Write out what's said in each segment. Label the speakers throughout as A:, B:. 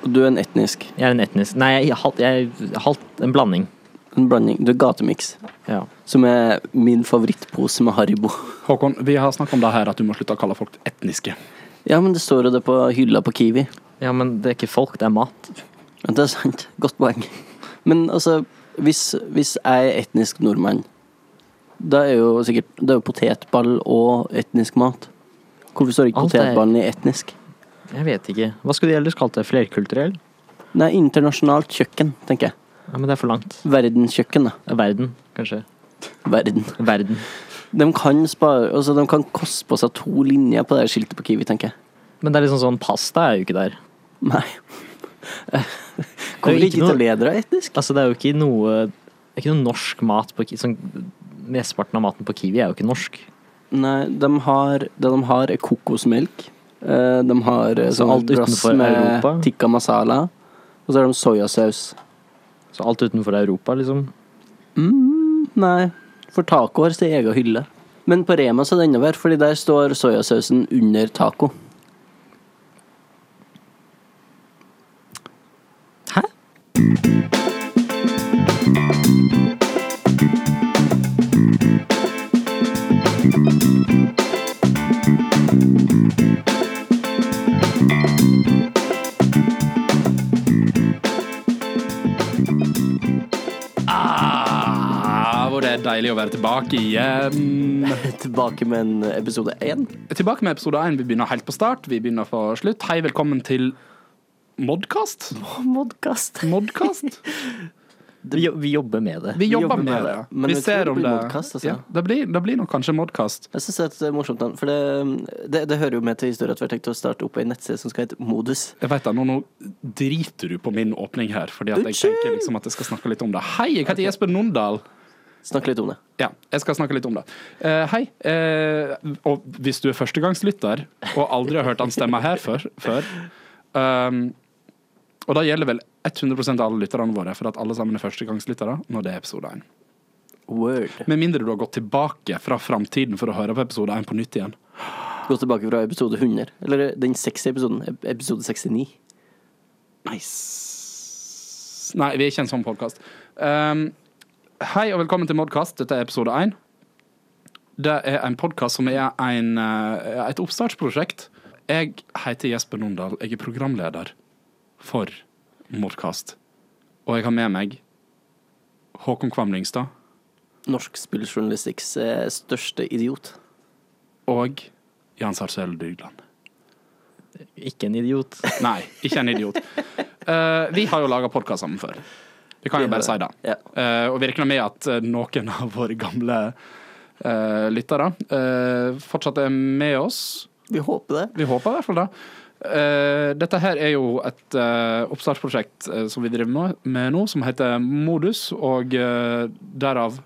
A: Du er en etnisk.
B: Jeg er en etnisk Nei, jeg er halvt, jeg er halvt en blanding.
A: En blanding. Du er gatemiks.
B: Ja.
A: Som er min favorittpose med Haribo.
C: Håkon, vi har snakket om det her at du må slutte å kalle folk etniske.
A: Ja, men det står jo det på hylla på Kiwi.
B: ja, men det er ikke folk, det er mat.
A: Men det er sant. Godt poeng. Men altså, hvis, hvis jeg er etnisk nordmann, da er jo sikkert Det er jo potetball og etnisk mat. Hvorfor står ikke
B: Alt er-
A: potetballen i etnisk?
B: Jeg vet ikke. Hva skulle de ellers kalt det? Flerkulturell?
A: Nei, internasjonalt kjøkken, tenker jeg.
B: Ja, men det er for langt.
A: Verdenskjøkken, da.
B: Verden, kanskje.
A: Verden.
B: Verden.
A: De kan, spare, altså, de kan koste på seg to linjer på det her skiltet på Kiwi, tenker jeg.
B: Men det er liksom sånn, pasta er jo ikke der.
A: Nei. Hvorfor
B: ikke
A: ikke
B: noe-
A: italienere er etnisk?
B: Altså, det er jo ikke noe Det er ikke noe norsk mat på Kiwi. Sånn, Mesteparten av maten på Kiwi er jo ikke norsk.
A: Nei, de har, det de har er kokosmelk. Eh, De har eh,
B: Så
A: sånn
B: alt
A: alt glass
B: utenfor
A: med
B: Europa?
A: tikka masala. Og så har de soyasaus.
B: Så alt utenfor Europa, liksom.
A: Mm, nei, for taco har sin egen hylle. Men på Rema så er det enda verre, fordi der står soyasausen under taco.
B: Hæ?
C: Ah, hvor det er deilig å være tilbake igjen.
A: Tilbake med en episode én.
C: Tilbake med episode 1. Vi begynner helt på start. Vi begynner fra slutt. Hei, velkommen til Modcast.
A: Modkast.
C: Modcast?
B: Vi, jo- vi jobber med det.
C: Vi
A: jobber
C: jobber med
A: med
C: det.
A: det, men
C: vi
A: jeg
C: ser
A: tror det
C: om
A: blir
C: det
A: modcast, altså.
C: ja, det, blir, det blir nok kanskje Modcast.
A: Jeg synes det er et eh, morsomt navn, for det, mm, det, det hører jo med til historien at vi har tenkt å starte opp ei nettside som skal hete Modus.
C: Jeg vet det, nå, nå driter du på min åpning her, fordi at jeg
A: Unnskyld!
C: tenker liksom at jeg skal snakke litt om det. Hei, jeg heter Jesper Nondal.
A: Snakk litt om det.
C: Ja, jeg skal snakke litt om det. Eh, hei. eh, og hvis du er førstegangslytter og aldri har hørt han stemme her før, før ehm, Og det gjelder vel 100 av alle lytterne våre, for at alle sammen er førstegangslyttere når det er episode 1.
A: Word.
C: Med mindre du har gått tilbake fra framtiden for å høre på episode 1 på nytt igjen.
A: Gå tilbake fra episode 100, eller eh, den 60 episoden, ep- episode 69.
C: Nice. Nei, vi er ikke en sånn podkast. hei og velkommen til Modcast. Dette er episode én. Det er en podkast som er en, eh, et oppstartsprosjekt. Jeg heter Jesper Nondal. Jeg er programleder for Modcast. Og jeg har med meg Håkon Kvam Lyngstad
A: Norsk spilljournalistikks eh, største idiot.
C: og Jan Sarsuell Dygland.
B: Ikke en idiot.
C: Nei, ikke en idiot. Eh, vi har jo laga podkast sammen før. Vi kan jo
A: Vi
C: bare si
A: har
C: det.
A: Ja.
C: Eh, og vi regner med at eh, noen av våre gamle eh, lyttere eh, fortsatt er med oss.
A: Vi håper det.
C: Vi håper i hvert fall det. Eh, dette her er jo et eh, oppstartsprosjekt eh, som vi driver med, med nå, som heter Modus, og eh, derav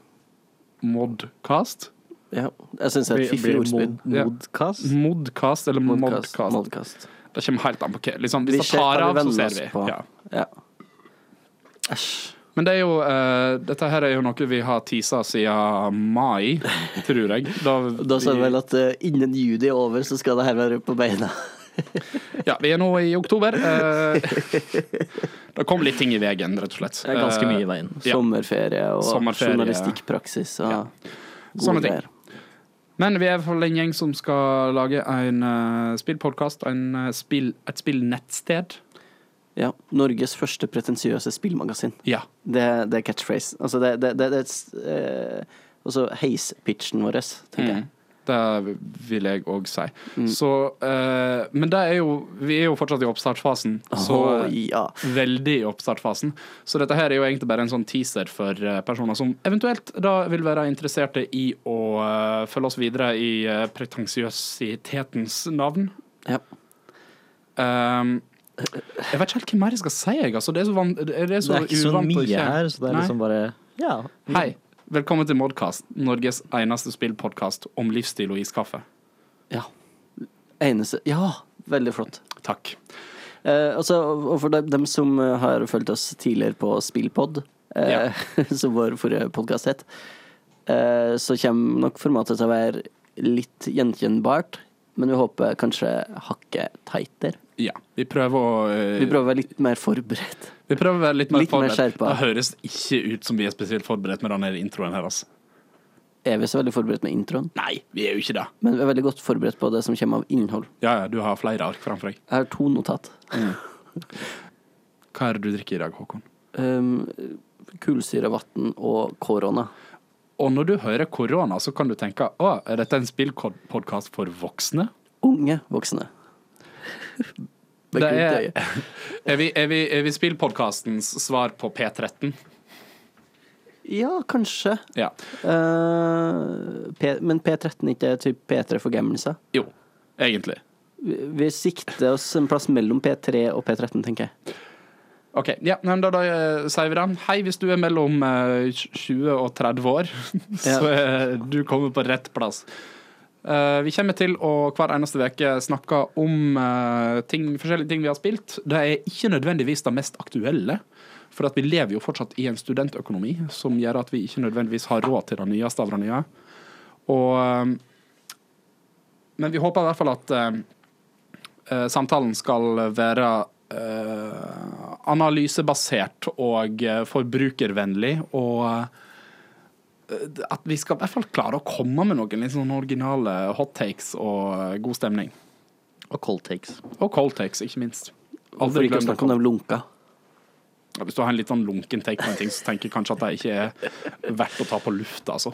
C: Modcast.
A: Ja. Jeg syns det er et
C: Blir-
A: fiffig
C: blir
A: ordspill.
C: mod- ja.
B: Modcast?
C: Modcast eller
A: Modcast.
C: Modcast.
A: Modcast.
C: Det kommer helt an på hva. Liksom,
A: Vi
C: hvis
A: ser
C: det
A: hva
C: tar
A: vi
C: av, så
A: venner
C: ser vi.
A: oss på.
C: Ja.
A: Ja. Æsj.
C: Men det er jo, eh, dette her er jo noe vi har teasa siden mai, tror jeg. Da,
A: Da sa
C: vi-
A: vi vel at eh, innen juli er over, så skal det her være på beina.
C: Ja, vi er nå i oktober. eh, det kom litt ting i veien, rett og slett.
B: Det er ganske mye i
C: Eh,
B: veien.
C: Ja.
A: Sommerferie og
C: Sommerferie.
A: journalistikkpraksis og
C: Sånne
A: gode
C: ting.
A: greier.
C: Men vi er i hvert fall en gjeng som skal lage en uh, spillpodkast, eh, spill, et spillnettsted.
A: Ja. Norges første pretensiøse spillmagasin.
C: Ja.
A: Det, det er catchphrase. Altså, det, det, det, det er et s- eh, Altså heispitchen vår, tenker jeg.
C: Mm. Det vil jeg òg si. Så eh, Men det er jo Vi er jo fortsatt i oppstartsfasen, så eh,
A: Åh, ja.
C: veldig i oppstartfasen. Så dette her er jo egentlig bare en sånn teaser for eh, personer som eventuelt da vil være interesserte i å eh, følge oss videre i eh, pretensiøsitetens navn.
A: ja.
C: Ehm, jeg vet ikke helt hva mer jeg skal si, jeg. Altså, det er så, van det er så
B: Det er ikke så
C: uvant å
B: mye
C: ikke-
B: her, så det er
C: Nei.
B: liksom bare Ja.
C: Hei, velkommen til Modcast, Norges eneste spillpodkast om livsstil og iskaffe.
A: Ja. Eneste Ja, veldig flott.
C: Takk.
A: Eh, altså, og for dem, dem som eh, har fulgt oss tidligere på Spillpod, eh, som vår forrige podkast het, eh, så kommer nok formatet til å være litt gjenkjennbart. men vi håper kanskje hakket tightere.
C: Ja. Vi prøver å eh,
A: Vi prøver å være litt mer forberedt.
C: vi prøver å være litt mer
A: litt mer
C: forberedt.
A: skjerpa.
C: Det høres ikke ut som vi er spesielt forberedt med den her introen her, altså.
A: Er vi så veldig forberedt med introen?
C: Nei, vi er jo ikke det.
A: Men vi er veldig godt forberedt på det som kommer av innhold.
C: Ja, ja, du har flere ark framfor deg.
A: Jeg har to notat.
C: Hva er det du drikker i dag, Håkon?
A: Um, Kullsyrevann og korona.
C: Og når du hører korona, så kan du tenke å, er dette en spillpodkast for voksne?
A: Unge voksne. Med
C: Det
A: glimt i
C: er-
A: øyet.
C: Er vi, er vi, er vi spillpodkastens svar på P13?
A: Ja, kanskje.
C: Ja.
A: Eh, P men P13 ikke er typ P3 for gamliser?
C: Jo, egentlig.
A: Vi, vi sikter oss en plass mellom P3 og P13, tenker jeg.
C: OK. Ja, men da, da eh, sier vi det. Hei, hvis du er mellom eh, 20 og 30 år, så er du kommet på rett plass. Eh, vi kommer til å hver eneste uke snakke om eh, ting, forskjellige ting vi har spilt. Det er ikke nødvendigvis det mest aktuelle, for at vi lever jo fortsatt i en studentøkonomi som gjør at vi ikke nødvendigvis har råd til det nyeste av det nye. Og, eh, men vi håper i hvert fall at eh, eh, samtalen skal være eh, analysebasert og eh, forbrukervennlig. Og eh, at vi skal i hvert fall klare å komme med noen litt sånn originale hot takes og eh, god stemning.
B: Og cold takes.
C: Og cold takes, ikke minst.
A: For
C: Aldri
A: ikke å
C: glem det.
A: snakke om de lunka.
C: Ja, Hvis du har en litt sånn lunken take på en ting, så tenker jeg kanskje at det ikke er verdt å ta på lufta, altså.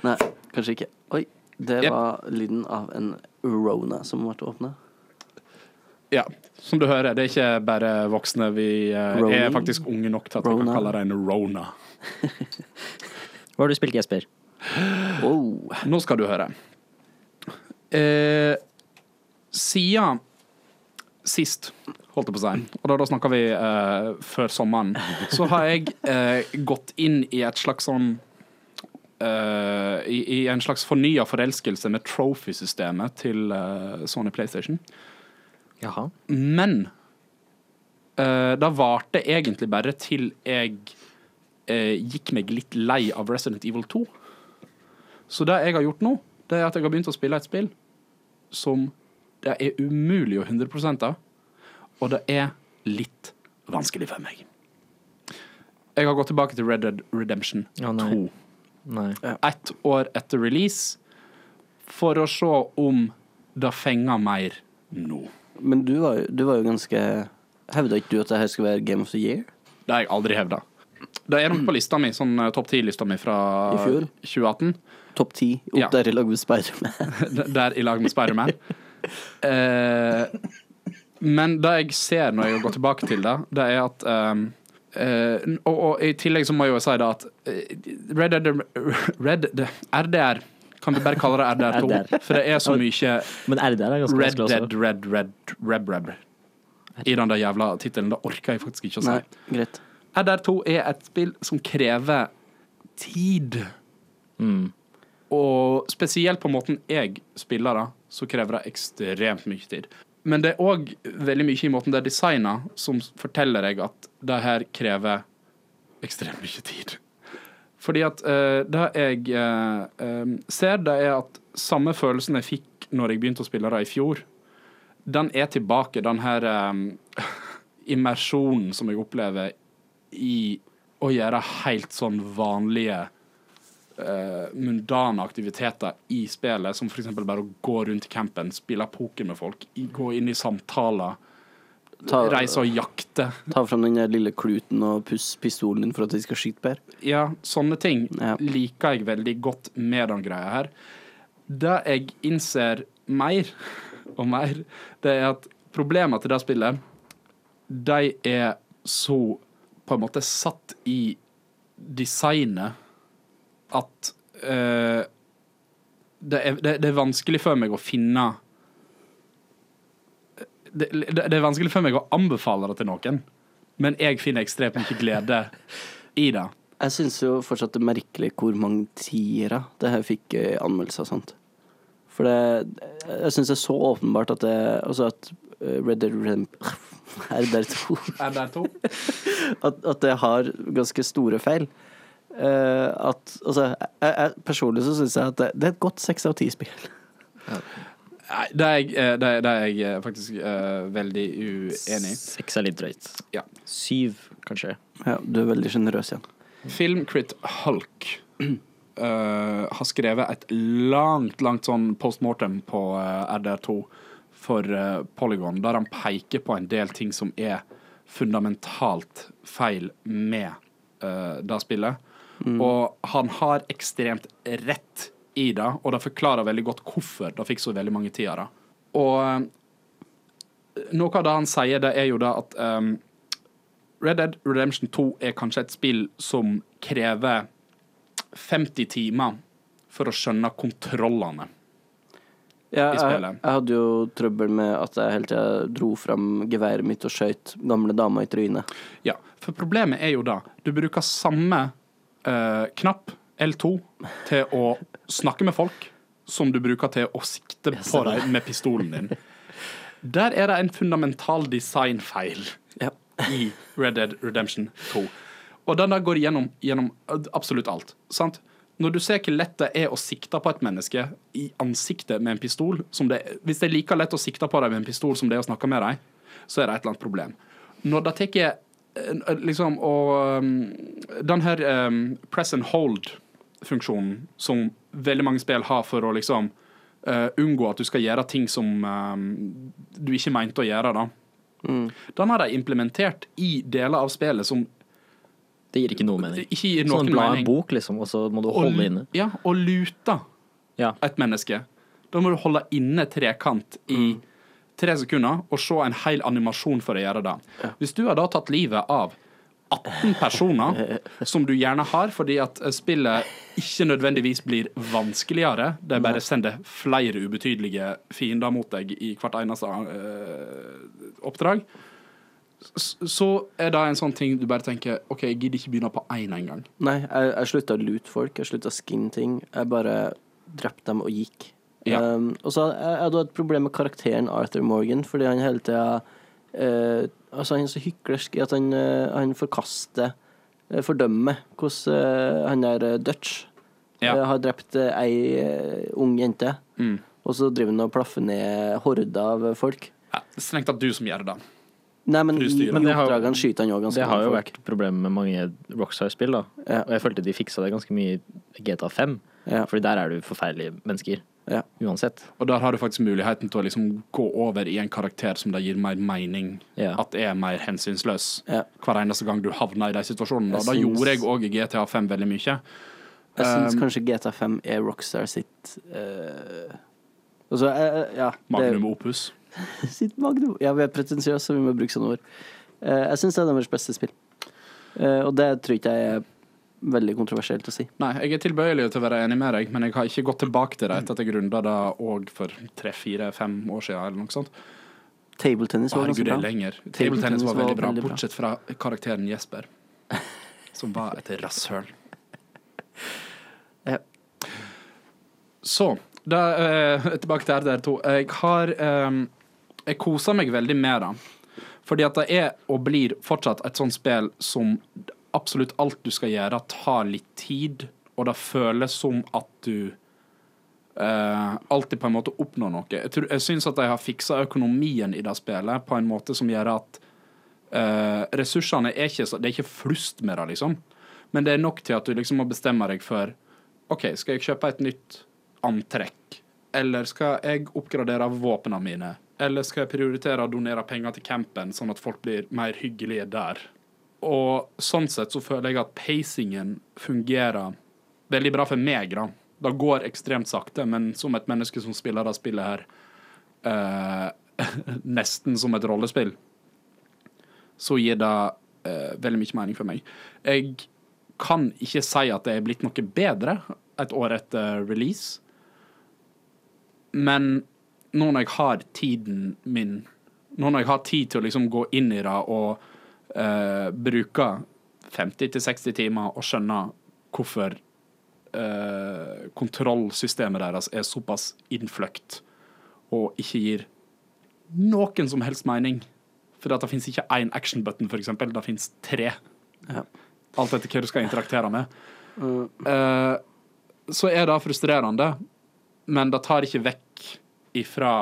A: Nei, kanskje ikke. Oi, det
C: Jep.
A: var lyden av en Rona som ble åpna.
C: Ja, som du hører, det er ikke bare voksne. Vi eh,
A: Ronin.
C: er faktisk unge nok til at vi kan
A: Rona.
C: kalle det en rona.
B: Hva har du spilt, Jesper?
A: Oh.
C: Nå skal du høre. Eh, siden sist, holdt jeg på å si, og da, da snakka vi eh, før sommeren, så har jeg eh, gått inn i et slags sånn eh, i, I en slags fornya forelskelse med trophy-systemet til eh, Sony PlayStation.
B: Jaha.
C: Men uh, det varte egentlig bare til jeg eh, gikk meg litt lei av Resident Evil 2. Så det jeg har gjort nå, det er at jeg har begynt å spille et spill som det er umulig å 100 av, og det er litt vanskelig for meg. Jeg har gått tilbake til Red Dead Redemption
B: Å, nei.
C: 2
B: Nei.
C: ett år etter release for å se om det fenger mer nå.
A: Men du var, jo- du var jo ganske Hevda ikke du at det her skulle være Game of the Year?
C: Det har jeg aldri hevda. Det er nok på lista mi, sånn eh, topp 10-lista mi fra
A: I fjor?
C: 2018.
A: Topp ti?
C: Ja.
A: Opp der i lag med Spiderman.
C: Der i lag med Spiderman. Eh, men det jeg ser når jeg går tilbake til det, det er at eh, eh, og, og i tillegg så må jeg jo si det at eh, Red Dead Red Dead, RDR Kan vi bare kalle det RDR2?
B: RDR.
C: For det er så mye
B: Men RDR er ganske
C: Red
B: vanskelig også.
C: Dead, Red Red, Reb Reb i den der jævla tittelen. Det orker jeg faktisk ikke å si.
A: Nei, greit.
C: RDR2 er et spill som krever tid.
B: Mm.
C: Og spesielt på måten jeg spiller det, så krever det ekstremt mye tid. Men det er òg veldig mye i måten det er designa, som forteller deg at det her krever ekstremt mye tid. Fordi at eh, det jeg eh, eh, ser, det er at samme følelsen jeg fikk når jeg begynte å spille det i fjor, den er tilbake, den her eh, immersjonen som jeg opplever i å gjøre helt sånn vanlige eh, mundane aktiviteter i spillet, som f.eks. bare å gå rundt campen, spille poker med folk, i- gå inn i samtaler,
A: Ta,
C: reise og jakte.
A: ta fram den der lille kluten og puss pistolen din for at de skal skyte bedre.
C: Ja, sånne ting
A: Ja.
C: liker jeg veldig godt med den greia her. Det jeg innser mer og mer, det er at problemene til det spillet, de er så på en måte satt i designet at eh, det, er, det, det er vanskelig for meg å finne det, det, det er vanskelig for meg å anbefale det til noen, men jeg finner ekstremt mye glede i det.
A: Jeg syns jo fortsatt det er merkelig hvor mange tiere det her fikk i anmeldelser og sånt. For det Jeg syns det er så åpenbart at det Altså at eh, Red Dead Redemp... RDR2
C: Er det to?
A: at, at det har ganske store feil. Eh, at Altså, jeg, jeg, personlig så syns jeg at det, det er et godt seks av ti-spill.
C: Nei, det er jeg, eh, det er, det er jeg eh, faktisk eh, veldig uenig i.
B: Seks er litt drøyt.
C: Ja.
B: Syv, kanskje.
A: Ja, du er veldig sjenerøs igjen.
C: Filmcrit Hulk eh, har skrevet et langt, langt sånn postmortem på eh, RDR2 for eh, Polygon, der han peker på en del ting som er fundamentalt feil med eh, det spillet. Og han har ekstremt rett i det, og det forklarer veldig godt hvorfor det fikk så veldig mange tiere. Og eh, noe av det han sier, det er jo det at eh, Red Dead Redemption 2 er kanskje et spill som krever 50 timer for å skjønne kontrollene.
A: Ja,
C: I
A: jeg,
C: spillet.
A: jeg hadde jo trøbbel med at jeg hele tida dro fram geværet mitt og skøyt gamle dama i trynet.
C: Ja, For problemet er jo da du bruker samme eh, knapp, L2, til å snakke med folk som du bruker til å sikte på dem med pistolen din. Der er det en fundamental designfeil
A: Ja.
C: i Red Dead Redemption 2. Og den der går gjennom, gjennom absolutt alt. Sant? Når du ser hvor lett det er å sikte på et menneske i ansiktet med en pistol som det, Hvis det er like lett å sikte på dem med en pistol som det er å snakke med dem, så er det et eller annet problem. Når det tar eh, liksom, Og um, den her um, press and hold-funksjonen som veldig mange spill har for å liksom eh, unngå at du skal gjøre ting som eh, du ikke mente å gjøre, da. Den har de implementert i deler av spillet som
B: Det gir ikke noe mening.
C: ikke gir
B: Sånn
C: noen
B: bla en
C: mening.
B: bok, liksom, og så må du holde inne.
C: Ja, og lute
B: Ja.
C: et menneske. Da må du holde inne trekant i tre sekunder og se en hel animasjon for å gjøre det. Hvis du har da tatt livet av 18 personer, som du gjerne har fordi at eh, spillet ikke nødvendigvis blir vanskeligere, de bare sender flere ubetydelige fiender mot deg i hvert eneste eh, oppdrag, s- så er det en sånn ting du bare tenker OK, jeg gidder ikke begynne på én engang.
A: Nei, jeg, jeg slutta å lute folk, jeg slutta å skinne ting. Jeg bare drepte dem og gikk.
C: Ja.
A: Um, og så hadde jeg, jeg hadde et problem med karakteren Arthur Morgan, fordi han hele tida eh, Altså, han er så hyklersk i at han, eh, han forkaster, eh, fordømmer, hvordan eh, han der eh, Dutch
C: Ja.
A: eh, har drept eh, ei eh, ung jente.
C: Mm.
A: Og så driver han og plaffer ned horder av folk.
C: Ja, Strengt tatt du som gjør det.
A: Nei, men i, i
C: Frustrerende.
B: Men det har-
A: oppdragene skyter han jo ganske
B: Det har
A: mange
B: jo
A: folk.
B: vært problemet med mange Rockstar-spill, da.
A: Ja.
B: Og jeg følte de fiksa det ganske mye i GTA 5,
A: Ja.
B: fordi der er du forferdelige mennesker.
A: Ja.
B: Uansett.
C: Og der har du faktisk muligheten til å liksom gå over i en karakter som det gir mer mening.
B: Ja.
C: At er mer hensynsløs
A: Ja.
C: hver eneste gang du havner i de situasjonene.
A: Jeg
C: Da
A: syns-
C: gjorde jeg òg i GTA 5 veldig mye.
A: Jeg syns
C: Um,
A: kanskje GTA5 er Rockstar sitt eh, Altså, eh, ja
C: Magnum opus.
A: Det, sitt magnum. Ja, vi er pretensiøse, så vi må bruke sånne ord. Eh, jeg syns det er deres beste spill. Eh, og det tror ikke jeg er veldig kontroversielt å si.
C: Nei, jeg er tilbøyelig til å være enig med deg, men jeg har ikke gått tilbake til det etter at jeg runda det òg for tre-fire-fem år siden, eller noe sånt.
A: Tabletennis
C: Å,
A: var
C: herregud,
A: ganske
C: det er
A: bra.
C: lenger. Table tennis var veldig bra,
A: veldig bra.
C: bortsett fra karakteren Jesper, som var et rasshøl.
A: Ja.
C: Så da, eh, Tilbake til RDR2. Jeg har eh, Jeg koser meg veldig med det. Fordi at det er og blir fortsatt et sånt spill som absolutt alt du skal gjøre, tar litt tid, og det føles som at du eh, alltid på en måte oppnår noe. Jeg, tror, jeg syns at de har fiksa økonomien i det spillet på en måte som gjør at eh, ressursene er ikke så Det er ikke flust med det, liksom. Men det er nok til at du liksom må bestemme deg for OK, skal jeg kjøpe et nytt antrekk? Eller skal jeg oppgradere våpnene mine? Eller skal jeg prioritere å donere penger til campen, sånn at folk blir mer hyggelige der? Og sånn sett så føler jeg at pacingen fungerer veldig bra for meg, da. Det går ekstremt sakte, men som et menneske som spiller det spillet her eh, nesten som et rollespill, så gir det eh, veldig mye mening for meg. Jeg kan ikke si at det er blitt noe bedre et år etter release, men nå når jeg har tiden min, nå når jeg har tid til å liksom gå inn i det og eh, bruke 50-60 timer og skjønne hvorfor eh, kontrollsystemet deres er såpass innfløkt og ikke gir noen som helst mening. For at det fins ikke én action button, for eksempel. Det fins tre.
A: Ja.
C: Alt etter hva du skal interaktere med. Eh, så er det frustrerende, men det tar ikke vekk ifra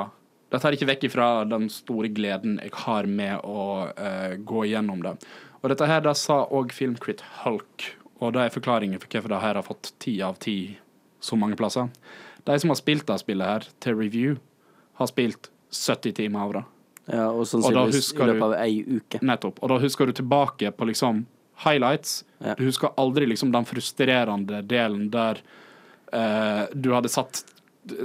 C: Det tar ikke vekk ifra den store gleden jeg har med å eh, gå gjennom det. Og dette her da sa òg Filmcrit Hulk, og det er forklaringen for hvorfor det her har fått ti av ti så mange plasser. De som har spilt det spillet her til review, har spilt 70 timer av det.
A: Ja, og
C: Og da
A: sannsynligvis i
C: husker
A: løpet
C: du-
A: av ei uke.
C: Nettopp. Og da husker du tilbake på liksom highlights.
A: Ja.
C: Du husker aldri liksom den frustrerende delen der eh, du hadde satt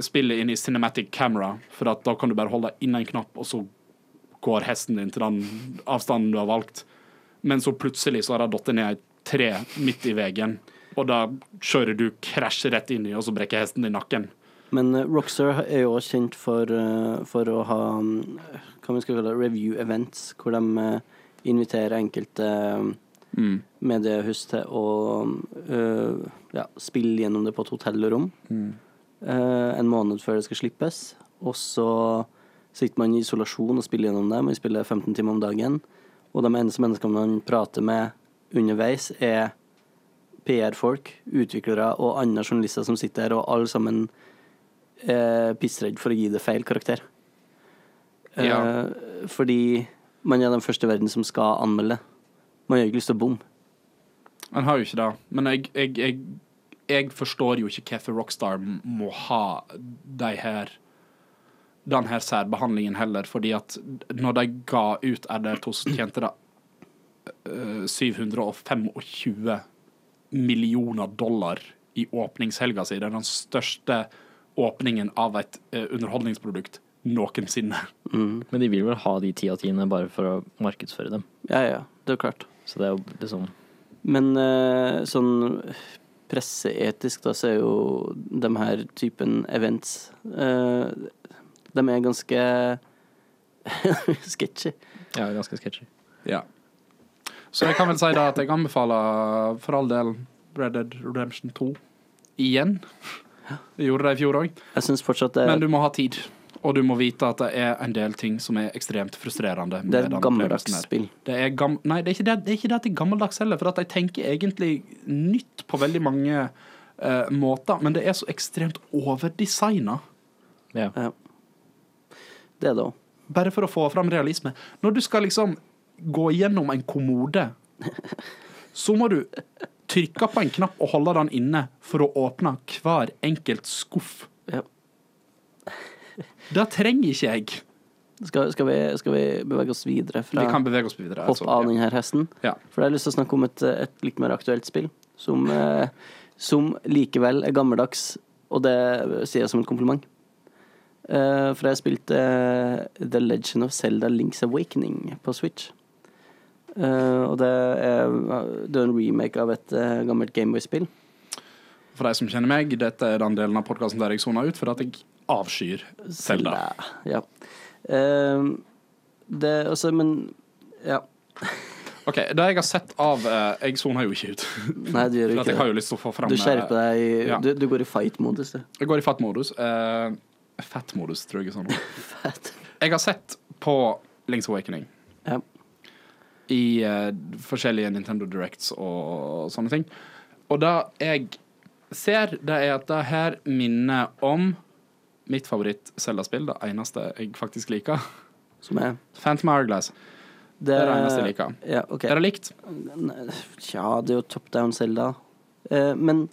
C: spillet inn i cinematic camera, for at da kan du bare holde inn en knapp, og så går hesten din til den avstanden du har valgt. Men så plutselig så har det datt ned et tre midt i veien, og da kjører du krasj rett inn i, og så brekker hesten din nakken.
A: Men eh, Rockstar er jo også kjent for, eh, for å ha mm, hva vi skal kalle det, review events, hvor de eh, inviterer enkelte eh, mediehus til å eh, ja, spille gjennom det på et hotellrom
C: Mm.
A: eh, en måned før det skal slippes. Og så sitter man i isolasjon og spiller gjennom det. Man spiller 15 timer om dagen. Og de eneste menneskene man prater med underveis, er PR-folk, utviklere og andre journalister som sitter her, og alle sammen er pissredd for å gi det feil karakter. Eh,
C: Ja.
A: Fordi man er den første i verden som skal anmelde. Man har ikke lyst til å bomme.
C: Han har jo ikke det. Men jeg, jeg, jeg, jeg forstår jo ikke hvorfor Rockstar m- må ha de her den her særbehandlingen heller, fordi at når de ga ut RDR2, så tjente det eh, 725 millioner dollar i åpningshelga si. Det er den største åpningen av et eh, underholdningsprodukt noensinne.
A: Mm.
B: Men de vil vel ha de ti av tiene bare for å markedsføre dem.
A: Ja, ja, det er klart.
B: Så det er jo liksom
A: Men eh, sånn presseetisk, da, så er jo de her typen events eh, De er ganske sketchy.
B: ja, ganske sketchy.
C: Ja. Så jeg kan vel si da at jeg anbefaler for all del Red Dead Redemption 2 igjen. Jeg gjorde det i fjor òg.
A: Jeg syns fortsatt det,
C: Men du må ha tid. Og du må vite at det er en del ting som er ekstremt frustrerende. med
A: det er
C: den
A: et gammeldags
C: opplevelsen her.
A: spill.
C: Det er gam Nei, det er, ikke det, det er ikke det at det er gammeldags heller, for at de tenker egentlig nytt på veldig mange eh, måter. Men det er så ekstremt overdesigna.
B: Ja.
A: Ja. Det er det òg.
C: Bare for å få fram realisme. Når du skal liksom gå gjennom en kommode, så må du trykke på en knapp og holde den inne for å åpne hver enkelt skuff.
A: Ja.
C: Det trenger ikke jeg.
A: Skal, skal, vi, skal vi bevege oss videre
C: Vi
A: fra
C: kan bevege oss videre.
A: hopp av denne hesten?
C: sånn, Ja.
A: For jeg har lyst til å snakke om et, et litt mer aktuelt spill, som, eh, som likevel er gammeldags, og det sier jeg som en kompliment. Eh, for jeg spilte eh, The Legend of Zelda Links Awakening på Switch. Eh, og det er, det er en remake av et eh, gammelt Gameboy-spill.
C: For de som kjenner meg, dette er den delen av podkasten der jeg soner ut, for at jeg avskyr Selda.
A: Ja. Eh, det altså, men Ja.
C: OK, det jeg har sett av eh, Jeg soner jo ikke ut.
A: Nei, du gjør
C: For
A: jo
C: at jeg
A: ikke
C: har
A: det.
C: jo lyst til å få fram
A: Du skjerper deg. i-
C: Ja.
A: Du, du går i fight-modus, du.
C: Jeg går i fattmodus. Uh, fattmodus, tror jeg er sånn.
A: Fett.
C: Jeg har sett på Links Awakening
A: Ja.
C: i eh, forskjellige Nintendo Directs og sånne ting. Og det jeg ser, det er at det her minner om mitt favoritt-Selda-spill, det eneste jeg faktisk liker.
A: Som er
C: Phantom Hourglass. Det er det eneste jeg liker.
A: Ja, ok.
C: Er det likt?
A: Nei, Tja, det er jo top down Selda. Men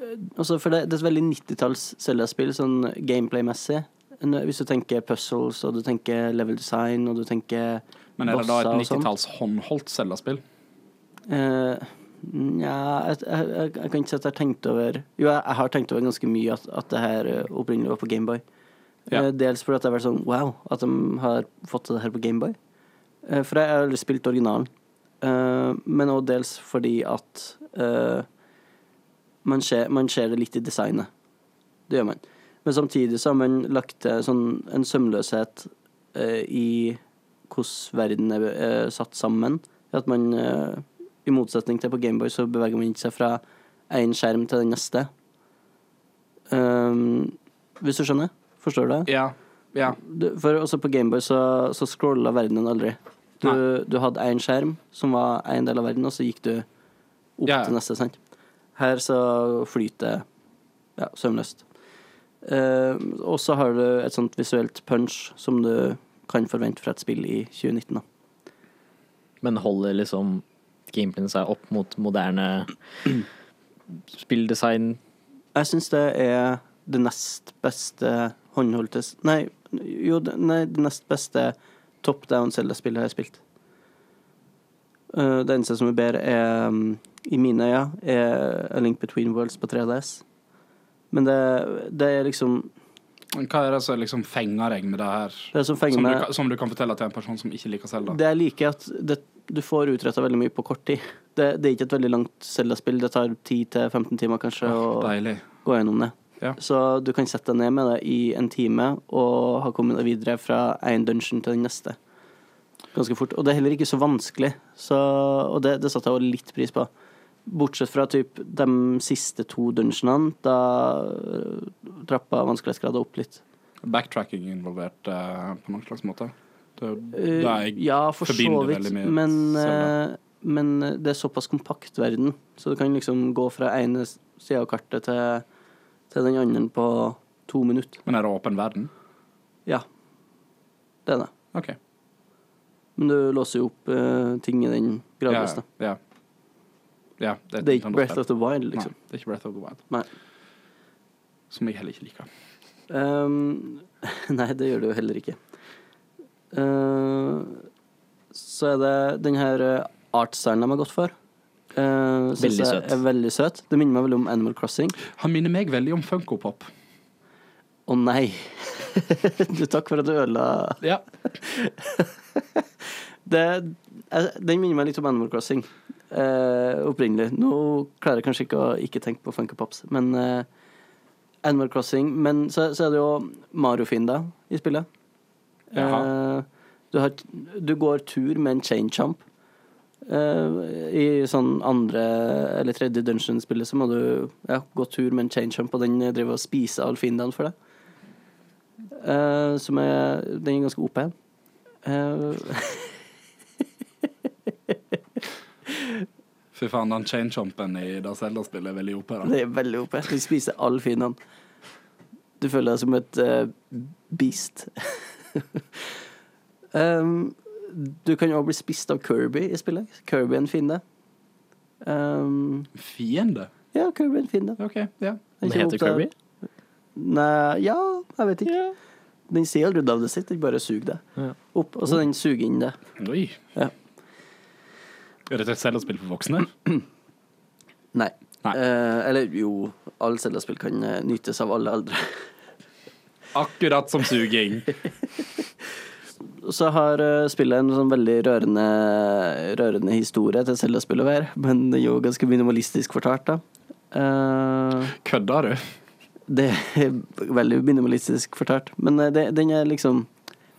A: eh, altså For det, det er et veldig 90-talls Selda-spill, sånn gameplay-messig. Nå, Hvis du tenker puzzles, og du tenker level design, og du tenker
C: Men er det da et
A: bosser og sånn.
C: 90-talls håndholdt Selda-spill?
A: eh, Nja, jeg, jeg, jeg, jeg kan ikke si at jeg har tenkt over Jo, jeg, jeg har tenkt over ganske mye at, at det her eh, opprinnelig var på Gameboy.
C: Ja.
A: Eh, dels fordi at det har vært sånn wow, at de har fått til det her på Gameboy. Eh, for jeg har aldri spilt originalen. Eh, men òg dels fordi at eh, man, ser, man ser det litt i designet. Det gjør man. Men samtidig så har man lagt til sånn, en sømløshet eh, i hvordan verden er eh, satt sammen. At man, eh, i motsetning til på Gameboy, så beveger man ikke seg fra én skjerm til den neste. Um, hvis du skjønner? Forstår du det?
C: Ja. ja.
A: Du- For også på Gameboy så, så scrolla verdenen aldri. Du, du hadde én skjerm som var én del av verden, og så gikk du opp
C: Ja.
A: til neste, sant? Her så flyter det ja, sømløst. Eh, og så har du et sånt visuelt punch som du kan forvente fra et spill i 2019. Da.
B: Men holder liksom gameplayen seg opp mot moderne spilldesign?
A: Jeg syns det er det nest beste håndholdte s- Nei, jo, det- nei, det nest beste top down Zelda-spillet jeg har spilt. Eh, det eneste som er bedre, er, mm, i mine øyne, er A Link Between Worlds på 3DS. Men det, det er liksom
C: Men Hva er det som liksom fenger deg med det her?
A: Det er som fenger
C: Som du,
A: meg
C: kan- som du kan fortelle til en person som ikke liker Selda?
A: Det jeg liker, er at det, du får utretta veldig mye på kort tid. Det, det er ikke et veldig langt Zelda-spill. Det tar 10-15 timer kanskje å
C: Deilig.
A: gå gjennom det.
C: Ja.
A: Så du kan sette deg ned med det i en time og ha kommet deg videre fra én dungeon til den neste. Ganske fort. Og det er heller ikke så vanskelig, så, og det, det satte jeg også litt pris på. Bortsett fra typ, de siste to dungeonene, da øh, trappa vanskelighetsgrada opp litt.
C: Backtracking involvert eh, på noen slags måte? Det er jo
A: Eh,
C: det jeg
A: ja, for så
C: forbinder
A: vidt.
C: veldig med
A: Men,
C: Zelda.
A: eh, men det er såpass kompakt verden, så du kan liksom gå fra ene sida av kartet til, til den andre på to minutter.
C: Men er det åpen verden?
A: Ja, det er det.
C: OK.
A: Men du låser jo opp eh, ting i den
C: Ja,
A: gradvis. da.
C: ja. ja det,
A: Det er ikke Breath of the Wild, liksom.
C: Nei, det er ikke Breath of the Wild.
A: Nei.
C: Som jeg heller ikke liker.
A: Um, nei, det gjør det jo heller ikke. Eh, så er det den her eh, artstylen de har gått for. eh, synes
B: Veldig
A: jeg
B: søt.
A: Er veldig søt. Det minner meg veldig om Animal Crossing.
C: Han minner meg veldig om funkopop.
A: Å nei. du, takk for at du ødela
C: Ja.
A: Det- jeg- Den minner meg litt om Animal Crossing eh, opprinnelig. Nå klarer jeg kanskje ikke å ikke tenke på Funky Pops, men eh, Animal Crossing. Men så, så er det jo Mario-fiender i spillet.
C: Jaha.
A: Eh, du, har, du går tur med en chain champ. Eh, I sånn andre eller tredje dungeon-spillet så må du ja, gå tur med en chain champ, og den driver og spiser alle fiendene for deg. Eh, som er Den er ganske OP. Eh,
C: Fy faen, den chain-chompen i det Zelda-spillet er veldig OP. da.
A: Det er veldig OP. Du spiser all finnen. Du føler deg som et eh, beast. um, du kan òg bli spist av Kirby i spillet. Kirby er en finne. Um,
C: Fiende?
A: ja, Kirby er en finne.
C: OK, ja.
B: Det heter Kirby?
A: Nei, ja, jeg vet ikke. Den sier aldri navnet sitt, den bare suger deg
B: Ja.
A: opp. Og så den suger inn det.
C: Oi.
A: Ja.
C: Er dette et Zelda-spill for voksne?
A: Nei.
C: Nei.
A: Eh, eller jo, alle Zelda-spill kan eh, nytes av alle aldre.
C: Akkurat som suging.
A: så har eh, spillet en sånn veldig rørende, rørende historie til Zelda-spillet hver, men det er jo ganske minimalistisk fortalt, da. Eh,
C: Kødder du?
A: det er veldig minimalistisk fortalt, men eh, det, den er liksom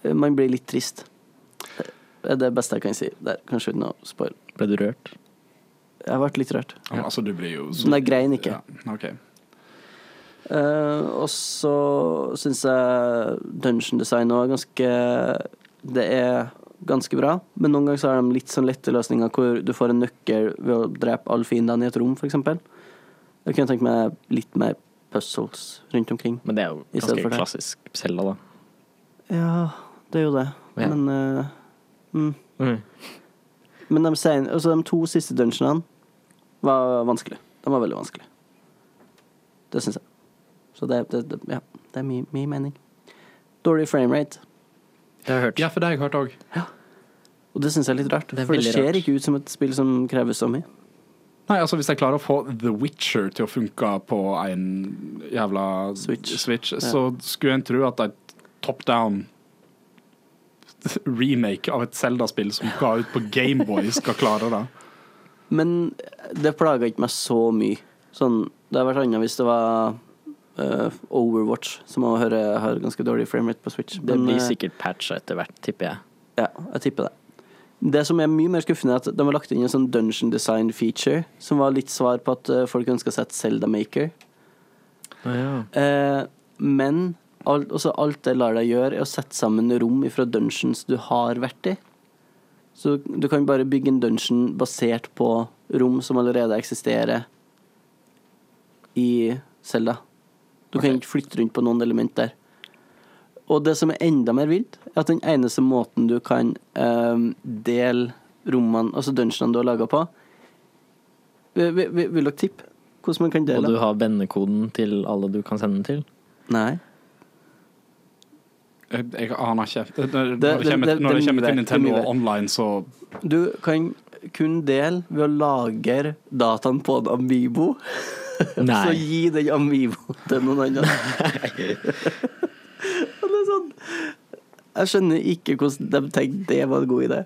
A: Man blir litt trist. Det er det beste jeg kan si der, kanskje uten å spoile.
B: Ble du rørt?
A: Jeg ble litt rørt.
C: Ja, men Altså, du blir jo så
A: Men jeg grein ikke.
C: Ja, OK.
A: Eh, og så syns jeg dungeon design òg er ganske Det er ganske bra, men noen ganger så har de litt sånn lette løsninger hvor du får en nøkkel ved å drepe alle fiendene i et rom, f.eks. Jeg kunne tenke meg litt mer puzzles rundt omkring.
B: Men det er jo
A: I stedet for
B: ganske
A: det.
B: klassisk Selda, da.
A: Ja, det er jo det,
B: Ja.
A: men eh, mm. Men de, sen, altså de to siste dungeonene var vanskelig. De var veldig vanskelig. Det syns jeg. Så det, det, det, ja, det er min min mening. Dårlig framerate.
B: Det har jeg hørt.
C: Ja, for det har jeg hørt òg.
A: Og det syns jeg er litt rart.
B: Det er
A: for det
B: veldig
A: ser
B: rart.
A: ikke ut som et spill som krever så mye.
C: Nei, altså Hvis jeg klarer å få The Witcher til å funke på en jævla
A: Switch.
C: så skulle en tro at et top down remake av et Zelda-spill som ga ut på Gameboy, skal klare det.
A: Men det plaga ikke meg så mye. Sånn, det hadde vært annet hvis det var eh, Overwatch, som jeg hører har ganske dårlig framerate på Switch.
B: Det
A: Men,
B: blir
A: eh,
B: sikkert patcha etter hvert, tipper jeg.
A: Ja, jeg tipper det. Det som er mye mer skuffende, er at de har lagt inn en sånn dungeon design feature, som var litt svar på at eh, folk ønsker seg et Zelda Maker. Eh, men alt, også alt det lar deg gjøre, er å sette sammen rom fra dungeons du har vært i. Så du kan bare bygge en dungeon basert på rom som allerede eksisterer i Selda. Du kan ikke flytte rundt på noen element der. Og det som er enda mer vilt, er at den eneste måten du kan ehm, dele rommene, altså dungeonene du har laga på vil, vil, vil vil dere tippe hvordan man kan
B: Og
A: dele?
B: du har vennekoden til alle du kan sende den til.
A: Nei.
C: Jeg, jeg aner ikke. Det- det- Når
A: det-
C: det kommer,
A: det-
C: når det
A: det er
C: kommer
A: mye
C: til
A: verre,
C: Nintendo
A: det er mye verre.
C: online, så
A: Du kan kun dele ved å lagre dataen på en Amibo, og så
B: Nei.
A: gi den Amiboen til noen andre. Og det er sånn Jeg skjønner ikke hvordan de tenkte det var en god idé.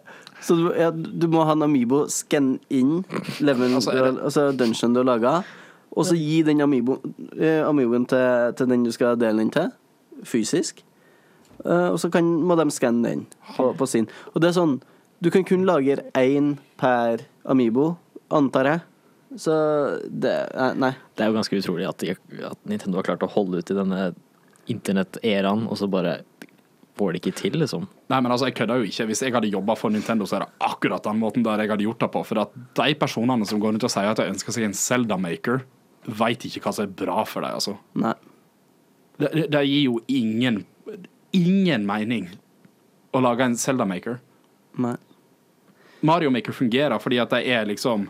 A: Så du, ja, du må ha en Amibo, skanne inn levelen
C: Altså,
A: du
C: er
A: har,
C: det-
A: altså dungeon du har laga, og så gi den Amibo, eh, Amiiboen til, til den du skal dele den til, fysisk. Eh, og så kan, må de skanne den på,
B: Hm.
A: på sin. Og det er sånn Du kan kun lagre én per Amibo, antar jeg. Så det eh, Nei.
B: Det er jo ganske utrolig at, de, at Nintendo har klart å holde ut i denne internetteraen, og så bare får de ikke til, liksom.
C: Nei, men altså, jeg kødder jo ikke. Hvis jeg hadde jobba for Nintendo, så er det akkurat den måten der jeg hadde gjort det på. For at de personene som går rundt og sier at de ønsker seg en Zelda-maker, veit ikke hva som er bra for dem, altså.
A: nei.
C: Det, det, det gir jo ingen ingen mening å lage en Zelda-maker.
A: nei.
C: Mario Maker fungerer fordi at de er liksom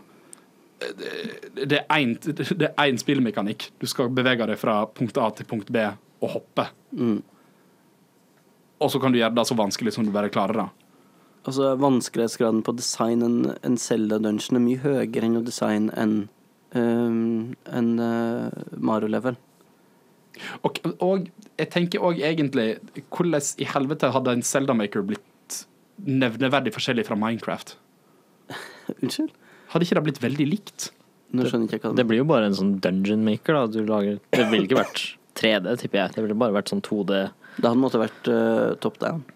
C: Det det er én spillmekanikk. Du skal bevege deg fra punkt A til punkt B og hoppe.
A: Mm.
C: Og så kan du gjøre det så vanskelig som du bare klarer det.
A: Altså, vanskelighetsgraden på å designe en, en Zelda-dungeon er mye høyere enn å designe en, øhm, en øh, Mario-level.
C: Og, og jeg tenker òg egentlig Hvordan i helvete hadde en Zelda Maker blitt nevneverdig forskjellig fra Minecraft?
A: Unnskyld?
C: Hadde ikke det blitt veldig likt?
A: Nå skjønner jeg ikke hva
B: Det
A: du
B: blir jo bare en sånn dungeon maker, da. Du lager Det ville ikke vært 3D, tipper jeg. Det ville bare vært sånn 2D.
A: Det hadde måttet vært øh, top down.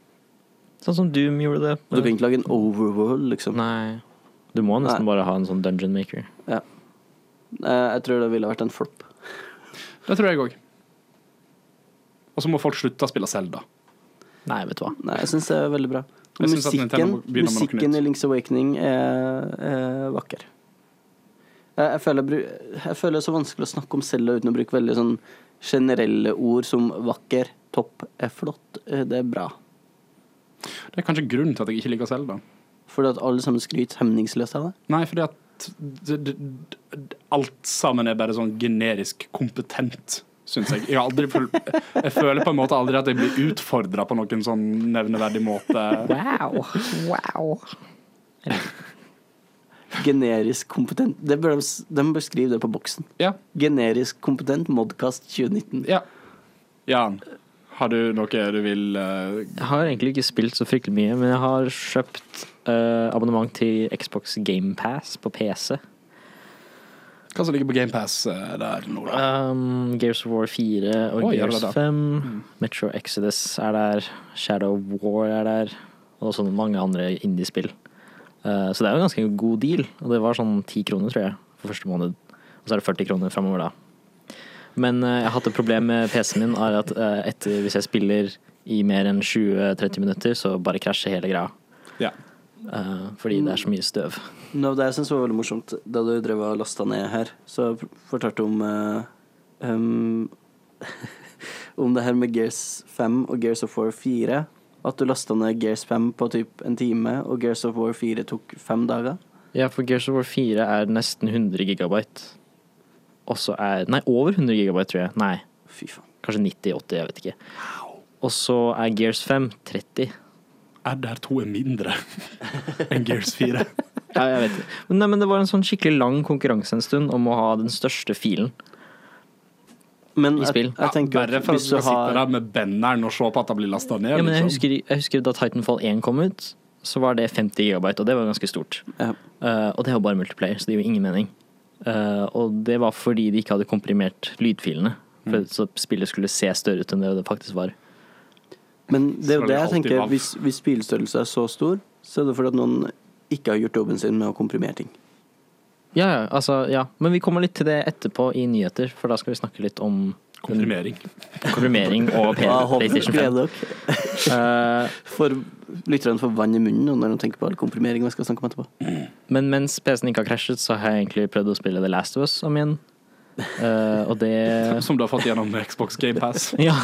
B: Sånn som Doom gjorde det.
A: Du kan ikke lage en overworld, liksom.
B: Nei. Du må nesten
A: Nei.
B: bare ha en sånn dungeon maker.
A: Ja. Eh, Jeg tror det ville vært en flop.
C: Det tror jeg òg. Og så må folk slutte å spille Zelda.
B: Nei, vet du hva.
A: Nei, jeg syns det er veldig bra.
C: Jeg synes at
A: Musikken,
C: Nintendo begynner med noe
A: musikken i
C: nytt.
A: Links Awakening er, er vakker. Jeg, jeg, føler, jeg bru- jeg føler det er så vanskelig å snakke om Selda uten å bruke veldig sånn generelle ord som vakker, topp, er flott, eh, det er bra.
C: Det er kanskje grunnen til at jeg ikke liker Zelda.
A: Fordi at alle sammen skryter hemningsløst av det.
C: Nei, fordi at d- d- d- alt sammen er bare sånn generisk kompetent, syns jeg. Jeg, har aldri, føl- jeg føler på en måte aldri at jeg blir utfordra på noen sånn nevneverdig måte.
B: Wow. Wow.
A: Generisk kompetent. Det bør de, s- de bør skrive det på boksen.
C: Ja,
A: Generisk kompetent modcast 2019.
C: ja. Jan, har du noe du vil eh,
B: Jeg har egentlig ikke spilt så fryktelig mye, men jeg har kjøpt eh, abonnement til Xbox GamePass på PC.
C: Hva som ligger på GamePass der nå, da?
B: Um, Gears of War 4 og
C: Oi, er det
B: Gears
C: det?
B: 5. Metro Exodus er der. Shadow of War er der. Og sånn mange andre indiespill. Eh, så det er jo ganske en god deal. Og det var sånn 10 kroner, tror jeg, for første måned. Og så er det 40 kroner framover da. Men eh, jeg har hatt et problem med PC-en min, er at eh, etter, hvis jeg spiller i mer enn 20-30 minutter, så bare krasjer hele greia.
C: Ja.
B: Eh, fordi det er så mye støv.
A: Noe av det jeg syns var veldig morsomt da du drev og lasta ned her, så f- fortalte du om eh, em, Om det her med Gears 5 og Gears of War 4. At du lasta ned Gears 5 på typ en time, og Gears of War 4 tok fem dager.
B: Ja, for Gears of War 4 er nesten 100 gigabyte. Og så er Nei, over 100 gigabyte, tror jeg. Nei,
A: Fy faen.
B: kanskje 90-80, jeg vet ikke. Og så er Gears 5 30.
C: RDR2 er mindre enn Gears 4.
B: Ja, jeg vet ikke. Men, nei, men det var en sånn skikkelig lang konkurranse en stund om å ha den største filen.
A: Men
B: I
A: jeg,
B: spill.
A: jeg tenker
C: Verre
A: at
C: for at
A: hvis
C: du
A: du
C: skal sitte
A: har
C: der med benneren og se på at det blir lasta ned.
B: Ja, men jeg
C: liksom.
B: husker, jeg husker da Titanfall 1 kom ut, så var det 50 gigabyte, og det var ganske stort.
A: ja,
B: Eh, og det er jo bare multiplayer, så det gir jo ingen mening. Eh, og det var fordi de ikke hadde komprimert lydfilene. For Så spillet skulle se større ut enn det det faktisk var.
A: Men det er jo
C: Skal det
A: det jeg
C: alltid
A: tenker.
C: være?
A: Hvis, hvis bilstørrelse er så stor, så er det fordi at noen ikke har gjort jobben sin med å komprimere ting.
B: Ja, ja, altså, ja. Men vi kommer litt til det etterpå i nyheter, for da skal vi snakke litt om
C: Komprimering.
B: komprimering og P-
A: Ja, jeg håper dere
B: PlayStation 5.
A: gleder dere.
B: Eh,
A: For lytterne får vann i munnen nå når de tenker på all komprimering vi skal snakke om etterpå.
B: men mens PC-en ikke har krasjet, så har jeg egentlig prøvd å spille The Last of Us om igjen. Eh, og det
C: Som du har fått gjennom Xbox Game Pass.
B: Ja.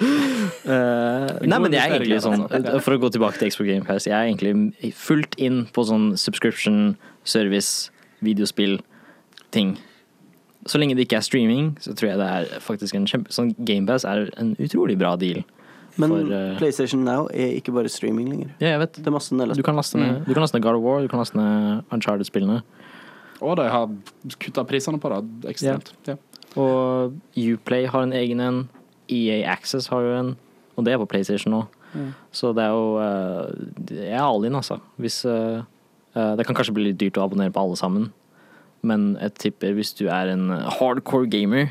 B: Eh, nei, men jeg er egentlig sånn,
C: investering, altså.
B: for å gå tilbake til Xbox Game Pass, jeg er egentlig fullt inn på sånn subscription, service, videospill, ting. Så lenge det ikke er streaming, så tror jeg det er faktisk en kjempe... Sånn Game Pass er en utrolig bra deal.
A: Men
B: For, eh,
A: PlayStation Now er ikke bare streaming lenger.
B: Ja, jeg vet. Mm.
A: Det er masse
B: Du
A: nedlast.
B: kan laste ned, du kan laste ned God of War, du kan laste ned Uncharted-spillene.
C: Og de har kutta prisene på det ekstremt. Ja.
B: Og Uplay har en egen en. EA Access har jo en. Og det er på PlayStation nå. Så det er jo eh, Jeg er all in, altså. Hvis eh, eh, Det kan kanskje bli litt dyrt å abonnere på alle sammen, men jeg tipper hvis du er en hardcore gamer,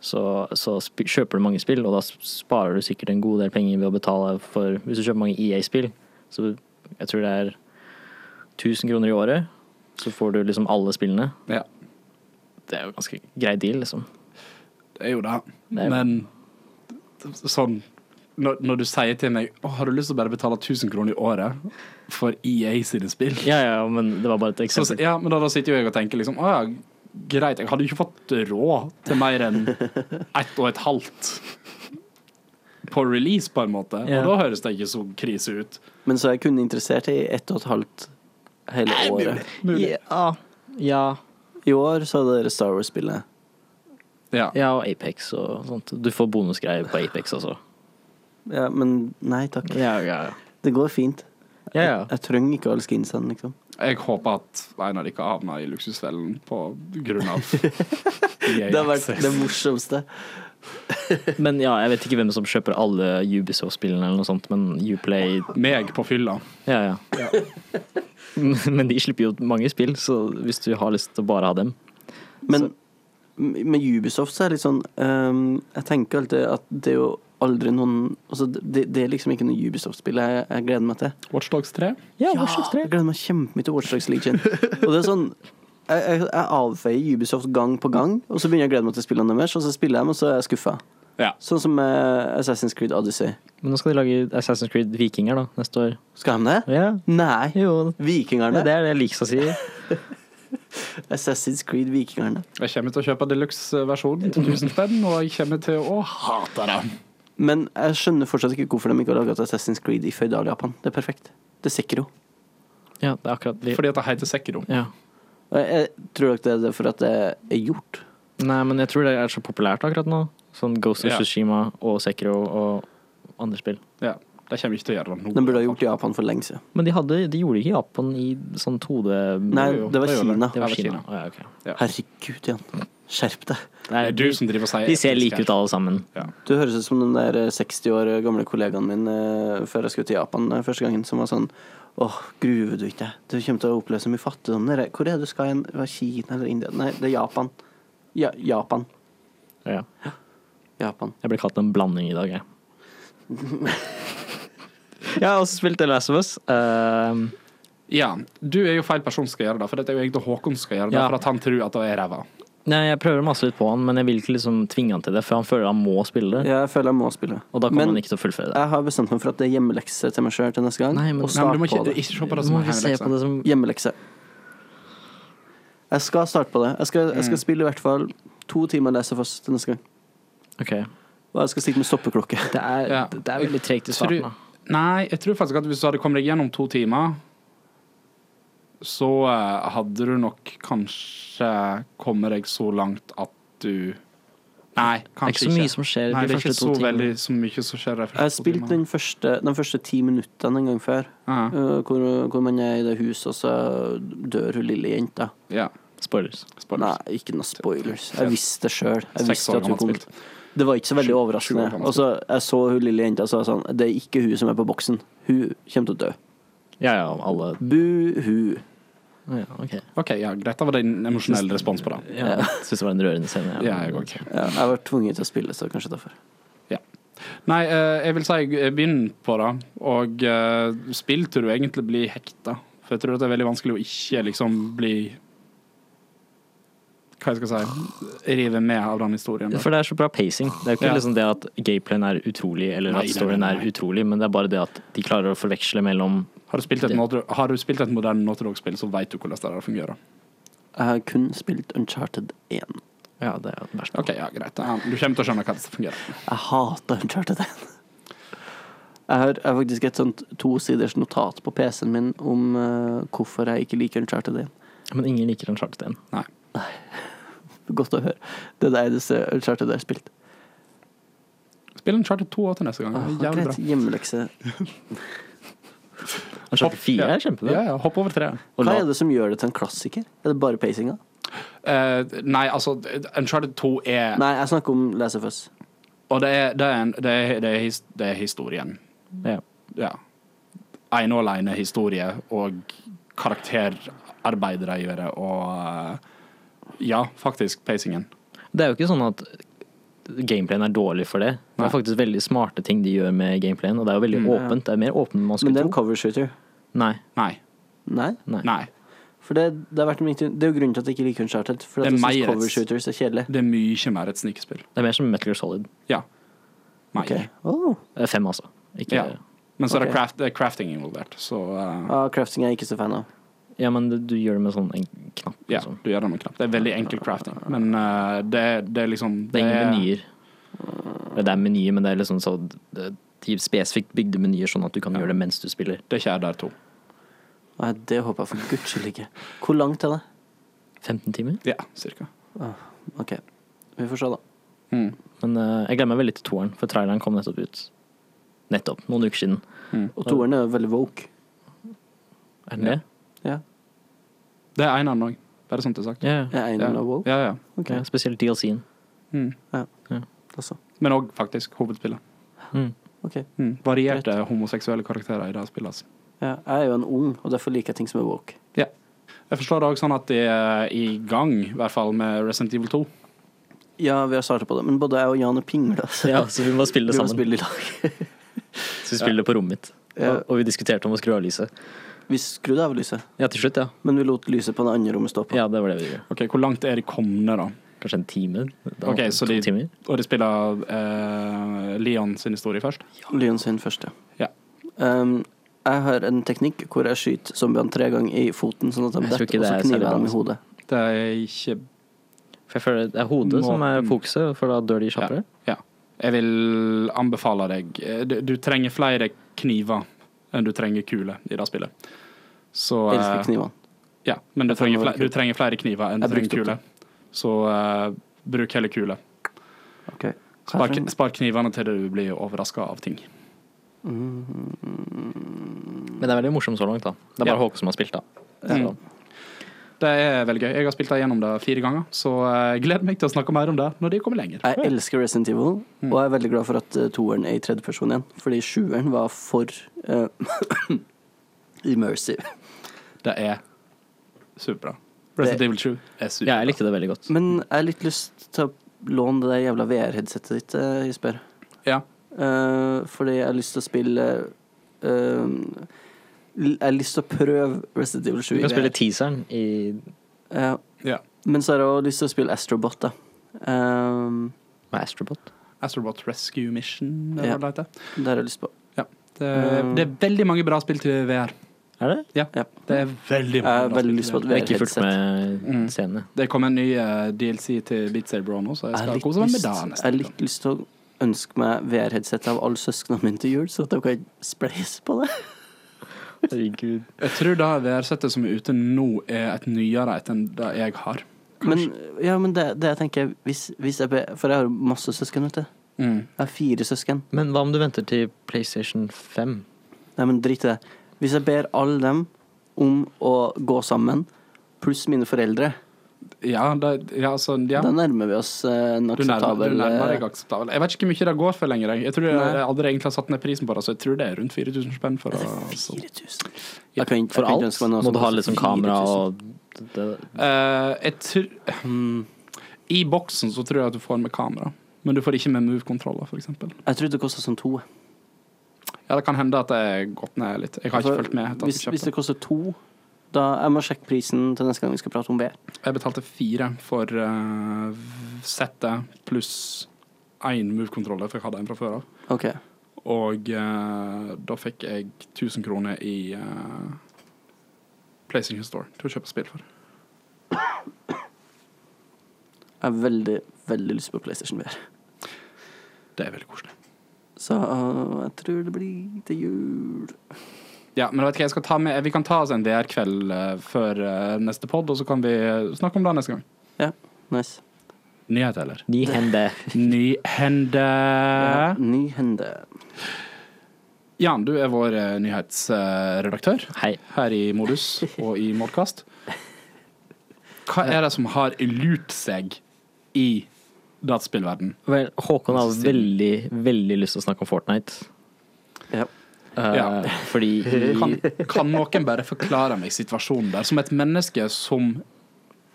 B: så, så sp kjøper du mange spill, og da s- sparer du sikkert en god del penger ved å betale for Hvis du kjøper mange EA-spill, så jeg tror det er 1000 kroner i året, så får du liksom alle spillene.
C: Ja.
B: Det er jo ganske grei deal, liksom.
C: Det er jo det.
B: Det er-
C: Men sånn når, når du sier til meg Å, har du lyst til å bare betale 1000 kroner i året for EA sine spill?
B: Ja, ja, men det var bare et
C: Så,
B: eksempel.
C: ja, men da, da sitter jo jeg og tenker liksom Å ja, greit, jeg hadde jo ikke fått råd til mer enn ett og et halvt på release, på en måte.
B: Ja.
C: Og da høres det ikke så krise ut.
A: Men så er jeg kun interessert i ett og et halvt hele året.
C: Mulig.
B: Ja, ja,
A: I år så hadde dere Star Wars-spillet.
C: Ja.
B: ja, og Apex og sånt. Du får bonusgreier på Apex også.
A: Ja, men nei takk.
B: Ja, ja, ja.
A: Det går fint.
B: ja,
A: Jeg, jeg trenger ikke alle skinsene, liksom.
C: Jeg håper at en av dere havner i luksusfellen på grunn av EA.
A: Det har vært
C: Access.
A: det morsomste.
B: Men ja, jeg vet ikke hvem som kjøper alle Ubisoft-spillene eller noe sånt, men Uplay
C: meg på fylla.
B: Ja, ja. Men de slipper jo mange spill, så hvis du har lyst til å bare ha dem
A: Men med Ubisoft så er det litt sånn ehm, Jeg tenker alltid at det er jo aldri noen Altså, det, det er liksom ikke noe Ubisoft-spill jeg, jeg gleder meg til.
C: Watchdogs 3.
B: Ja,
A: jeg gleder meg kjempemye til Watchdogs Legion. Og det er sånn jeg, jeg, jeg avfeier Ubisoft gang på gang, og så begynner jeg å glede meg til spillene deres, og så spiller jeg dem, og så er jeg skuffa.
C: Ja.
A: Sånn som eh, Assassin's Creed Odyssey.
B: Men nå skal de lage Assassin's Creed Vikinger da, neste år.
A: Skal de det?
B: Ja,
A: Nei.
B: jo. Ja,
A: Vikingerne.
B: det er det Leaks å si.
A: Assassin's Creed Vikingerne.
C: Jeg kommer til å kjøpe deluxe-versjonen til 1000 spenn, og jeg kommer til å hate den.
A: Men jeg skjønner fortsatt ikke hvorfor de ikke har laget Assassin's Creed i Føydal-Japan. Det er perfekt. Det er Sekiro.
B: Ja, det er akkurat de.
C: Fordi at det heter Sekiro.
B: Ja.
A: Og Jeg jeg tror nok det er for at det er gjort.
B: Nei, men jeg tror det er så populært akkurat nå. Sånn Ghost of
C: Ja.
B: Tsushima og Sekiro og andre spill.
C: Ja. De kommer ikke til å gjøre det nå.
A: De burde ha gjort det i Japan for lenge siden.
B: Men de, hadde, de gjorde ikke Japan i sånn 2D
A: Nei,
C: Jo, jo,
A: det var
C: det gjør
A: Kina.
B: det
C: det var
B: var Kina.
C: Kina.
B: Å, ja, ok.
A: Herregud, Jan. Skjerp deg.
B: Nei,
C: Det er du som driver og sier
B: de ser like ut alle sammen.
A: Du høres ut som den der eh, 60 år gamle kollegaen min eh, før jeg skulle til Japan eh, første gangen, som var sånn Åh, gruer du ikke deg? Du kommer til å oppleve så mye fattigdom. Dere. Hvor er det du skal igjen? Hva, Kina eller India? Nei, det er Japan. Ja, Japan.
B: Ja.
A: Japan.
B: Jeg ble kalt en blanding i dag, jeg. jeg har også spilt The Last of Us. Ehm,
C: Ja. Du er jo feil person som skal gjøre det, for det er jo egentlig Håkon som skal gjøre det,
B: Ja.
C: for at han tror at det er ræva.
B: nei, jeg prøver å mase litt på han, men jeg vil ikke liksom tvinge han til det, for han føler han må spille det.
A: Jeg føler jeg må spille.
B: Og da kommer
A: Men
B: han ikke til å fullføre det.
A: jeg har bestemt meg for at det er hjemmelekse til meg sjøl til neste gang.
B: Nei, men-
A: og
C: Nei,
A: start
C: men du må ikke,
A: på det.
C: ikke se på det som
B: Må
C: en
B: vi se på
C: hemmelekse.
B: det som
A: Hjemmelekse. Jeg skal starte på det. Jeg skal, jeg
B: Mm.
A: skal spille i hvert fall to timer Last of Us til neste gang.
B: OK.
A: Og jeg skal sitte med stoppeklokke.
B: Det er,
C: Ja.
B: det er veldig tregt i
C: Tror du-
B: starten, da.
C: Nei, jeg tror faktisk at hvis du hadde kommet deg gjennom to timer, så eh, hadde du nok kanskje kommet deg så langt at du Nei,
B: det er ikke så
C: kanskje
B: mye
C: ikke.
B: som skjer
C: Nei, det
B: de
C: er ikke
B: første
C: så
B: to timene.
C: veldig så mye som skjer de
A: Jeg har
C: første to
A: spilt
C: timene.
A: den første, de første ti minuttene en gang før,
C: Ja,
A: eh, hvor, hvor man er i det huset, og så dør hun lille jenta.
C: ja.
B: Spoilers.
C: Spoilers.
A: Nei, ikke noe spoilers. Jeg visste det sjøl. Jeg
C: Seks
A: visste
C: år
A: at hun
C: gammelt
A: kom.
C: spilt.
A: Det var ikke så veldig
C: Sju- sju
A: overraskende.
C: år gammelt
A: Og så jeg så hun lille jenta, og så var jeg sånn Det er ikke hun som er på boksen. Hun kommer til å dø.
B: Ja, ja, alle
A: Buhu.
B: Å ja, ok.
C: OK, ja, greit. Da var det en emosjonell respons på det.
B: Ja, jeg synes det var en rørende scene. ja.
C: Ja, jeg òg.
A: Ja, jeg var tvunget til å spille, så kanskje derfor.
C: Nei, eh, jeg vil si eh, begynn på det, og eh, spill til du egentlig blir hekta. For jeg tror at det er veldig vanskelig å ikke liksom bli Hva jeg skal si rive med av den historien.
B: For det er så bra pacing. Det er jo ikke
C: Ja.
B: liksom det at gameplayen er utrolig, eller
C: Nei,
B: at
C: nei,
B: storyen
C: nei,
B: er
C: nei.
B: utrolig, men det er bare det at de klarer å forveksle mellom
C: Har du spilt et, Notre- har du spilt et moderne Notre Dog-spill, så vet du hvordan det der fungerer.
A: Jeg har kun spilt Uncharted 1.
B: Ja, det er det verste.
C: OK, ja, greit. Ja, Du kommer til å skjønne hvordan det fungerer.
A: Jeg hater Uncharted 1. Jeg har, jeg har faktisk et sånt tosiders notat på PC-en min om eh, hvorfor jeg ikke liker Uncharted 1.
B: Men ingen liker en sjakkstein.
C: Nei.
A: Godt å høre. Det er det eneste Uncharted jeg har spilt.
C: Spill en charter 2 til neste gang.
A: Ah,
C: Det er Jævlig
A: greit,
C: bra.
A: hjemmelekse.
B: En sjakk fire er kjempebra.
C: Ja, ja, hopp over treet.
B: Og
A: Hva
B: la-
A: er det som gjør det til en klassiker? Er det bare pacinga?
C: Eh, nei, altså, Uncharted 2 er
A: Nei, jeg snakker om Lasse Fuss.
C: Og det er, det, er en, det, er, det, er his, det er historien.
B: Ja.
C: Ja. Ene og alene historie og karakterarbeidere gjør det, og eh, Ja, faktisk pacingen.
B: Det er jo ikke sånn at gameplayen er dårlig for det. Det
C: Nei. Mm,
B: er faktisk veldig smarte ting de gjør med gameplayen, og det er jo veldig åpent. Det er mer åpent enn man
A: Men
B: skulle
A: det er en
B: tro.
A: cover shooter.
B: Nei.
C: Nei.
A: Nei?
C: Nei.
A: For det, det, har vært min, det er jo grunnen til at jeg ikke liker Uncharted. For at
C: Det er
A: jeg
C: mer
A: syns
C: et-
A: cover shooters er kjedelig.
C: Det er mye mer et snikespill.
B: Det er mer som Metal Gear Solid.
C: Ja. Nei.
A: Ok. Oh.
B: Eh, Fem, altså. Ikke
C: Ja.
B: ja.
C: Men så er det,
A: Ok.
C: craft, det er crafting involvert, så eh,
A: Ah, crafting er jeg ikke så fan av.
B: men du, du gjør det med sånn en knapp.
C: Ja,
B: Liksom.
C: du gjør det med knapp. Det er veldig enkel crafting, men eh, det, det er liksom
B: Det er ingen menyer. Eller Det er menyer, men det er liksom så det, de spesifikt bygde menyer, sånn at du kan gjøre det mens du spiller.
C: Det er ikke RDR 2.
A: Nei, det håper jeg for guds skyld ikke. Hvor langt er det?
B: 15 timer.
C: Ja, cirka.
A: OK, vi får se, da.
C: Mm.
B: Men eh, jeg gleder meg veldig til toeren, for traileren kom nettopp ut. Nettopp. Noen uker siden.
C: Mm.
A: Og toeren er jo veldig woke.
B: Er den det?
A: Ja,
C: Det er eneren òg, bare sånn til sagt.
B: Ja. ja.
A: er
C: Ja.
A: Einar woke?
C: ja, ja.
A: Ok,
B: ja spesielt DLC-en.
C: Mm.
A: altså.
C: Men òg faktisk hovedspillet.
B: Mm.
A: Ok.
C: Mm. Varierte homoseksuelle karakterer i det spillet. Altså.
A: Ja, jeg er jo en ung, og derfor liker jeg ting som er woke.
C: Ja. Jeg forstår det òg sånn at de er i gang, i hvert fall med Resident Evil 2.
A: Ja, vi har startet på det, men både jeg og Jan er pingla. så
B: Ja, så vi må spille det
A: vi må
B: sammen.
A: spille i lag.
B: Så vi spiller det på rommet mitt.
A: Ja.
B: Og, og vi diskuterte om å skru av lyset.
A: Vi skrudde av lyset,
B: Ja, til slutt, ja.
A: men vi lot lyset på det andre rommet stå på.
B: Ja, det var det vi gjorde.
C: Ok, Hvor langt er de kommet, da?
B: Kanskje en time? Da
C: Ok,
B: måtte
C: så
B: to
C: de-
B: timer.
C: Og de spiller eh, Leon sin historie først?
A: Lyon sin første.
C: Ja.
A: Um, jeg har en teknikk hvor jeg skyter zombiene tre ganger i foten, sånn at de
B: Jeg tror
A: detter,
B: ikke
A: og
B: det
A: så
B: er
A: kniver
B: særlig
A: jeg dem
B: bra.
A: i hodet.
C: Det er ikke
B: For jeg føler det er hodet
C: Må-
B: som er fokuset, for da dør de kjappere.
C: Ja. Jeg vil anbefale deg eh, Du, du trenger flere kniver enn du trenger kuler i det spillet. Så
A: Jeg
C: eh,
A: elsker knivene.
C: Ja, men du
A: Jeg trenger
C: trenger,
A: flere
C: fle
A: kuler.
C: du trenger flere kniver enn du
A: Jeg
C: trenger
A: brukte
C: kuler. Så eh, bruk heller kuler.
A: Ok.
C: Spar, spar knivene til du blir overraska av ting.
B: Mm. Men det er veldig morsomt så langt, da. Det er bare
C: Ja.
B: Håkon som har spilt, da.
C: Mm. Det er veldig gøy. Jeg har spilt deg gjennom det fire ganger, så jeg gleder meg til å snakke mer om det når de kommer lenger.
A: Jeg elsker Resident Evil,
B: Mm.
A: og jeg er veldig glad for at eh, toeren er i tredjeperson igjen. Fordi sjueren var for eh, immersive.
C: Det er superbra. Resident Evil 7 er
B: Ja,
C: superbra.
B: jeg likte det veldig godt.
A: Men jeg har litt lyst til å låne det der jævla VR-headsetet ditt, eh, Jesper.
C: Ja.
A: Eh, fordi jeg har lyst til å spille eh, l- Jeg har lyst til å prøve Resident Evil 7.
B: Du
A: i
B: kan
A: VR.
B: spille teaseren i
A: Ja.
C: ja.
A: Men så har jeg også lyst til å spille Astrobot, da. Um,
B: med Astrobot.
C: Astrobot Rescue
A: Ja.
C: Mission,
A: Mm.
C: eller hva det heter.
A: det har jeg lyst på.
C: Det, det er veldig mange bra spill til VR.
B: Er det?
C: Ja.
A: Ja.
C: Det er veldig
A: Jeg
C: mange
A: har
C: bra
A: veldig
C: spill
A: lyst på et
B: Jeg har ikke fulgt
A: VR-headset.
B: med scenene.
C: Det kom en ny eh, DLC til Beat Saber Bro nå, så jeg
A: Jeg
C: skal
A: har
C: kose meg
A: litt
C: med det
A: lyst- jeg
C: neste
A: har
C: uke.
A: litt lyst til å ønske meg VR-headset av alle søsknene mine til jul, så at de kan spleise på det.
B: Herregud.
C: Jeg tror det VR-settet som er ute nå, er et nyere et enn det jeg har.
A: Men, ja, men det, det jeg tenker hvis, hvis jeg, be- For jeg har jo masse søsken, vet du.
C: Mm.
A: Jeg har fire søsken.
B: Men hva om du venter til PlayStation 5?
A: Nei, men drit i det. Hvis jeg ber alle dem om å gå sammen, pluss mine foreldre,
C: Ja, det, ja, altså, ja.
A: da nærmer vi oss eh, en
C: Du nærmer,
A: akseptabel
C: du nærmer
A: eh,
C: deg akseptabel. Jeg vet ikke hvor mye det går for lenger. jeg. Jeg tror jeg, jeg aldri egentlig har satt ned prisen på det, så jeg tror det er rundt 4000 spenn for det. Altså.
A: 4000. Jeg kan, ikke-
B: For
A: jeg kan ikke
B: alt?
A: ønske meg noe
B: Må
A: som
B: du ha
A: koster
B: litt sånn kamera
A: 4000.
B: og det,
C: Eh, jeg tror
A: Hmm.
C: I boksen så tror jeg at du får med kamera, men du får ikke med move-kontroller, f.eks.
A: Jeg trodde det kosta sånn to.
C: Ja, det kan hende at det er gått ned litt. Jeg har ikke
A: Altså,
C: fulgt med. etter at
A: Hvis,
C: jeg,
A: hvis det
C: kjøpte.
A: koster to da, Jeg må sjekke prisen til neste gang vi skal prate om VR.
C: jeg betalte fire for eh, settet pluss én move-kontroller, for jeg hadde en fra før av.
A: Ok,
C: Og eh, da fikk jeg 1000 kroner i eh, PlayStation Store til å kjøpe spill for.
A: Jeg har veldig, veldig lyst på PlayStation VR.
C: Det er veldig koselig.
A: Så eh, jeg tror det blir til jul.
C: Ja, men vet du hva jeg skal ta med? Vi kan ta oss en VR-kveld eh, før eh, neste pod, og så kan vi eh, snakke om det neste gang.
A: Nice.
C: Nyhet, eller?
B: Ny hende.
C: Nyhende
A: Ja, ny hende.
C: Jan, du er vår eh, nyhetsredaktør
B: Hei.
C: her i Modus og i Modcast. Hva er det som har lurt seg i dataspillverden?
B: Vel, Håkon har veldig, veldig lyst til å snakke om Fortnite.
A: Ja.
B: Eh,
C: Ja.
B: Fordi
C: Kan,
B: i,
C: kan noen bare forklare meg situasjonen der? Som et menneske som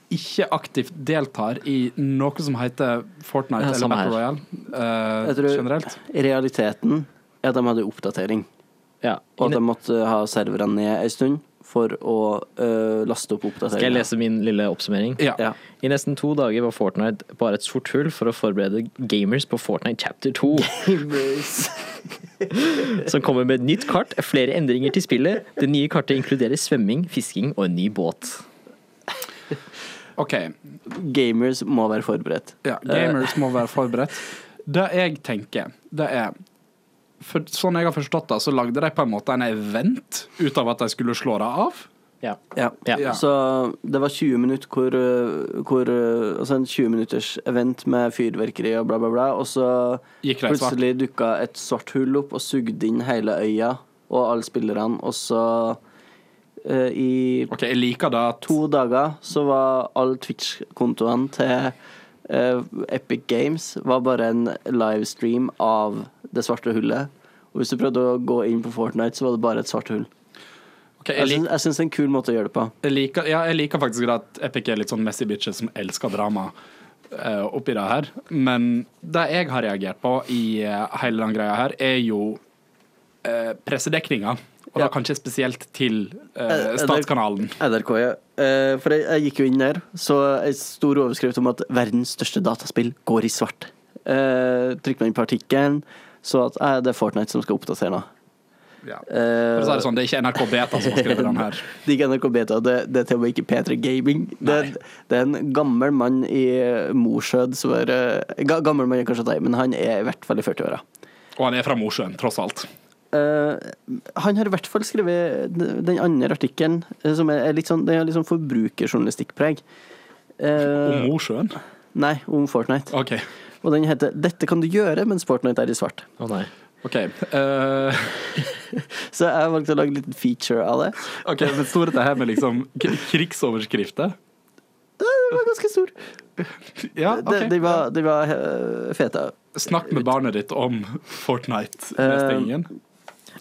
C: ikke aktivt deltar i noe som heter Fortnite
B: Ja,
C: eller
B: samme her.
C: Battle Royale eh,
A: Jeg tror-
C: generelt.
A: Realiteten er at de hadde oppdatering,
B: ja,
A: og at
B: i-
A: de måtte ha serverne ned ei stund for å eh, laste opp oppdateringen.
B: Skal jeg lese min lille oppsummering?
C: Ja.
A: Ja.
B: I nesten to dager var Fortnite bare et sort hull for å forberede gamers på Fortnite chapter 2. som kommer med et nytt kart, flere endringer til spillet. Det nye kartet inkluderer svømming, fisking og en ny båt.
C: OK.
A: Gamers må være forberedt.
C: Ja, gamers må være forberedt. Det jeg tenker, det er for Sånn jeg har forstått det, så lagde de på en måte en event ut av at de skulle slå det av.
B: Ja.
A: Ja.
C: Ja.
A: Så det var 20 minutter hvor, eh, hvor eh, Altså en 20 minutters event med fyrverkeri og bla, bla, bla, og så
C: Gikk de svart?
A: Plutselig dukka et svart hull opp og sugde inn hele øya og alle spillerne. Og så eh, I
C: OK, jeg liker det at
A: to dager så var alle Twitch-kontoene til eh, Epic Games var bare en livestream av det svarte hullet. Og hvis du prøvde å gå inn på Fortnite, så var det bare et svart hull.
B: Altså-
C: Ok, jeg,
A: Jeg
C: lik,
A: syns, jeg syns det er en kul måte å gjøre det på.
C: jeg, liker, ja, jeg liker faktisk det at Epic er litt sånn messy bitches som elsker drama eh, oppi det her. Men det jeg har reagert på i eh, hele den greia her, er jo uh, pressedekninga. Og da
A: Ja.
C: kanskje spesielt til
A: Eh,
C: eh,
A: eh, det-
C: Statskanalen.
A: NRK, ja. Eh, for jeg, jeg gikk jo inn der, så en stor overskrift om at verdens største dataspill går i svart. Eh, Trykk meg inn på artikkelen, så at eh, det er Fortnite som skal oppdatere nå.
C: Ja. For å si
A: Eh,
C: det sånn, det er ikke NRK Beta som har skrevet den her.
A: det er ikke NRK Beta, det, det er til og med ikke P3 Gaming. Det, er- det er en gammel mann i eh, Mosjød som er eh, ga- Gammel mann er kanskje deg, men han er i hvert fall i 40-åra.
C: Og han er fra Mosjøen, tross alt.
A: Eh, han har i hvert fall skrevet den andre artikkelen, eh, som er er litt sånn, den har litt sånn forbrukerjournalistikkpreg.
C: Om Ah.
A: Eh,
C: Mosjøen?
A: nei, om Fortnite.
C: OK.
A: Og den heter 'Dette kan du gjøre mens Fortnite er i svart'.
B: Å nei.
C: ok Eh,
A: Så jeg valgte å lage litt feature av det.
C: ok, Men sto dette her med liksom k- krigsoverskrifter?
A: Den var ganske stor.
C: Ja,
A: Den,
C: OK.
A: den var, den var eh, feta.
C: Snakk med barnet ditt om Fortnite. Neste
A: Eh,
C: gangen.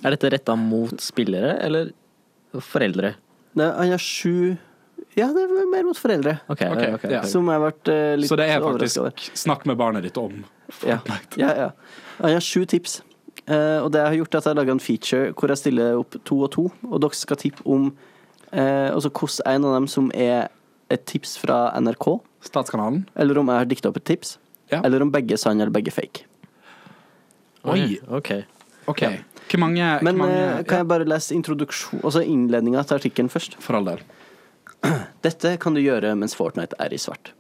B: Er dette retta mot spillere eller foreldre?
A: Nei, han har sju Ja, det var mer mot foreldre.
B: Ok,
C: Ok,
B: ok, ok.
C: ja.
A: Som jeg ble eh, litt
C: Så det er
A: overrasket over.
C: faktisk snakk med barnet ditt om.
A: Ja. Ja, ja. Han har sju tips. Eh, og det jeg har gjort, er at jeg har laga en feature hvor jeg stiller opp to og to, og dere skal tippe om eh, Altså hvordan en av dem som er et tips fra NRK,
C: Statskanalen.
A: eller om jeg har dikta opp et tips,
C: Ja.
A: eller om begge er sann eller begge er fake.
C: Oi.
B: Ok.
C: OK. Hvor mange, hvor
A: Men
C: mange
A: eh, kan jeg bare lese introduksjon, altså innledninga til artikkelen først?
C: ja, For all del.
A: Dette kan du gjøre mens Fortnite er i svart.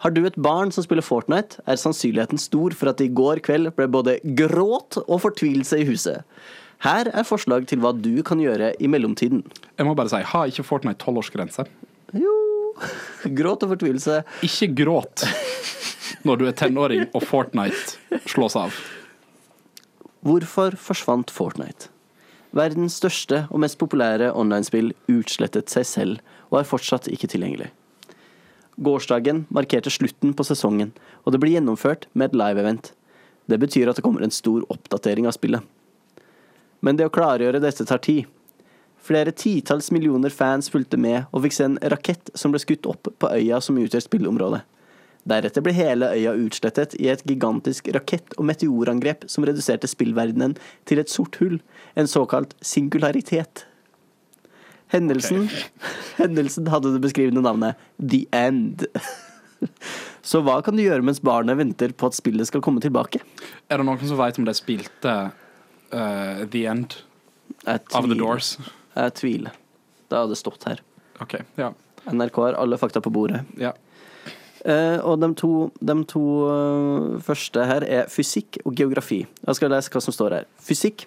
A: Har du et barn som spiller Fortnite, er sannsynligheten stor for at det i går kveld ble både gråt og fortvilelse i huset. Her er forslag til hva du kan gjøre i mellomtiden.
C: Jeg må bare si, har ikke Fortnite tolvårsgrense?
A: Jo Gråt og fortvilelse.
C: Ikke gråt når du er tenåring og Fortnite slås av.
A: Hvorfor forsvant Fortnite? Verdens største og mest populære online-spill utslettet seg selv og er fortsatt ikke tilgjengelig. Gårsdagen markerte slutten på sesongen, og det ble gjennomført med et live-event. Det betyr at det kommer en stor oppdatering av spillet. Men det å klargjøre dette tar tid. Flere titalls millioner fans fulgte med og fikk se en rakett som ble skutt opp på øya som utgjør spilleområdet. Deretter ble hele øya utslettet i et gigantisk rakett- og meteorangrep som reduserte spillverdenen til et sort hull, en såkalt singularitet. Hendelsen, hendelsen hadde det beskrivende navnet The End. Så hva kan du gjøre mens barnet venter på at spillet skal komme tilbake?
C: Er det noen som vet om de spilte eh, The End
A: Jeg
C: of The
A: tviler.
C: Doors?
A: Jeg tviler. Det hadde stått her.
C: OK. Ja.
A: NRK har alle fakta på bordet.
C: ja.
A: Eh, og de to, de to eh, første her er fysikk og geografi. Jeg skal lese hva som står her. Fysikk.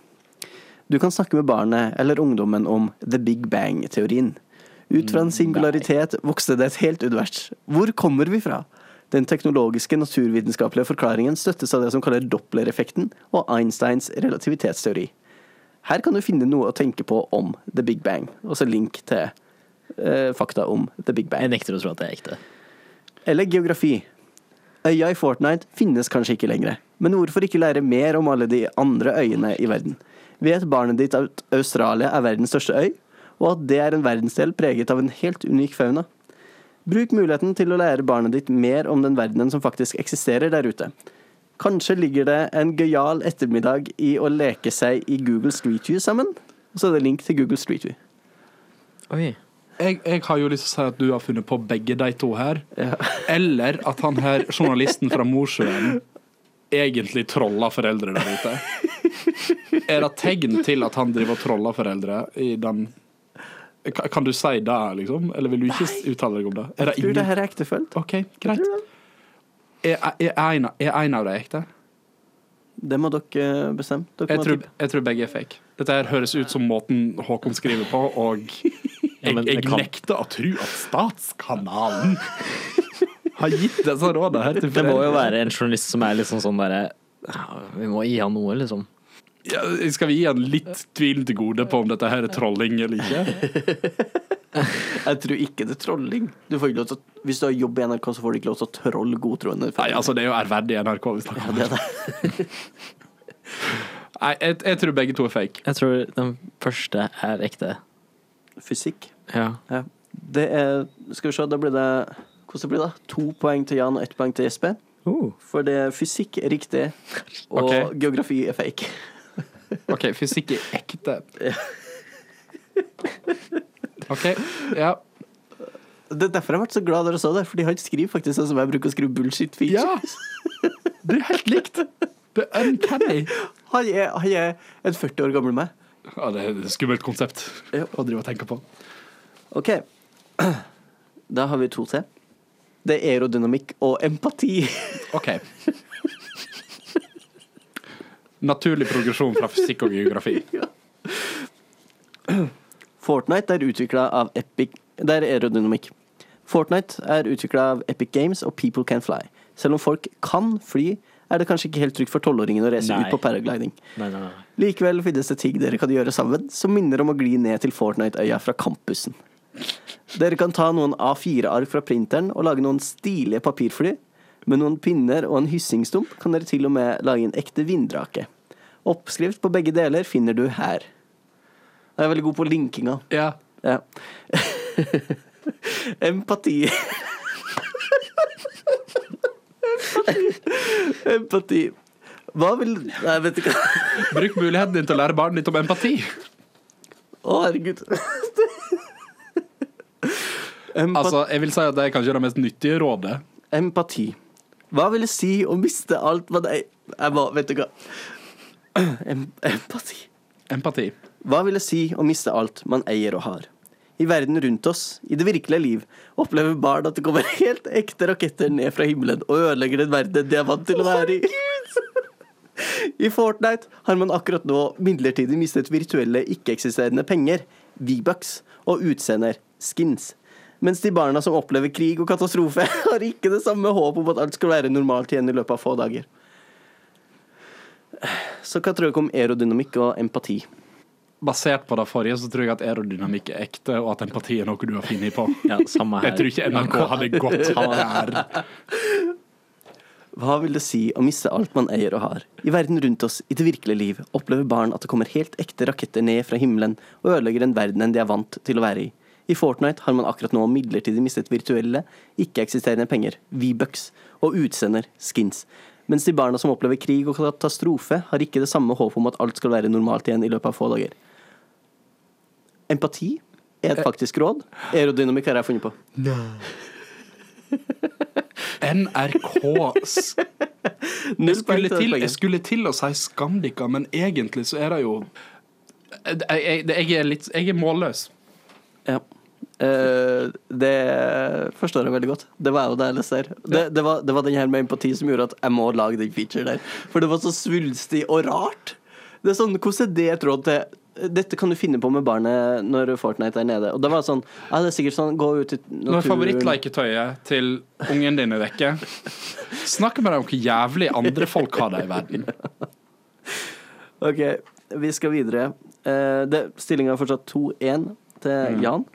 A: Du kan snakke med barnet eller ungdommen om the big bang-teorien. Ut fra en singularitet vokste det et helt univers. Hvor kommer vi fra? Den teknologiske naturvitenskapelige forklaringen støttes av det som kaller Doppler-effekten og Einsteins relativitetsteori. Her kan du finne noe å tenke på om the big bang, og så link til eh, fakta om the big bang.
B: Jeg nekter å tro at det er ekte.
A: Eller geografi. Øya i Fortnite finnes kanskje ikke lenger, men hvorfor ikke lære mer om alle de andre øyene i verden? Vet barnet ditt at Australia er verdens største øy, og at det er en verdensdel preget av en helt unik fauna? Bruk muligheten til å lære barnet ditt mer om den verdenen som faktisk eksisterer der ute. Kanskje ligger det en gøyal ettermiddag i å leke seg i Google Street View sammen? Og så er det link til Google Street View.
B: Oi.
C: Jeg, jeg har jo lyst til å si at du har funnet på begge de to her. Eller at han her, journalisten fra Mosjøen, egentlig troller foreldre der ute. Er det tegn til at han driver og troller foreldre i den Ka- Kan du si det, liksom? Eller vil du ikke uttale deg om det? Er det
A: Tror du det
C: ingen?
A: her er ektefølt?
C: OK, greit. Er, er, en, av- er en av de ekte?
A: Det må dere eh, bestemme. Dere
C: Jeg
A: må
C: tror,
A: tippe.
C: jeg tror begge er fake. Dette her høres ut som måten Håkon skriver på, og jeg,
B: men det
C: jeg
B: kan-
C: nekter å tro at Statskanalen har gitt disse rådene her til
B: Det må jo
C: foreldre.
B: være en journalist som er litt sånn sånn derre ja, Vi må gi han noe, liksom.
C: Ja, skal vi gi han litt tvilen til gode på om dette her er trolling eller ikke?
A: Jeg tror ikke det er trolling. Du får ikke lov til å, hvis du har jobb i NRK, så får du ikke lov til å trolle godtroende.
C: Nei, altså, det er jo ærverdig NRK vi snakker om.
A: det er det.
C: Nei, jeg, jeg tror begge to er fake.
B: Jeg tror den første er ekte.
A: Fysikk.
B: Ja.
A: Ja. Det er Skal vi se, da blir det Hvordan det blir det? To poeng til Jan og ett poeng til Jesper.
B: Uh.
A: For det er fysikk er riktig, og
C: Ok.
A: geografi er fake.
C: OK, fysikk er ekte. OK. Ja.
A: Det er derfor jeg ble så glad da dere sa det, fordi han skriver faktisk sånn som jeg bruker å skrive bullshit
C: ja.
A: features.
C: Det er helt likt. Det er uncanny.
A: Han, er, han er en 40 år gammel meg.
C: Ja, det er et skummelt konsept
A: Ja.
C: å drive og tenke på.
A: OK. Da har vi to til. Det er aerodynamikk og empati.
C: OK. Naturlig progresjon fra fysikk og geografi.
A: Fortnite er utvikla av Epic Det er aerodynamikk. Fortnite er utvikla av Epic Games og People Can Fly. Selv om folk kan fly, er det kanskje ikke helt trygt for tolvåringen å reise
B: Nei.
A: ut på paragliding.
B: Nei, nei, nei.
A: Likevel finnes det ting dere kan gjøre sammen, som minner om å gli ned til Fortnite-øya fra campusen. Dere kan ta noen A4-ark fra printeren og lage noen stilige papirfly. Med noen pinner og en hyssingstump kan dere til og med lage en ekte vinddrake. Oppskrift på begge deler finner du her. Jeg er veldig god på linkinga.
C: Ja.
A: Ja. Empati. Empati. Hva vil Nei, vet ikke.
C: Bruk muligheten din til å lære barnet ditt om empati.
A: Å, herregud. Empa
C: Altså, jeg vil si at Det er kanskje det mest nyttige rådet.
A: Empati. Hva vil det si å miste alt man ei... Jeg må, vet du hva. Em empati.
C: Empati.
A: Hva vil det si å miste alt man eier og har? I verden rundt oss, i det virkelige liv, opplever barn at det kommer helt ekte raketter ned fra himmelen og ødelegger den verden de er vant til å være i. I Fortnite har man akkurat nå midlertidig mistet virtuelle, ikke-eksisterende penger, V-bucks, og utseender, skins. Mens de barna som opplever krig og katastrofe, har ikke det samme håp om at alt skal være normalt igjen i løpet av få dager. Så hva tror dere om aerodynamikk og empati?
C: Basert på det forrige så tror jeg at aerodynamikk er ekte, og at empati er noe du har funnet på.
B: Ja, samme her.
C: Jeg tror ikke NRK hadde gått her.
A: Hva vil det si å miste alt man eier og har? I verden rundt oss, i det virkelige liv, opplever barn at det kommer helt ekte raketter ned fra himmelen og ødelegger den verdenen de er vant til å være i. I Fortnite har man akkurat nå midlertidig mistet virtuelle, ikke-eksisterende penger, V-bucks, og utsender, skins. Mens de barna som opplever krig og katastrofe, har ikke det samme håp om at alt skal være normalt igjen i løpet av få dager. Empati er et faktisk råd. Aerodynamikk har jeg funnet på.
C: NRK s-
A: Null
C: Jeg skulle,
A: poeng til
C: til,
A: det
C: jeg skulle til å si Scandica, men egentlig så er det jo jeg, jeg, jeg, er litt, jeg er målløs.
A: poenget. Ja. Eh, Eh, det forstår jeg veldig godt. Det var jo det jeg leste her. Det, det, var, det var den her med empati som gjorde at jeg må lage den feature der. For det var så svulstig og rart. Det er sånn, Hvordan er det et råd til Dette kan du finne på med barnet når Fortnite er nede. Og det var sånn Ja, det er sikkert sånn Gå ut i
C: Når
A: naturen.
C: favorittleketøyet til ungen din er vekke, snakk med deg om hvor jævlig andre folk har det i verden.
A: OK, vi skal videre. Eh, det- Stillinga er fortsatt 2-1 til Jan.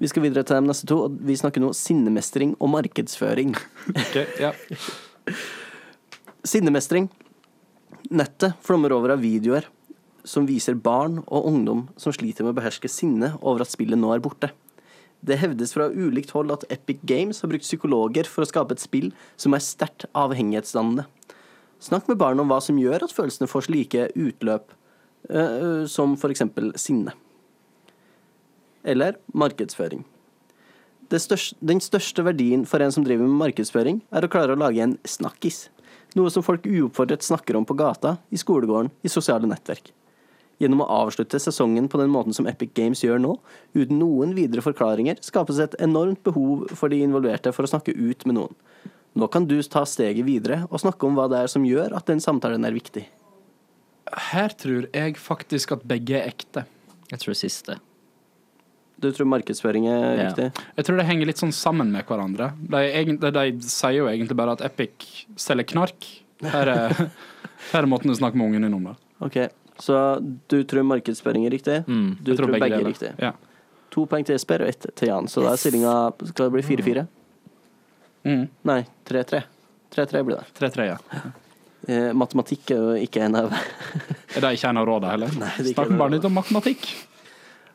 A: Vi skal videre til de neste to, og vi snakker nå sinnemestring og markedsføring.
C: Ok, ja.
A: Sinnemestring. Nettet flommer over av videoer som viser barn og ungdom som sliter med å beherske sinne over at spillet nå er borte. Det hevdes fra ulikt hold at Epic Games har brukt psykologer for å skape et spill som er sterkt avhengighetsdannende. Snakk med barn om hva som gjør at følelsene får slike utløp, eh, som f.eks. sinne. Eller markedsføring. Det største, den største verdien for en som driver med markedsføring, er å klare å lage en snakkis. Noe som folk uoppfordret snakker om på gata, i skolegården, i sosiale nettverk. Gjennom å avslutte sesongen på den måten som Epic Games gjør nå, uten noen videre forklaringer, skapes et enormt behov for de involverte for å snakke ut med noen. Nå kan du ta steget videre og snakke om hva det er som gjør at den samtalen er viktig.
C: Her tror jeg faktisk at begge er ekte.
B: Jeg tror det siste.
A: Du tror markedsføring er
B: Ja.
A: viktig?
C: Jeg tror det henger litt sånn sammen med hverandre. De, egent- de, de sier jo egentlig bare at Epic selger knark. Her er, her er måten du snakker med ungen din om det.
A: Ok, så du tror markedsføring er riktig?
B: Mm.
A: Du tror, begge, er
C: deler.
A: riktig?
C: Ja.
A: To poeng til Jesper og ett til Jan, så da er stillinga Skal det bli 4-4?
C: Mm.
A: Nei, 3-3. 3-3 blir det.
C: 3-3, ja.
A: Eh, matematikk er jo ikke en av
C: Er det ikke en av rådene heller?
A: Nei, det er ikke
C: Snakk
A: en av
C: bare litt om matematikk.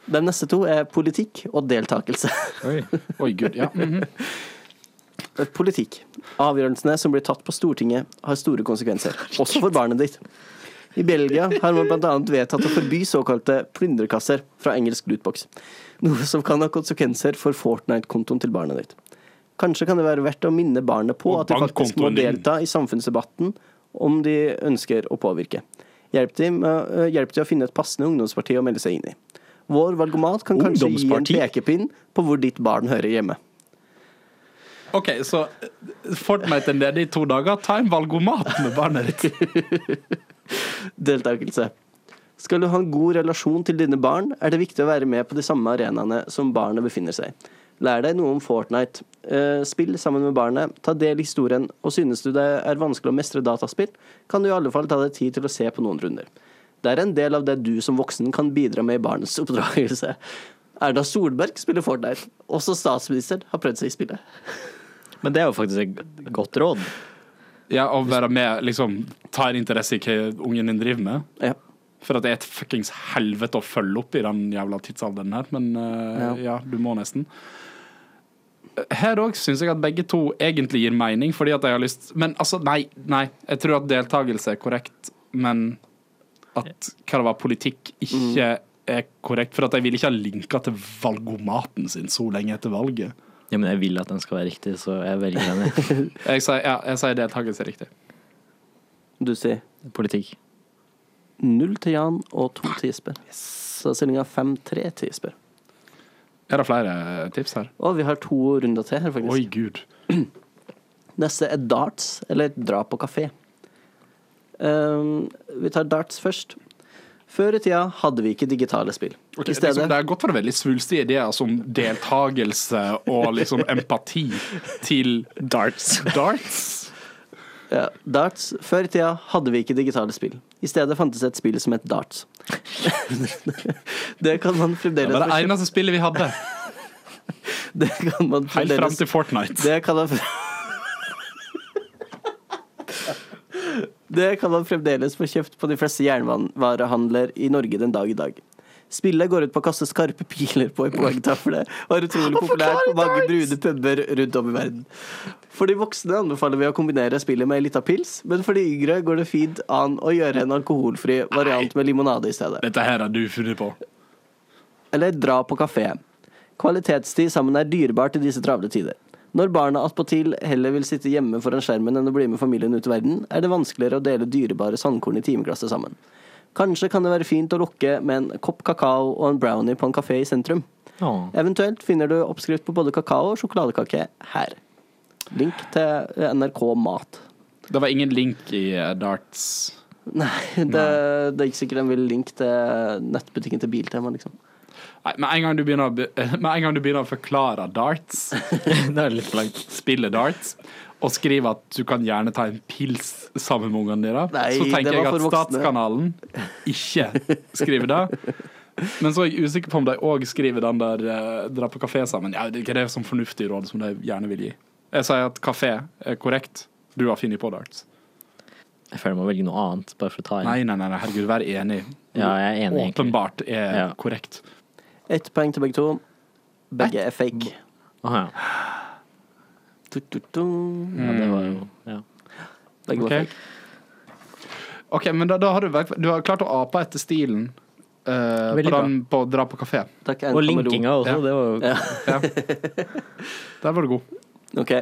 A: De neste to er politikk og deltakelse.
B: Oi.
C: Oi, gud, ja. mhm.
A: Eh, Politikk. Avgjørelsene som blir tatt på Stortinget, har store konsekvenser, også for barnet ditt. I Belgia har man bl.a. vedtatt å forby såkalte plyndrekasser fra engelsk lootbox, noe som kan ha konsekvenser for Fortnite-kontoen til barnet ditt. Kanskje kan det være verdt å minne barnet på
C: Og
A: at de faktisk må
C: bankkontoen din.
A: delta i samfunnsdebatten om de ønsker å påvirke. Hjelp dem med, øh, hjelp dem å finne et passende ungdomsparti å melde seg inn i. Vår valgomat kan kanskje gi en
B: Ungdomsparti?
A: pekepinn på hvor ditt barn hører hjemme.
C: OK, så eh, Fortnite er nede i to dager. Ta en valgomat med barnet ditt.
A: Deltakelse. Skal du ha en god relasjon til dine barn, er det viktig å være med på de samme arenaene som barnet befinner seg. Lær deg noe om Fortnite. Eh, Spill sammen med barnet, ta del i historien, og synes du det er vanskelig å mestre dataspill, kan du i alle fall ta deg tid til å se på noen runder. Det er en del av det du som voksen kan bidra med i barnets oppdragelse. Erna Solberg spiller Fortnite. Også statsministeren har prøvd seg i spillet.
B: Men det er jo faktisk et godt råd.
C: Ja, og være med, liksom ta en interesse i hva ungen din driver med.
A: Ja.
C: For at det er et fuckings helvete å følge opp i den jævla tidsalderen her, men eh, ja. du må nesten. Her òg syns jeg at begge to egentlig gir mening, fordi at jeg har lyst Men altså, nei, nei. Jeg tror at deltakelse er korrekt, men at hva det var, politikk ikke er korrekt. For at jeg vil ikke ha linka til valgomaten sin så lenge etter valget.
B: Ja, men jeg vil at den skal være riktig, så jeg velger den.
C: Jeg sier, ja, jeg sier deltakelse er riktig.
A: Du sier
B: i Politikk.
A: null til Jan og to til Jesper. Så stillinga 5-3 til Jesper.
C: Er det flere tips her?
A: Og vi har to runder til her, faktisk.
C: Oi, gud.
A: Neste er darts, eller dra på kafé. Ehm, vi tar darts først. Før i tida hadde vi ikke digitale spill.
C: Ok,
A: I stedet
C: liksom, det har gått fra veldig svulstige ideer som deltakelse altså, og liksom empati til
B: Darts.
C: darts.
A: ja, Darts Før i tida hadde vi ikke digitale spill. I stedet fantes et spill som het darts. det kan man
C: Det
A: fremdeles
C: var det
A: få kjøpt-
C: eneste spillet vi hadde,
A: Det kan man
C: helt fram
A: fremdeles
C: til Fortnite.
A: Det kan man Det kan man fremdeles få kjøpt på de fleste jernvarehandler i Norge den dag i dag. Spillet går ut på å kaste skarpe piler på en poengtavle og er utrolig populært på mange brune puber rundt om i verden. For de voksne anbefaler vi å kombinere spillet med ei lita pils, men for de yngre går det fint an å gjøre en alkoholfri variant med limonade i stedet.
C: Dette her har du funnet på.
A: Eller dra på kafé. Kvalitetstid sammen er dyrebart i disse travle tider. Når barna attpåtil heller vil sitte hjemme foran skjermen enn å bli med familien ut i verden, er det vanskeligere å dele dyrebare sandkorn i timeglasset sammen. Kanskje kan det være fint å lokke med en kopp kakao og en brownie på en kafé i sentrum.
B: Ja.
A: Eventuelt finner du oppskrift på både kakao og sjokoladekake her. Link til eh, NRK Mat.
C: Det var ingen link i eh, darts.
A: Nei, det, det er ikke sikkert en vil link til nettbutikken til Biltema, liksom.
C: Nei, med en gang du begynner å, be- med en gang du begynner å forklare darts,
B: det er litt for langt.
C: spille darts, og skrive at du kan gjerne ta en pils sammen med ungene dine,
A: Nei,
C: så
A: det
C: tenker jeg
A: var
C: at
A: for voksne.
C: Statskanalen ikke skriver det. Men så er jeg usikker på om de òg skriver den der eh, dra på kafé sammen. Ja, det er ikke det som fornuftig råd som de gjerne vil gi. Jeg sier at kafé er korrekt. Du har funnet på darts.
B: Jeg føler jeg må velge noe annet, bare for å ta inn.
C: Nei, nei, nei, nei herregud, vær enig.
B: Ja, jeg er enig, egentlig.
C: Åpenbart er
B: Ja.
C: korrekt.
A: Ett poeng til begge to. Begge er fake.
B: Aha, ja.
A: Du, du, du.
B: ja, det var jo ja.
A: Begge
C: Mm. Ok.
A: var fake.
C: OK, men da, da har du, verk- du har klart å ape etter stilen eh,
B: Veldig
C: på,
B: bra.
C: den, på å dra på kafé.
A: Takk, en
B: Og
A: kamelon.
B: linkinga også,
C: Ja.
B: det var jo
A: Ja.
C: Ja. Der var du god.
A: Ok.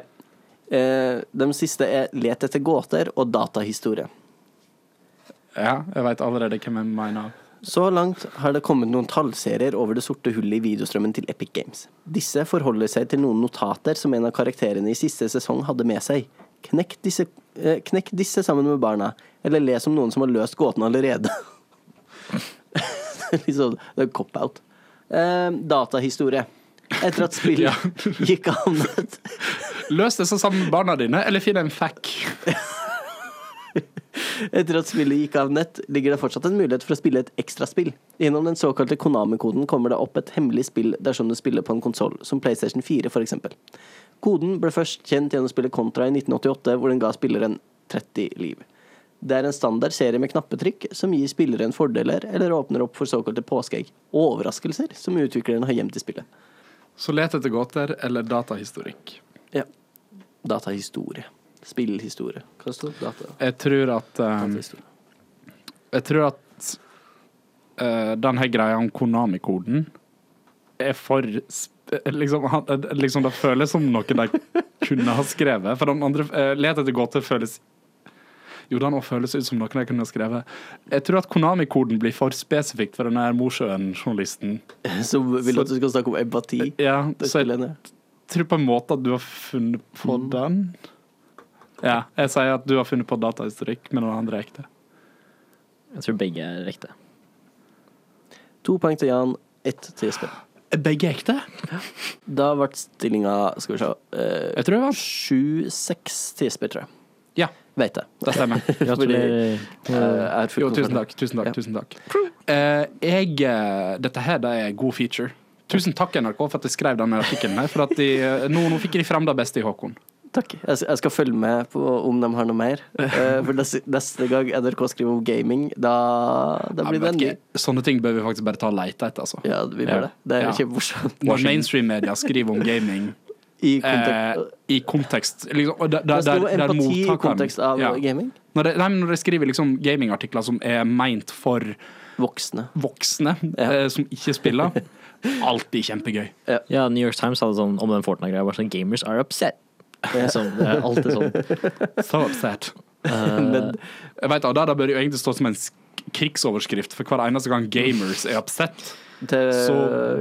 A: Eh, de siste er let etter gåter og datahistorie.
C: Ja, jeg veit allerede hvem jeg mener.
A: Så langt har det kommet noen tallserier over det sorte hullet i videostrømmen til Epic Games. Disse forholder seg til noen notater som en av karakterene i siste sesong hadde med seg. Knekk disse, eh, knekk disse sammen med barna, eller les om noen som har løst gåten allerede. Det er liksom det er cop-out. Eh, datahistorie. Etter at spillet
C: Ja.
A: gikk an et
C: Løs disse sammen med barna dine, eller finn en fack.
A: Etter at spillet gikk av nett, ligger det fortsatt en mulighet for å spille et ekstraspill. Gjennom den såkalte Konami-koden kommer det opp et hemmelig spill dersom du spiller på en konsoll, som PlayStation 4 f.eks. Koden ble først kjent gjennom spillet Contra i 1988, hvor den ga spilleren 30 liv. Det er en standard serie med knappetrykk som gir spilleren fordeler, eller åpner opp for såkalte påskeegg og overraskelser som utvikleren har gjemt i spillet.
C: Så let etter gåter eller datahistorikk.
A: Ja. Datahistorie. Spillhistorie. Um, Hva står det? Data?
C: Jeg tror at eh,
A: Datahistorie.
C: Jeg tror at eh, den her greia om Konami-koden er for sp- liksom, han, eh, liksom, Det føles som noe de kunne ha skrevet. For den andre uh, Let etter gåte føles Jo, den også føles ut som noe de kunne ha skrevet. Jeg tror at Konami-koden blir for spesifikt for den her Mosjøen-journalisten.
A: Som vil at du skal snakke om empati.
C: Ja,
A: Det
C: så jeg
A: spiller ned.
C: tror på en måte at du har funnet på den. Ja, jeg sier at du har funnet på datahistorikk, men den andre er ekte.
B: Jeg tror begge er riktige.
A: To poeng til Jan, ett til Jesper.
C: Begge er ekte?
A: Da ble stillinga skal vi se eh,
C: Jeg tror jeg vant.
A: 7-6 til Jesper, tror jeg.
C: Ja,
A: Veit jeg.
C: det stemmer.
B: Gratulerer.
A: Eh, jeg har full
C: Jo, tusen
A: kontroll.
C: takk. Tusen takk.
A: Ja.
C: Tusen takk. Eh, jeg, eh, dette her det er god feature. Tusen takk, NRK, for at jeg skrev denne artikkelen. her, for at de, eh, nå, nå fikk de frem det beste i Håkon.
A: Takk. Jeg, s- jeg skal følge med på om de har noe mer. Eh, for neste, neste gang NRK skriver om gaming, da, da blir det en ny.
C: Jeg vet ikke, Sånne ting bør vi faktisk bare ta og lete etter. altså.
A: Ja, vi
B: Ja.
A: gjør det. Det er
C: Ja.
A: kjempemorsomt.
C: Når mainstream-media skriver om gaming
A: I
C: eh,
A: kontekst
C: i kontekst liksom, og der, der,
A: Det
C: der,
A: står
C: der
A: empati i
C: mottakeren-
A: kontekst av
C: ja.
A: gaming.
C: Når de, nei, men når de skriver liksom gamingartikler som er meint for
A: Voksne.
C: voksne
A: Ja.
C: eh, som ikke spiller, alltid kjempegøy.
B: Ja, New York Times hadde sånn om den Fortnite-greia. Bare sånn Gamers are upset. Så, det er alltid sånn.
C: So upset.
B: Eh,
C: Eh,
A: Men
C: Jeg vet, og da, da bør det jo egentlig stå som en sk- krigsoverskrift, for hver eneste gang gamers er upset,
A: til
C: så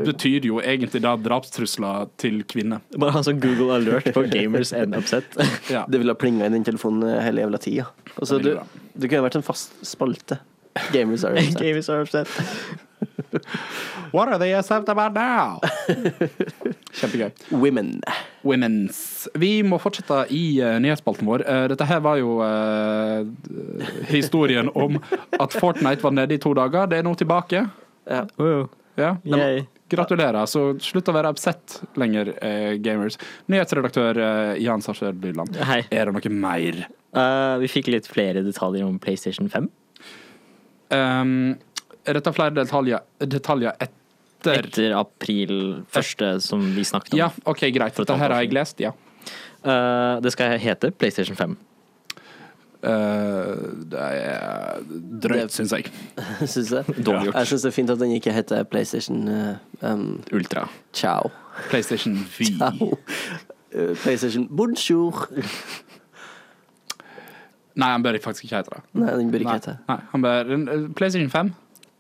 C: betyr jo egentlig da drapstrusler til kvinner.
B: Bare ha sånn Google alert på gamers and upset.
C: Ja.
A: Det ville ha plinga i den telefonen hele jævla tida. Altså,
C: Det
A: du,
C: blir bra.
A: du kunne vært en fast spalte. Gamers are upset.
B: gamers are upset.
C: What are they upset about now? Kjempegøy.
A: Women.
C: Women's. Vi må fortsette i eh, nyhetsspalten vår. Eh, dette her var jo eh, historien om at Fortnite var nede i to dager. Det er nå tilbake.
A: Ja.
B: Wow.
C: Ja.
B: Yay.
C: Gratulerer. Så slutt å være upset lenger, eh, gamers. Nyhetsredaktør eh, Jan Sarsør Blyland,
B: Hei.
C: er det noe mer?
B: Eh, vi fikk litt flere detaljer om PlayStation 5.
C: Um, Retta flere detaljer, detaljer etter
B: Etter april første, som vi snakket om.
C: Ja, OK, greit.
B: For et
C: Dette
B: halvt
C: her
B: år
C: har jeg
B: siden.
C: lest, ja.
B: Eh, det skal hete PlayStation 5.
C: Eh, det er drøyt,
A: Det-
C: syns jeg.
A: Syns jeg.
B: Dårlig gjort.
A: Jeg syns det er fint at den ikke heter PlayStation eh, um,
B: Ultra.
A: Ciao.
C: PlayStation V.
A: Ciao. Eh, PlayStation Bonjour.
C: Nei, han bør faktisk ikke hete det.
A: Nei, den bør ikke
C: Nei,
A: hete
C: nei, han bør, eh, PlayStation 5.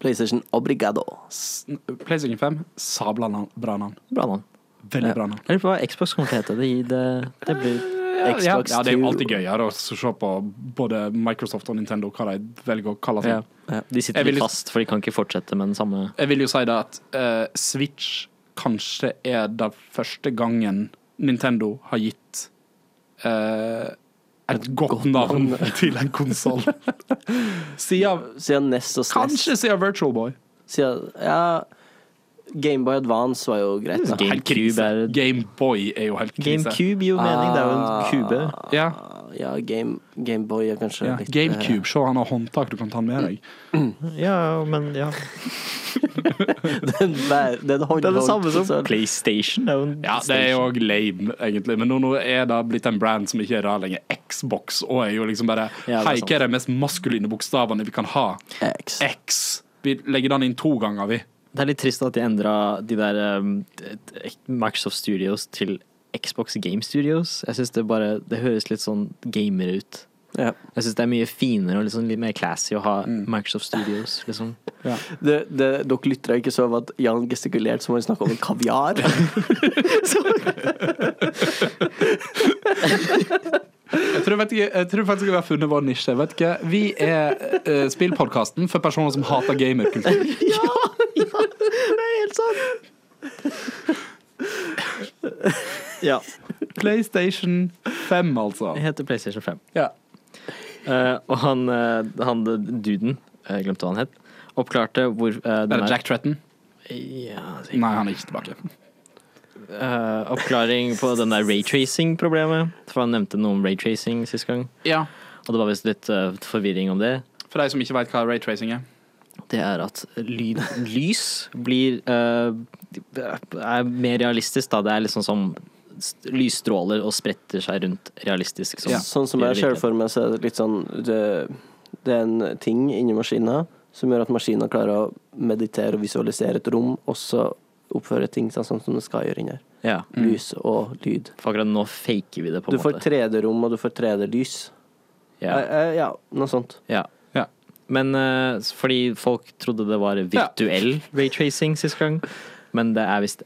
A: PlayStation Obrigado.
C: S- PlayStation 5, sabla navn- bra navn.
B: Bra navn.
C: Veldig bra navn.
B: Jeg lurer på hva Xbox kommer til å hete. Det, gir det, det blir
C: Ja,
A: Xbox
C: ja, det er jo
A: 2.
C: alltid gøyere å se på både Microsoft og Nintendo, hva de velger å kalle seg.
B: ja. De sitter
C: Jeg vil-
B: litt fast, for de kan ikke fortsette med den samme
C: Jeg vil jo si det at eh, Switch kanskje er den første gangen Nintendo har gitt eh, et, godt, navn til en konsoll. siden
A: Siden NES og SNES.
C: Kanskje siden Virtual Boy.
A: Siden, ja, Gameboy Advance var jo greit. Da.
B: Game-
C: Helt krise.
B: Cube er-
C: Game Boy er jo helt krise.
B: GameCube gir jo mening, det er jo en
A: Ah,
B: kube.
C: Ja.
A: Ja, Game, Gameboy er kanskje
C: Ja.
A: litt
C: GameCube, se han har håndtak du kan ta med deg.
B: Ja, men ja.
A: eh, den bær, den
B: Det er det samme som
A: håndholdkonsollen.
B: PlayStation. Det er jo en
C: Ja, det er jo òg lame, egentlig, men nå, nå er det blitt en brand som ikke er der lenger. Xbox og er jo liksom bare
B: Ja, det er
C: Hei,
B: sant.
C: hva er de mest maskuline bokstavene vi kan ha?
A: X.
C: X. Vi legger den inn to ganger, vi.
B: Det er litt trist at de endra de der um, Microsoft Studios til Xbox Game Studios. Jeg syns det bare Det høres litt sånn gamer ut.
A: Ja.
B: Jeg syns det er mye finere og liksom litt mer classy å ha
C: Mm.
B: Microsoft Studios, liksom.
A: Det, det, dere lyttere ikke så at Jan gestikulerte som om han snakka om en kaviar.
C: Jeg tror, vet ikke, jeg tror faktisk vi har funnet vår nisje. Vet ikke. Vi er uh, spillpodkasten for personer som hater gamerkultur.
B: Det er helt sant! ja.
C: PlayStation 5, altså.
B: Jeg heter PlayStation 5.
C: Ja.
B: Eh, og han, eh, han duden, eh, jeg glemte hva han het, oppklarte hvor eh, den
C: Er det Jack Tretton?
B: Ja, sikkert.
C: Nei, han er ikke tilbake.
B: Eh, oppklaring på den der raytracing-problemet. For han nevnte noe om raytracing sist gang.
C: Ja,
B: Og det var visst litt eh, forvirring om det.
C: For de som ikke vet hva raytracing er.
B: Det er at lyd, lys blir eh, Er mer realistisk, da. Det er liksom som st- lysstråler og spretter seg rundt realistisk. Som,
A: Sånn som jeg ser det for meg, så er det litt sånn det, det er en ting inni maskina som gjør at maskina klarer å meditere og visualisere et rom, og så oppføre ting sånn som det skal gjøre inni her.
B: Ja.
A: Lys og lyd.
B: For akkurat nå faker vi det, på
A: Mm. Du
B: en
A: får
B: måte.
A: 3D-rom, og du får 3D-lys. Ja.
B: Ja.
A: eh, ja, noe sånt.
B: ja.
C: Ja.
B: Men eh, fordi folk trodde det var virtuell raytracing sist gang. Men det er visst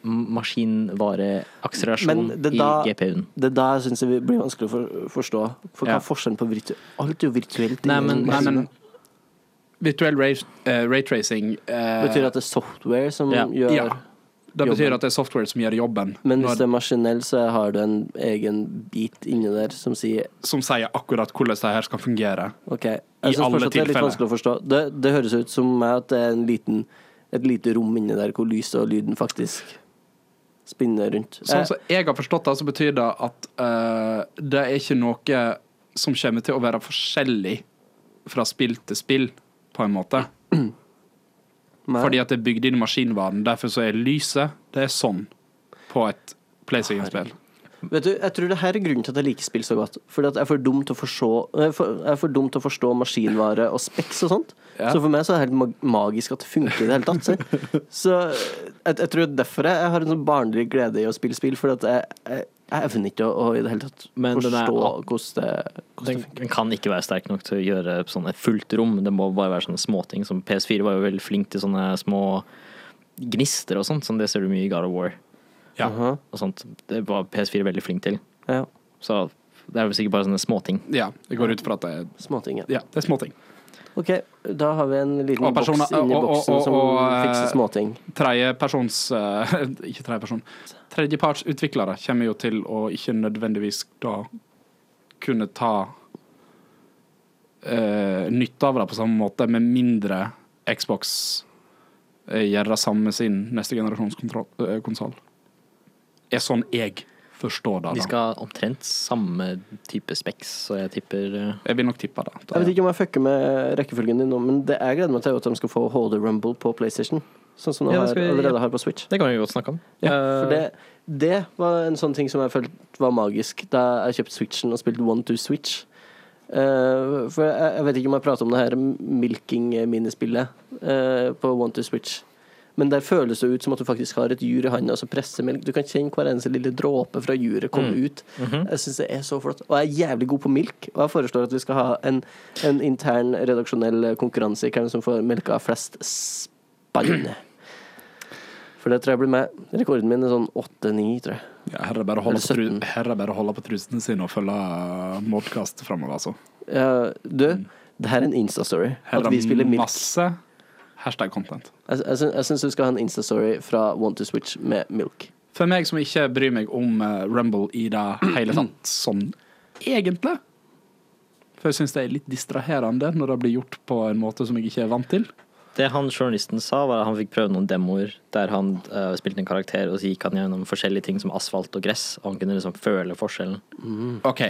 B: maskinvareakselerasjon
A: Men det
B: i
A: da-
B: GPU-en.
A: Det er da jeg syns det blir vanskelig å for, forstå. For hva
B: Ja.
A: er forskjellen på virtu... Alt er jo virtuelt.
B: Nei,
A: inni
B: men-
A: en
C: Nei,
A: maskine.
C: men virtuell ray, eh, raytracing eh,
A: Betyr at det er software som
B: Ja.
A: gjør
C: Ja. Det betyr
A: jobben.
C: at det er software som gjør jobben,
A: Men hvis
C: når,
A: det er maskinell, så har du en egen bit inni der som sier
C: som sier akkurat hvordan det her skal fungere.
A: OK. Jeg
C: I
A: synes
C: alle
A: fortsatt det er litt
C: tilfeller.
A: vanskelig å forstå. Det, det høres ut som meg at det er en liten, et lite rom inni der hvor lyset og lyden faktisk spinner rundt.
C: Sånn som jeg har forstått det, så betyr det at eh, det er ikke noe som kommer til å være forskjellig fra spill til spill, på en måte.
A: Nei.
C: Fordi at det er bygd inn i maskinvaren. Derfor så er lyset det er sånn på et PlayStation-spill.
A: Vet du, Jeg tror det her er grunnen til at jeg liker spill så godt. Fordi at jeg er for dum til å forstå, jeg er for, jeg er for dum til å forstå maskinvare og speks og sånt.
C: Ja.
A: Så for meg så er det helt mag- magisk at det funker i det hele tatt. Så, så jeg, jeg tror derfor jeg, jeg har en sånn barnlig glede i å spille spill. Fordi at jeg, jeg, jeg evner ikke å, å i det hele tatt
B: Men den
A: forstå
B: er-
A: hvordan det, hvordan
B: Den,
A: det funker.
B: den kan ikke være sterk nok til å gjøre sånn et fullt rom. Det må bare være sånne småting. Som PS4 var jo veldig flink til sånne små gnister og sånt. Sånn det ser du mye i God of War.
C: Ja.
A: Aha.
B: Og sånt. Det var PS4 veldig flink til.
A: Ja,
B: Så det er vel sikkert bare sånne småting.
C: ja. Jeg går ut fra at det er,
A: Småting, ja.
C: ja, det er småting.
A: OK, da har vi en liten
C: Og personer-
A: boks inni
C: og- og-
A: boksen
C: og-
A: som
C: og, eh,
A: fikser småting.
C: Tredjepersons uh, Ikke tredjeperson. Tredjepartsutviklere kommer jo til å ikke nødvendigvis da kunne ta eh, nytte av det på samme måte, med mindre Xbox eh, gjør det samme med sin neste generasjons eh, konsoll. Er sånn jeg forstår det.
B: De
C: da.
B: skal ha omtrent samme type speks, så jeg tipper eh,
C: Jeg vil nok tippe det.
A: Jeg vet ikke om jeg fucker med rekkefølgen din nå, men det jeg gleder meg til, er jo at de skal få HD Rumble på PlayStation. Sånn som de
B: Ja, det
A: har,
B: skal vi-
A: allerede har på Switch.
B: Det kan vi godt snakke om.
A: Ja,
B: Eh,
A: for det, det var en sånn ting som jeg følte var magisk da jeg kjøpte Switchen og spilte One to Switch. Eh, for jeg, jeg vet ikke om jeg prater om det her milking-minispillet eh, på One to Switch. Men der føles det ut som at du faktisk har et jur i handa som presser melk. Du kan kjenne hver eneste lille dråpe fra juret komme ut. Jeg syns det er så flott. Og jeg er jævlig god på milk. Og jeg foreslår at vi skal ha en, en intern redaksjonell konkurranse i hvem som får melka flest spann. For det tror jeg blir meg. Rekorden min er sånn åtte-ni, tror jeg.
C: Ja, her er det bare å holde,
A: Er det
C: på, tru
A: 17?
C: her er det bare å holde på trusene sine og følge Modcast framover, altså.
A: Ja, du, det her er en Insta-story.
C: Her
A: At
C: er
A: vi spiller milk.
C: masse hashtag-content.
A: Jeg, jeg, syns- jeg syns du skal ha en Insta-story fra Want to Switch med milk.
C: For meg som ikke bryr meg om eh, Rumble i det hele tatt, sånn egentlig. For jeg syns det er litt distraherende når det blir gjort på en måte som jeg ikke er vant til.
B: Det han journalisten sa, var at han fikk prøve noen demoer der han eh, spilte en karakter, og så gikk han gjennom forskjellige ting som asfalt og gress, og han kunne liksom føle forskjellen.
C: OK.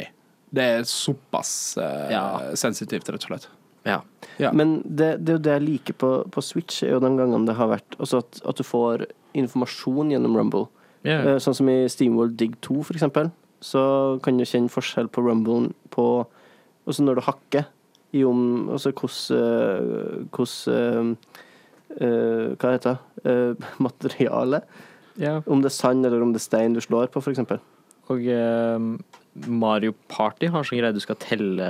C: Det er såpass eh,
B: Mm. Ja.
C: sensitivt, rett og slett.
B: Ja.
C: Ja.
A: Men det, det er jo det jeg liker på, på Switch, er jo de gangene det har vært altså at, at du får informasjon gjennom Rumble. Eh, Sånn som i Steamworld Dig 2, for eksempel, så kan du kjenne forskjell på Rumblen på Og så når du hakker i om Altså hvordan eh, Hvordan eh, eh, Hva heter det? Eh, materialet.
B: Ja.
A: Om det er sand eller om det er stein du slår på, for eksempel.
B: Og eh, Mario Party har sånn greie du skal telle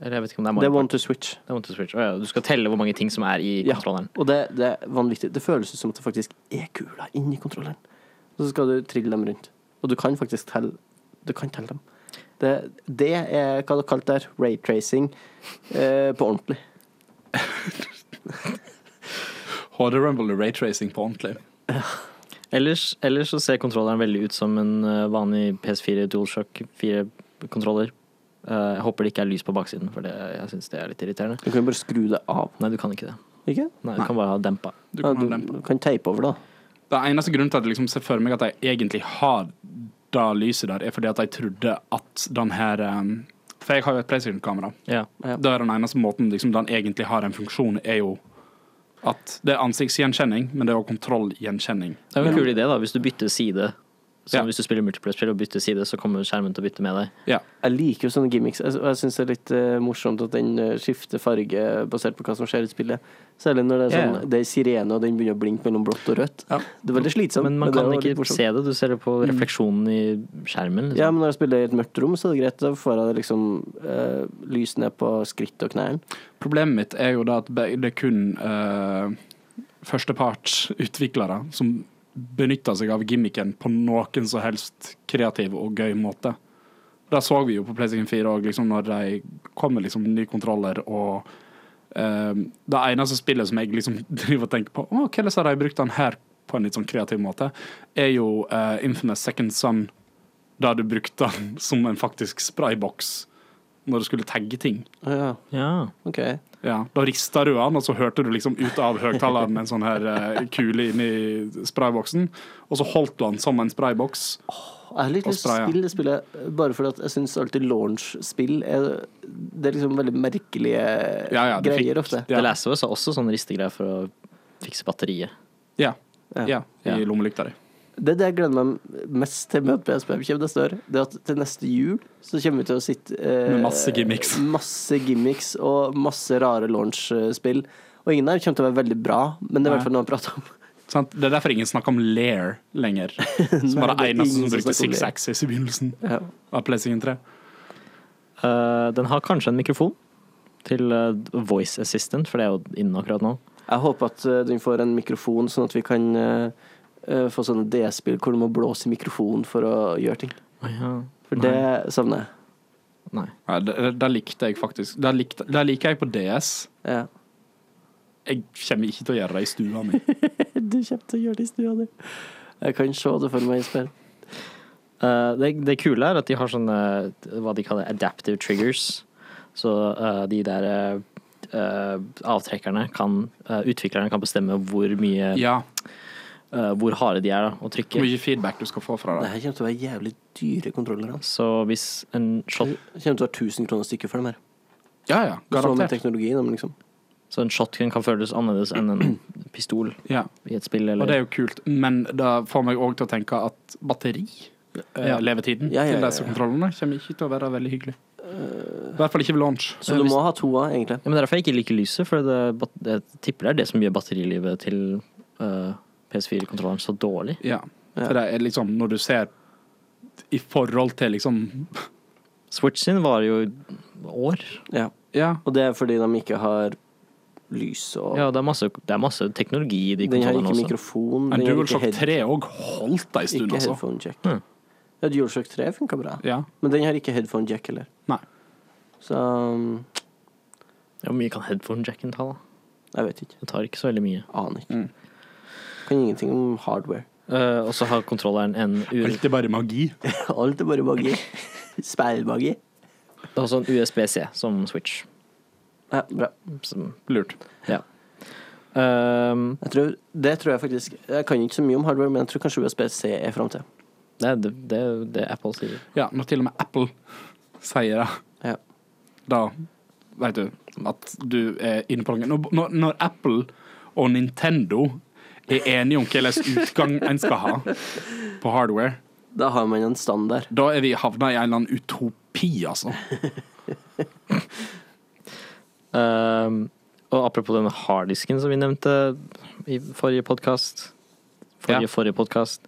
B: Eller jeg vet ikke om det
A: Det
B: er Mario
A: er one
B: Party.
A: to switch.
B: Det er one to switch. Å ja, du skal telle hvor mange ting som er i
A: Ja.
B: kontrolleren.
A: Og det, det er vanvittig. Det føles ut som at det faktisk er kula inni kontrolleren. Og så skal du trille dem rundt. Og du kan faktisk telle Du kan telle dem. Det, det er hva du kalte det her, raytracing eh, på ordentlig.
C: HD Rumble og raytracing på ordentlig.
B: Ellers, ellers så ser kontrolleren veldig ut som en eh, vanlig PS4 DualShock 4-kontroller. jeg håper det ikke er lys på baksiden, for det, jeg syns det er litt irriterende.
A: Du kan jo bare skru det av.
B: Nei, du kan ikke det.
A: Ikke?
B: Nei, Du
C: Nei.
B: kan bare ha dempa.
C: Du
A: Ja,
C: kan ha den
A: du, du kan teipe over, da.
C: Det eneste grunnen til at jeg liksom ser for meg at jeg egentlig har det lyset der, er fordi at jeg trodde at den her um, For jeg har jo et PlayStation-kamera.
B: Ja.
A: Ja.
C: Det er den eneste måten liksom, den egentlig har en funksjon, er jo at det er ansiktsgjenkjenning, men det er jo kontrollgjenkjenning.
B: Det er jo en kul idé, da, hvis du bytter side. Så
C: Ja.
B: Hvis du spiller multiplayer-spill og bytter side, så kommer skjermen til å bytte med deg.
C: Ja.
A: Jeg liker jo sånne gimmicks, Jeg- og jeg syns det er litt eh, morsomt at den eh, skifter farge basert på hva som skjer i spillet. Særlig når det er sånn
B: Ja, ja.
A: Det er sirene, og den begynner å blinke mellom blått og rødt.
C: Ja.
A: Det er veldig slitsomt.
B: Men man
A: det
B: kan
A: er jo litt
B: ikke
A: morsomt. Mm.
B: se det. Du ser det på refleksjonen i skjermen.
A: Ja,
B: Liksom.
A: men når jeg spiller i et mørkt rom, så er det greit. Da får jeg liksom eh, lys ned på skritt og knærne.
C: Problemet mitt er jo da at be- det er kun uh, førstepartsutviklere som benytter seg av gimmicken på noen som helst kreativ og gøy måte. Det så vi jo på PlayStation 4 òg, liksom, når de kom med liksom, nye kontroller og eh, Det eneste spillet som jeg liksom driver og tenker på Å, hvordan har de brukt den her på en litt sånn kreativ måte, er jo eh, Infamous Second Son, der du brukte den som en faktisk sprayboks når du skulle tagge ting.
A: Å ja,
B: Ja.
A: OK.
C: Ja, Da rista du han, og så hørte du liksom ut av høyttaleren en sånn her eh, kule inni sprayboksen. Og så holdt du han som en sprayboks.
A: Jeg har litt
C: Og
A: lyst til å
C: spray, ja.
A: spille det spillet, eh, bare fordi at jeg syns alltid launch-spill er Det er liksom veldig merkelige
C: Ja, ja, det
A: greier
C: fikk-
A: ofte.
C: Ja.
B: The Last of Us har også sånn ristegreier for å fikse batteriet.
C: Ja,
A: Ja.
C: ja,
B: Ja.
C: i lommelykta di.
A: Det er det jeg gleder meg mest til med at PSPM kommer neste år. Det er at til neste jul så kommer vi til å sitte eh,
C: Med masse gimmicks.
A: Masse gimmicks og masse rare launch-spill. Og ingen av dem kommer til å være veldig bra, men det er i hvert fall noe å prate om.
C: Sant? Det er derfor ingen snakker om Lair lenger. Som var
A: Nei,
C: det
A: det er ingen
C: eneste som
A: som
C: brukte
A: snakker om
C: Six
A: Lair.
C: Axis i begynnelsen
A: Ja.
C: av PlayStation 3.
B: Eh, den har kanskje en mikrofon til eh, voice assistant, for det er jo inne akkurat nå.
A: Jeg håper at eh, den får en mikrofon, sånn at vi kan eh, eh, få sånne DS-spill hvor du må blåse i mikrofonen for å gjøre ting. For det savner jeg.
B: Nei.
C: Ja, det, det likte jeg faktisk. Det, likte, det liker jeg på DS.
A: Ja.
C: Jeg kommer ikke til å gjøre det i stua mi.
A: Du kommer til å gjøre det i stua di. Jeg kan se det for meg i spill.
B: Eh, det, det kule er at de har sånne hva de kaller adaptive triggers. Så eh, de der eh, eh, avtrekkerne kan eh, Utviklerne kan bestemme hvor mye
C: Ja,
B: eh, Hvor harde de er da, å
C: Hvor
B: trykke.
C: mye feedback du skal få fra
A: Det
C: det.
A: her kommer til å være jævlig dyre kontroller. Altså.
B: Så hvis en shot,
A: Det kommer til å være 1000 kroner stykket for dem her.
C: Ja,
A: Sånn
C: ja,
A: med
C: garantert.
A: teknologi, da, men liksom.
B: så en shotgun kan føles annerledes enn en pistol
C: Ja.
B: i et spill.
C: Og det er
B: Eller,
C: jo kult, men det får meg òg til å tenke at batteri, eh,
B: Ja.
C: levetiden
A: Ja, ja, ja,
C: til disse
A: ja.
C: kontrollene, kommer ikke til å være veldig hyggelig. I hvert fall ikke ved launch.
A: eh, Så du må ha to av, egentlig.
B: ja, men derfor jeg ikke liker lyset, for det, bat- jeg tipper det er det som gjør batterilivet til eh, PS4-kontrolleren så dårlig.
C: Ja.
A: Ja.
C: Så det er liksom, når du ser i forhold til liksom
B: Switch sin varer jo år.
A: Ja.
C: Ja.
A: Og det er fordi de ikke har lys og
B: Ja, det er masse, det er masse teknologi i de
A: Den har
B: kontrollene
A: ikke
B: også.
A: mikrofon.
C: Men
A: den har ikke
C: DualShock
A: head-
C: 3 òg holdt ei stund,
A: Ikke
C: altså.
A: headphone jack.
B: Mm.
A: Ja, DualShock 3 funka bra,
C: Ja.
A: men den har ikke headphone jack heller.
C: Nei.
A: Så um,
B: Ja, Hvor mye kan headphone-jacken ta? da?
A: jeg vet ikke.
B: Det tar ikke så veldig mye.
A: Aner ikke.
C: Mm.
A: Kan ingenting om hardware.
B: Eh, og så har kontrolleren en, U-
C: Alt er bare magi.
A: Alt er bare magi. Speilmagi.
B: også en USB-C som Switch.
A: Ja, bra.
B: Som,
C: Lurt.
B: ja. Ehm,
A: Jeg tror, det tror jeg faktisk Jeg kan ikke så mye om hardware, men jeg tror kanskje USB-C er framtida.
B: det, er- det, det er jo det Apple sier.
C: Ja, når til og med Apple sier det,
A: Ja.
C: da vet du at du er inne på noe. Når, når, når Apple og Nintendo er enige om hvilken utgang en skal ha på hardware,
A: Da har man en standard.
C: da er vi havna i en eller annen utopi, altså.
B: Ehm, og apropos den harddisken som vi nevnte i forrige podkast Forrige,
C: Ja.
B: forrige podkast.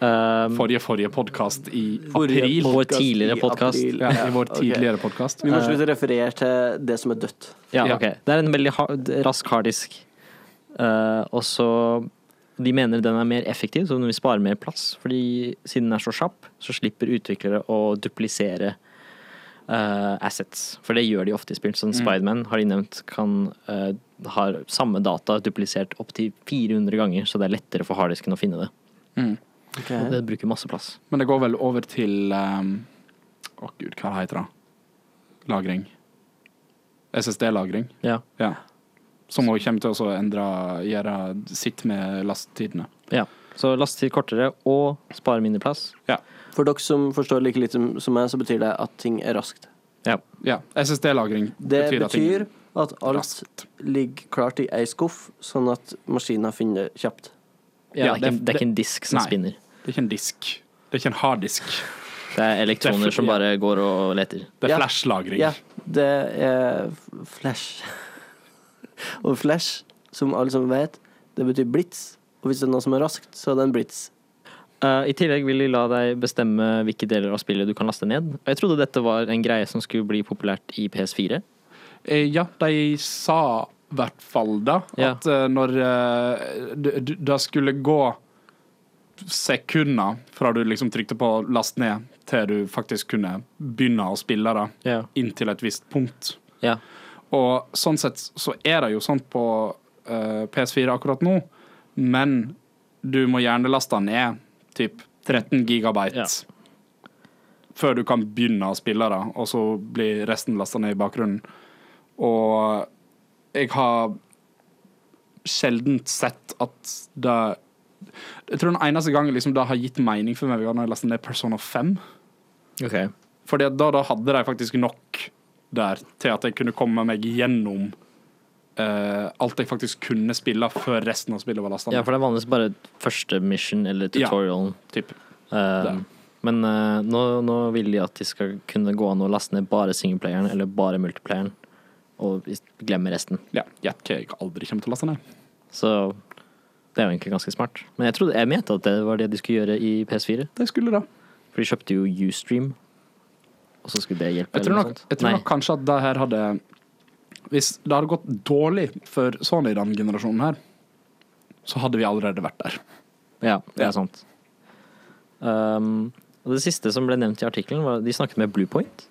B: Ehm,
C: Forrige forrige podkast i
A: Forrige
C: april.
B: Vår
A: podcast
B: tidligere
A: i
B: podcast.
A: april. Eh.
C: Ja, I vår
A: ok.
C: tidligere Eh, podkast.
A: Vi må slutte å referere til det som er dødt.
B: ja,
C: ja.
B: ok. Det er en veldig hard, rask harddisk. Eh, og så De mener den er mer effektiv, så den vil spare mer plass. Fordi siden den er så kjapp, så slipper utviklere å duplisere eh, assets. For det gjør de ofte i spill.
C: Mm.
B: Sånn Spiderman har de nevnt kan eh, har samme data duplisert opptil 400 ganger, så det er lettere for harddisken å finne det.
C: Mm.
B: Og Det bruker masse plass.
C: Men det går vel over til ehm, Å, gud, hva heter det? Lagring. SSD-lagring.
B: Ja.
C: Ja. Som òg kommer til å så endre gjøre sitt med lastetidene.
B: ja. Så lastetid kortere og spare mindre plass.
A: For dere som forstår like lite som- som meg, så betyr det at ting er raskt.
B: Ja.
C: Ja, SSD-lagring
A: Det betyr,
C: at ting-
A: at alt
C: raskt.
A: ligger klart i ei skuff, sånn at maskina finner det kjapt.
B: Ja,
C: Ja,
B: det, er ikke,
C: det-
B: det er ikke en disk som
C: Nei.
B: spinner.
C: Det er ikke en disk. Det er ikke en harddisk.
B: Det er elektroner
C: Det er for-
B: som bare går og leter.
C: Det er
A: Ja.
C: flash-lagring.
A: Ja, det er f- flash. Og flash, som alle som vet, det betyr blits. Og hvis det er noe som er raskt, så er det en blits.
B: Eh, I tillegg vil de la deg bestemme hvilke deler av spillet du kan laste ned. Og jeg trodde dette var en greie som skulle bli populært i PS4.
C: Eh, ja, de sa i hvert fall da
B: Ja.
C: at eh, når eh, d- d- Det skulle gå sekunder fra du liksom trykte på 'last ned', til du faktisk kunne begynne å spille det,
B: Ja.
C: inntil et visst punkt.
B: Ja.
C: Og sånn sett så er det jo sånn på eh, PS4 akkurat nå, men du må gjerne laste den ned typ 13 gigabyte
B: Ja.
C: før du kan begynne å spille det, og så blir resten lasta ned i bakgrunnen. Og jeg har sjelden sett at det Jeg tror den eneste gangen liksom det har gitt mening for meg, var når jeg lasta ned Persona 5.
B: Ok.
C: Fordi at da, da hadde de faktisk nok der til at jeg kunne komme meg gjennom eh, alt jeg faktisk kunne spille før resten av spillet var lasta
B: ja,
C: ned.
B: for det er vanligvis bare første mission eller
C: Ja.
B: tutorialen.
C: typ.
B: Eh,
C: Det.
B: men eh, nå, nå vil de at de skal kunne gå an å laste ned bare singleplayeren eller bare multiplayeren, og is- glemme resten.
C: Ja, Gjett hva jeg aldri kommer til å laste ned.
B: Så det er jo egentlig ganske smart. Men jeg, trodde, jeg mente at det var det de skulle gjøre i PS4.
C: Det skulle da.
B: For de kjøpte jo Ustream, og så skulle det hjelpe.
C: Jeg tror
B: eller noe
C: nok,
B: sånt.
C: jeg tror
B: Nei.
C: nok kanskje at det her hadde Hvis det hadde gått dårlig for Sony i denne generasjonen her, så hadde vi allerede vært der.
B: Ja, det
C: Ja.
B: er sant. Um, og det siste som ble nevnt i artikkelen, var de snakket med Bluepoint,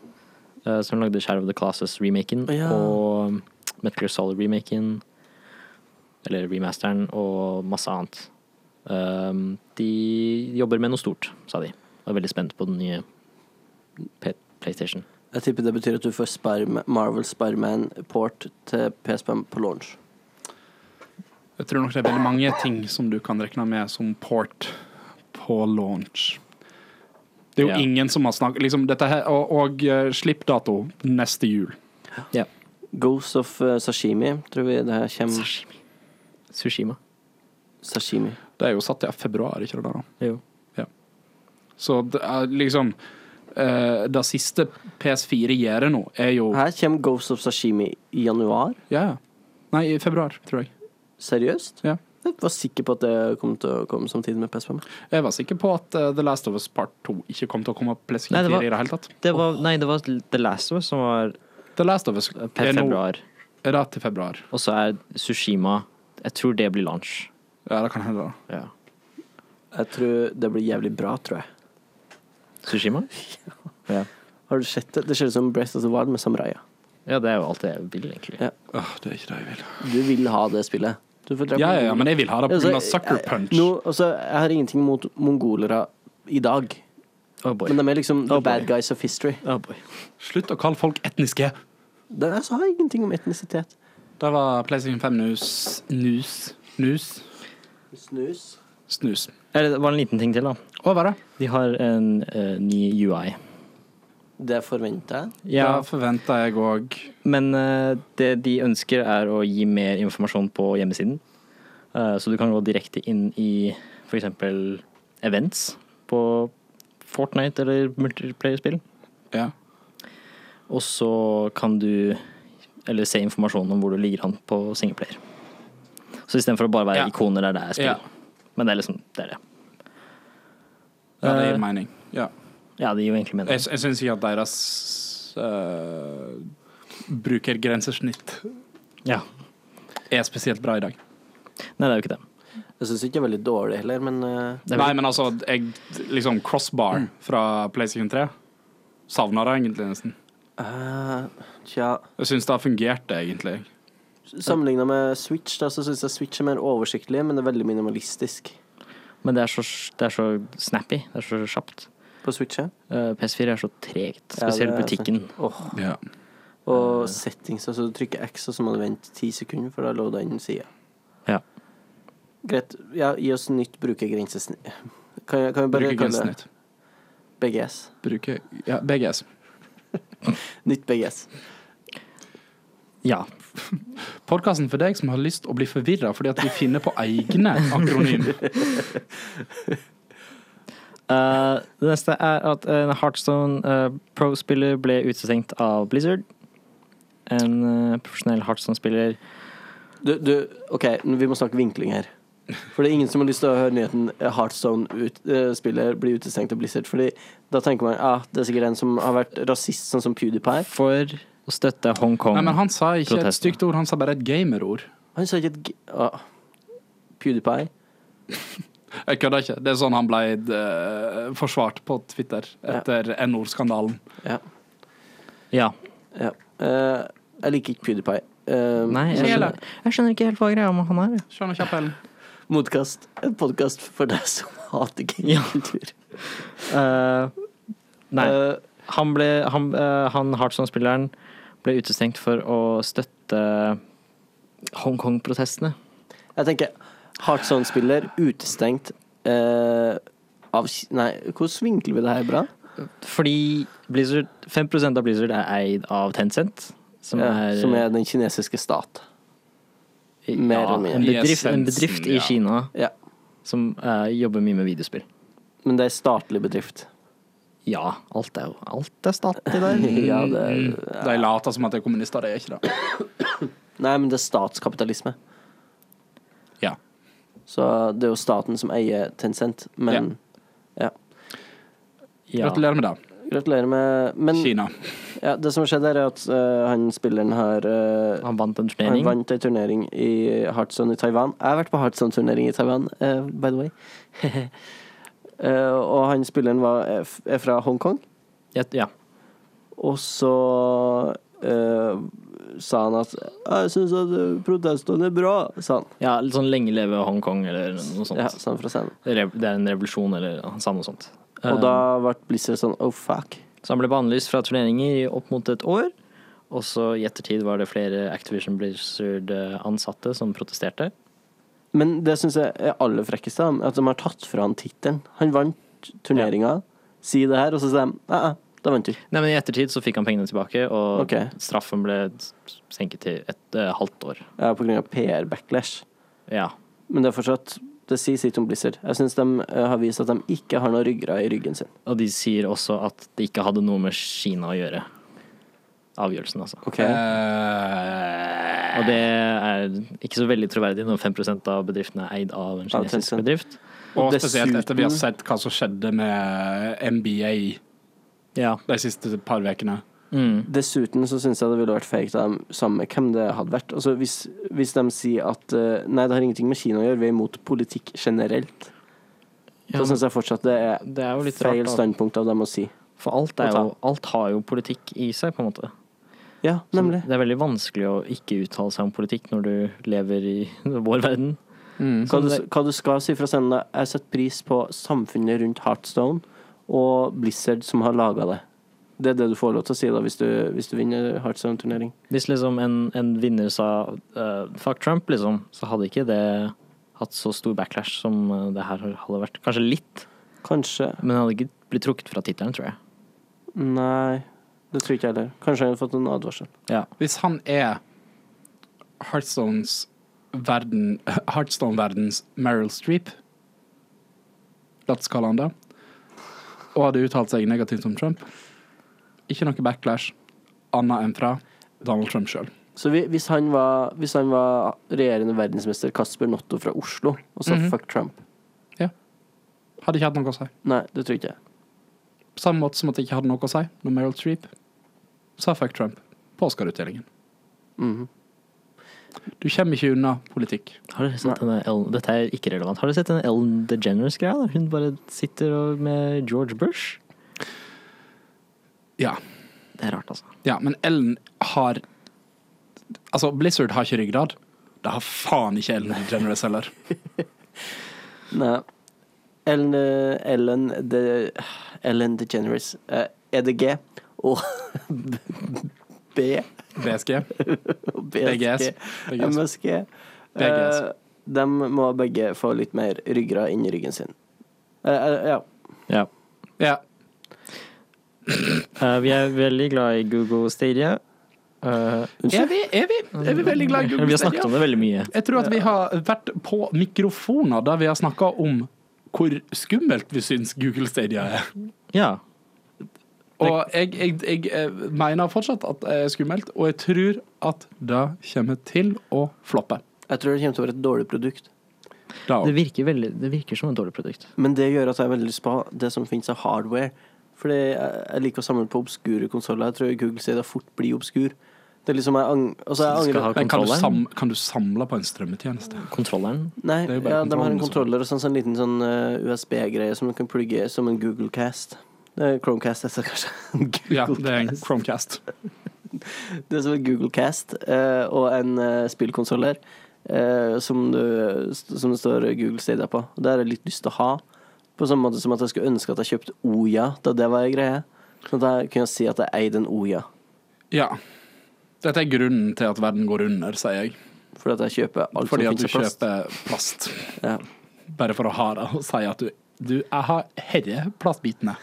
B: uh, som lagde Share of the Classes-remaken
A: Å, ja.
B: og Metal Gear Solid-remaken, eller remasteren, og masse annet. Um, de jobber med noe stort, sa de. Og er veldig spent på den nye P PlayStation.
A: Jeg tipper det betyr at du får Spiderman- Marvel Spiderman-port til PS5 på launch.
C: Jeg tror nok det er veldig mange ting som du kan regne med som port på launch. Det er jo
B: Ja.
C: ingen som har snakket liksom dette her, Og, og eh, slipp dato neste jul.
B: Ja.
A: Ghost of eh, Sashimi, tror vi det her kommer.
B: Sashimi. Sushima.
A: Sashimi.
C: Det er jo satt til februar, ikke det? da?
B: Jo.
C: Så det er liksom eh, Det siste PS4 gjør nå, er jo
A: Her kommer Ghost of Sashimi i januar.
C: Ja, ja. Nei, i februar, tror jeg.
A: Seriøst?
C: Ja.
A: Jeg var sikker på at det kom til å komme samtidig med PS5.
C: Jeg var sikker på at eh, The Last of Us Part 2 ikke kom til å komme på PlayStation
B: Nei, det
C: 4
B: var-
C: i det hele tatt.
B: Det var, nei, det var The Last of Us som var
C: The Last of Us
B: per
C: er nå
B: februar.
C: er det til februar.
B: Og så er Sushima Jeg tror det blir launch.
C: Ja, det kan hende. da.
B: Ja.
A: Jeg tror det blir jævlig bra, tror jeg.
B: Sushima? Ja.
A: Har du sett det? Det ser ut som Breath of the Wild med samuraia.
B: ja, det er jo alt jeg vil, egentlig.
A: Ja.
C: Åh, det er ikke det jeg vil.
A: Du vil ha det spillet. Du får drepe
C: Ja, ja, ja, men jeg vil ha det
A: Altså,
C: pga. Sucker Punch.
A: Jeg, nå- altså, jeg har ingenting mot mongolere i dag,
B: Oh boy.
A: men de er liksom the
B: Oh, boy.
A: bad guys of history.
B: Oh boy.
C: Slutt å kalle folk etniske.
A: Det jeg sa ingenting om etnisitet.
C: Det var PlayStation 5 News News News
A: Snus.
C: Snus.
B: Eller, det var en liten ting til, da.
C: Å, hva er det?
B: De har en eh, ny UI.
A: Det forventer jeg.
C: Da
B: Ja,
C: forventer jeg òg
B: men eh, det de ønsker, er å gi mer informasjon på hjemmesiden. Eh, så du kan gå direkte inn i f.eks. events på Fortnite eller multiplayer-spill.
C: ja.
B: Og så kan du eller se informasjon om hvor du ligger an på singleplayer. Så istedenfor å bare være
C: Ja.
B: ikoner der det er spill.
C: Ja.
B: Men det er liksom det er det.
C: ja, det
B: Eh,
C: gir mening. Ja.
B: Ja, det gir jo egentlig
C: Jeg,
B: mening.
C: jeg syns ikke at deres eh, brukergrensesnitt
B: Ja.
C: er spesielt bra i dag.
B: Nei, det er jo ikke det.
A: Jeg syns ikke det er veldig dårlig heller, men eh,
B: Det er
C: Nei,
B: vel- Mm.
C: men altså jeg, Liksom crossbar fra PlayStation 3 savner det egentlig nesten.
A: eh, Tja.
C: Jeg syns det har fungert, det, egentlig.
A: Sammenligna med Switch, da, så syns jeg Switch er mer oversiktlig, men det er veldig minimalistisk
B: Men det er, så, det er så snappy. Det er så kjapt.
A: på Switch. Ja.
B: Eh, PS4 er så tregt.
A: Ja, det
B: Spesielt
A: er
B: butikken.
A: Åh.
C: Ja.
A: Og settings. Altså, du trykker X, og så må du vente ti sekunder, for da lå den sida.
B: Ja.
A: Greit. Ja, gi oss nytt brukergrensesnitt. Kan, jeg- kan vi bare kalle det
C: Brukergrensesnitt.
A: BGS?
C: Bruker, ja, BGS.
A: Nytt BGS.
B: Ja.
C: Podkasten for deg som har lyst å bli forvirra fordi at vi finner på egne akronym.
B: Eh, det neste er at eh, en Heartstone Pro-spiller ble utestengt av Blizzard. En eh, profesjonell Heartstone-spiller
A: Du, du, OK, vi må snakke vinkling her. For det er ingen som har lyst til å høre nyheten eh, Heartstone-spiller eh, blir utestengt av Blizzard. Fordi da tenker man at ah, det er sikkert en som har vært rasist, sånn som PewDiePie.
B: for å støtte Hongkong.
C: Nei, men han sa ikke et
B: Protesten.
C: stygt ord, han sa bare et gamerord.
A: Han sa ikke et g... Ah. PewDiePie.
C: Jeg kødder ikke. Det er sånn han ble eh, forsvart på Twitter etter N-ordskandalen.
A: Ja.
B: Ja.
A: ja. Eh, jeg liker ikke PewDiePie. Eh,
B: Nei, jeg
C: Hele.
B: skjønner, jeg skjønner ikke helt hva greia med han er. jeg.
C: Skjønner ikke appellen.
A: Motkast. En podkast for deg som hater
B: Ja.
A: gamekultur.
B: Eh, nei,
A: Eh,
B: han ble Han, uh, han Heartstone-spilleren ble utestengt for å støtte Hongkong-protestene.
A: jeg tenker Heartstone-spiller utestengt eh, av Ki- Nei, hvordan vinkler vi det her bra?
B: Fordi Blizzard, 5 av Blizzard er eid av Tencent, som
A: Ja,
B: er, eh,
A: som er den kinesiske stat. mer
B: ja,
A: eller mindre.
B: en bedrift, en
C: Essensen,
B: bedrift i
C: ja.
B: Kina
A: Ja.
B: som eh, jobber mye med videospill.
A: Men det er statlig bedrift.
B: Ja, alt er jo Alt er statlig der.
A: Ja, det er,
C: Mm, De later som at de er kommunister, det er ikke det.
A: nei, men det er statskapitalisme.
C: Ja.
A: Så det er jo staten som eier Tencent, men ja.
B: Ja.
C: Gratulerer med det,
A: Gratulerer med Men
C: Kina.
A: ja, det som har skjedd, er at eh, han spilleren har eh,
B: Han vant en
A: Han
B: turnering.
A: vant ei turnering i Heartstone i Taiwan. Jeg har vært på Heartstone-turnering i Taiwan, eh, by the way. Eh, og han spilleren var, er f- er fra Hongkong.
B: Ja, ja.
A: Og så eh, sa han at 'Jeg syns at eh, protestene er bra', sa han.
B: ja, litt sånn lenge leve Hongkong eller noe sånt.
A: Ja, sa han fra scenen.
B: Rev- Det er en revolusjon eller han sa noe sånt. Eh,
A: Og da ble Blizzard sånn 'oh fuck'.
B: Så han ble bannlyst fra turneringer i opp mot et år. Og så i ettertid var det flere Activision Blizzard-ansatte som protesterte.
A: Men det syns jeg er aller frekkest, da, at de har tatt fra han tittelen. Han vant turneringa, si det her, og så sier de 'æ, æ, da vant du'.
B: Nei, men I ettertid så fikk han pengene tilbake, og
A: Ok.
B: straffen ble s- senket til et eh, halvt år.
A: Ja, på grunn av PR-backlash.
B: Ja.
A: Men det er fortsatt Det sier sitt om Blizzard. Jeg syns de eh, har vist at de ikke har noe ryggrad i ryggen sin.
B: Og de sier også at det ikke
A: Eh,
B: hadde noe med Kina å gjøre. Avgjørelsen, altså.
A: Ok
C: Eh,
B: Og det er ikke så veldig troverdig når 5 av bedriftene er eid av en
A: Ja,
B: kinesisk
A: Tencent.
B: bedrift.
C: Og
A: Og
C: spesielt etter vi har
A: dessuten-
C: sett hva som skjedde med NBA
B: Ja.
C: de siste par ukene.
B: Mm.
A: Dessuten så syns jeg det ville vært fake av dem samme hvem det hadde vært. Altså hvis, hvis de sier at eh, nei, det har ingenting med Kina å gjøre, vi er imot politikk generelt,
B: Ja,
A: så syns jeg fortsatt det er
B: Det er jo litt
A: feil
B: rart, da.
A: standpunkt av dem å si.
B: For alt, er jo, alt har jo politikk i seg, på en måte.
A: Ja,
B: Så
A: nemlig.
B: Det er veldig vanskelig å ikke uttale seg om politikk når du lever i vår verden.
A: Hva
B: Så
A: du,
B: det-
A: hva du skal si fra scenen, da. Jeg setter pris på samfunnet rundt Heartstone og Blizzard som har laga det. Det er det du får lov til å si da hvis du, hvis du vinner Heartstone-turnering.
B: Hvis liksom en, en vinner sa eh, fuck Trump, liksom, så hadde ikke det hatt så stor backlash som eh, det her hadde vært. Kanskje litt,
A: Kanskje
B: men det hadde ikke blitt trukket fra tittelen, tror jeg.
A: Nei, det tror ikke jeg heller. Kanskje jeg hadde fått en advarsel.
B: Ja.
C: Hvis han er Heartstones verden, Heartstone-verdens Meryl Streep La oss kalle han det. Og hadde uttalt seg negativt om Trump. Ikke noe backlash annet enn fra Donald Trump sjøl.
A: Så vi, hvis, han var, hvis han var regjerende verdensmester Kasper Notto fra Oslo og sa
C: Mhm.
A: fuck Trump
C: Hadde ikke hatt noe å si.
A: Nei, det tror ikke jeg.
C: På samme måte som at det ikke hadde noe å si når Meryl Streep sa fuck Trump på Oscar-utdelingen.
A: Mhm.
C: Du kommer ikke unna politikk.
B: Har dere sett denne Ellen, dette er ikke relevant. Har dere sett den Ellen DeGeneres-greia? der? Hun bare sitter og med George Bush.
C: Ja.
B: Det er rart, altså.
C: Ja, men Ellen har Altså, Blizzard har ikke ryggrad. Det har faen ikke Ellen DeGeneres heller.
A: Nei. Ellen, eh, Ellen, de, Ellen DeGeneres, eh, EDG og B
C: BSG.
A: og
C: BGS.
A: BSG, MSG
C: BGS.
A: eh, De må begge få litt mer ryggrad inn i ryggen sin. Eh, eh, ja.
B: Ja.
C: Ja.
B: Eh, vi er veldig glad i Google Stadia. Eh,
C: Er vi, er vi, er vi veldig glad i Google
B: vi har snakket om det veldig mye.
C: Jeg tror at vi har vært på mikrofoner der vi har snakka om hvor skummelt vi syns Google Stadia er.
B: Ja.
C: Og jeg, jeg, jeg eh, mener fortsatt at det er skummelt, og jeg tror at det kommer til å floppe.
A: Jeg tror det kommer til å være et dårlig produkt.
C: Da
B: Det
C: òg.
B: virker, veldig, det virker som et dårlig produkt.
A: Men det gjør at jeg har veldig lyst på det som finnes av hardware. Fordi jeg, jeg liker å samle på obskure konsoller. Jeg tror Google sier det fort blir obskur. Det er liksom jeg ang altså
B: Så du
A: jeg
B: skal
A: angrer
B: ha-
C: Men kan du,
B: Kontrolleren?
C: sam, kan du samle på en strømmetjeneste?
B: Kontrolleren
A: Nei,
C: Det er jo bare
A: ja, de har en
C: kontrollen som-
A: kontroller og sånn, sånn liten sånn eh, USB-greie som du kan plugge som en Google Cast. Det er Chromecast heter det kanskje. Google
C: Ja, det er en
A: Cast.
C: Chromecast.
A: Det er som en Google Cast eh, og en uh, spillkonsoller som, du- som det står Google Stadia på. Og Det har jeg litt lyst til å ha. På samme måte som at jeg skulle ønske at jeg kjøpte Oya da det var ei greie. Sånn at jeg kunne si at jeg eide en Oya,
C: Ja. Dette er grunnen til at verden går under, sier jeg.
A: fordi at jeg kjøper alt
C: Fordi
A: som
C: at du
A: finnes av plast.
C: kjøper plast.
A: Ja.
C: Bare for å ha det og si at du, du jeg har herre plastbitene.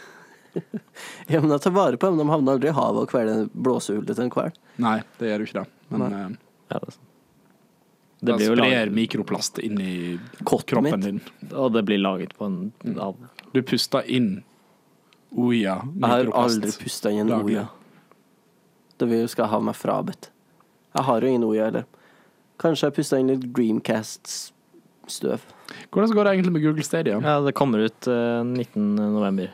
A: ja, men jeg tar vare på dem. De havner aldri i havet og kveler blåsehullet til en hval.
C: Nei, det gjør du ikke det. Men eh,
B: ja, det, er sant. det
C: det
B: blir jo
C: sprer
B: laget,
C: mikroplast inn i
A: Kottet
C: kroppen
A: mitt.
C: din.
B: Og det blir laget på en av
C: Du puster inn Oja,
A: Jeg har aldri
C: mikroplast.
A: pusta inn en
C: Daglig.
A: Oya. Da vil jeg skal jeg ha meg frabedt. Jeg har jo ingen Oya heller. Kanskje jeg pusta inn litt Dreamcast-støv.
C: Hvordan går det egentlig med Google Stadia?
B: Ja, det kommer ut eh, 19. november.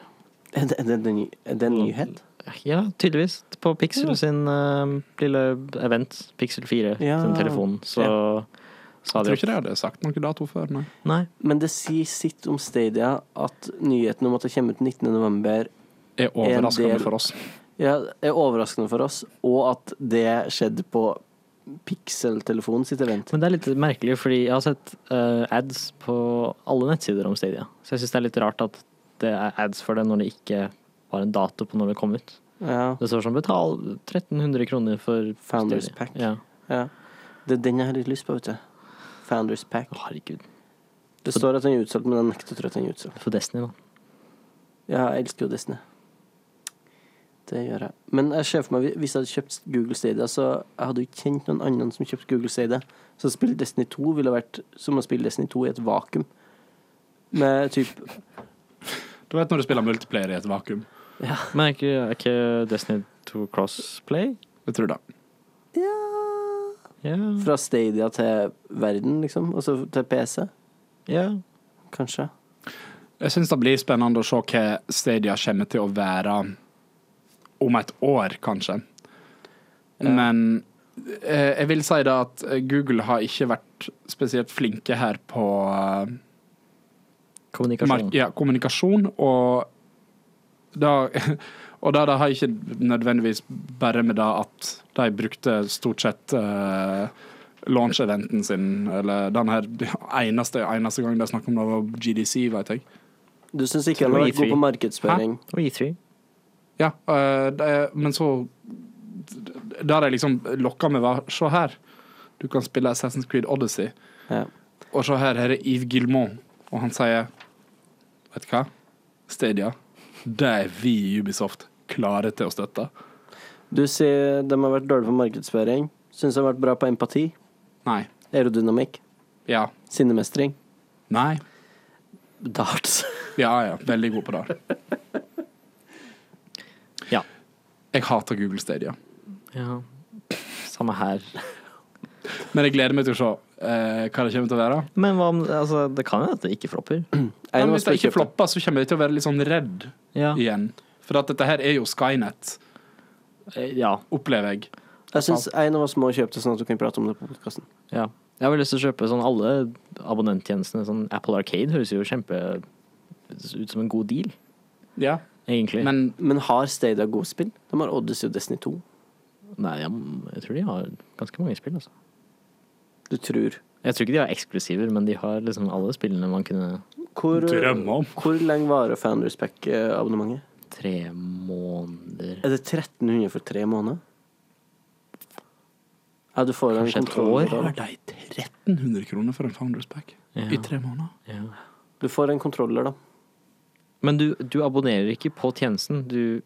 A: Er det, er det, en ny- er det en nyhet?
B: Ja, tydeligvis. På Pixel
A: Ja.
B: sin eh, lille event, Pixel 4,
A: Ja.
B: sin telefon, så sa
C: Jeg
B: de
C: tror ikke de hadde sagt noen dato før, nei.
B: Nei.
A: Men det sier sitt om Stadia at nyheten om at det kommer ut 19.11.
C: Er overraskende
A: del-
C: for oss.
A: Ja, er overraskende for oss, og at det skjedde på Pixel-telefonen sitt event.
B: Men det er litt merkelig, fordi jeg har sett eh, ads på alle nettsider om Stadia. Så jeg syns det er litt rart at det er ads for det når det ikke var en dato på når det kom ut.
A: Ja,
B: Det står sånn betal 1300 kroner for
A: Founders
B: Stadia.
A: Pack.
B: Ja.
A: ja. Det er den jeg har litt lyst på, vet du. Founders Pack.
B: Å, herregud.
A: Det står at den er utsolgt, men jeg nekter å tro at den er utsolgt.
B: For Destiny, da.
A: Ja, jeg elsker jo Disney. Det gjør jeg. Men jeg ser for meg, hvis jeg hadde kjøpt Google Stadia, så jeg hadde jo ikke kjent noen annen som kjøpte Google Stadia. Så å spille Destiny 2 ville vært som å spille Destiny 2 i et vakuum. Med typ
C: Du vet når du spiller multiplayer i et vakuum.
B: Men er ikke, er ikke Destiny 2 crossplay?
C: Jeg tror det.
B: Ja.
A: Fra Stadia til verden, liksom. Og så til PC,
B: ja.
A: kanskje.
C: Jeg syns det blir spennende å se hva Stadia kommer til å være om et år, kanskje. Men eh, jeg vil si det at Google har ikke vært spesielt flinke her på eh,
B: Kommunikasjon.
C: Mark- ja, kommunikasjon og da, Og da, det har ikke nødvendigvis bare med det at de brukte stort sett eh, launch-eventen sin, eller den her eneste, eneste gang de snakket om det, var GDC, vet jeg.
A: Du syns ikke han har vært
B: Tror jeg
A: god på
B: vi-
A: markedsføring?
B: Og E E3.
C: Ja, eh, det, men så Der jeg liksom lokka meg, var Se her, du kan spille Assassin's Creed Odyssey.
A: Ja.
C: Og se her, her er Yves Guillemot, og han sier Vet du hva? Stadia, det er vi i Ubisoft klare til å støtte.
A: Du sier de har vært dårlige på markedsføring. Syns de har vært bra på empati,
C: Nei.
A: aerodynamikk,
C: Ja.
A: sinnemestring,
C: Nei.
A: darts.
C: Ja, ja. Veldig god på det.
B: Ja.
C: Jeg hater Google Stadia.
B: ja. Samme her.
C: Men jeg gleder meg til å se eh, hva det kommer til å være.
B: Men hva om altså, Det kan jo at det ikke flopper.
A: Er det
C: Men
A: noen
C: hvis
A: som
C: det
A: vil
C: ikke
A: kjøpe?
C: flopper, så kommer jeg til å være litt sånn redd
B: Ja.
C: igjen. For at dette her er jo Skynet,
B: Eh, ja.
C: opplever jeg.
A: Jeg syns en av oss må kjøpe det, sånn at du kan prate om det på podkasten.
B: Ja. Jeg har vel lyst til å kjøpe sånn alle abonnenttjenestene. Sånn Apple Arcade høres jo kjempe ut som en god deal,
C: Ja,
B: egentlig.
C: men
A: Men har Stadia gode spill? De har Odyssey og Destiny 2.
B: Nei, jeg, jeg tror de har ganske mange spill, altså.
A: Du tror.
B: Jeg tror ikke de har eksklusiver, men de har liksom alle spillene man kunne
A: Hvor, eh,
C: Drøm om.
A: hvor lenge varer Founders Pack-abonnementet?
B: Tre måneder
A: Er det 1300 for tre måneder? Ja, du får en
B: Kanskje et
A: kontroll
B: år?
C: har
A: da.
C: de 1300 kroner for en Founders Pack
B: Ja.
C: i tre måneder?
B: Ja.
A: Du får en kontroller, da.
B: Men du, du abonnerer ikke på tjenesten. Du,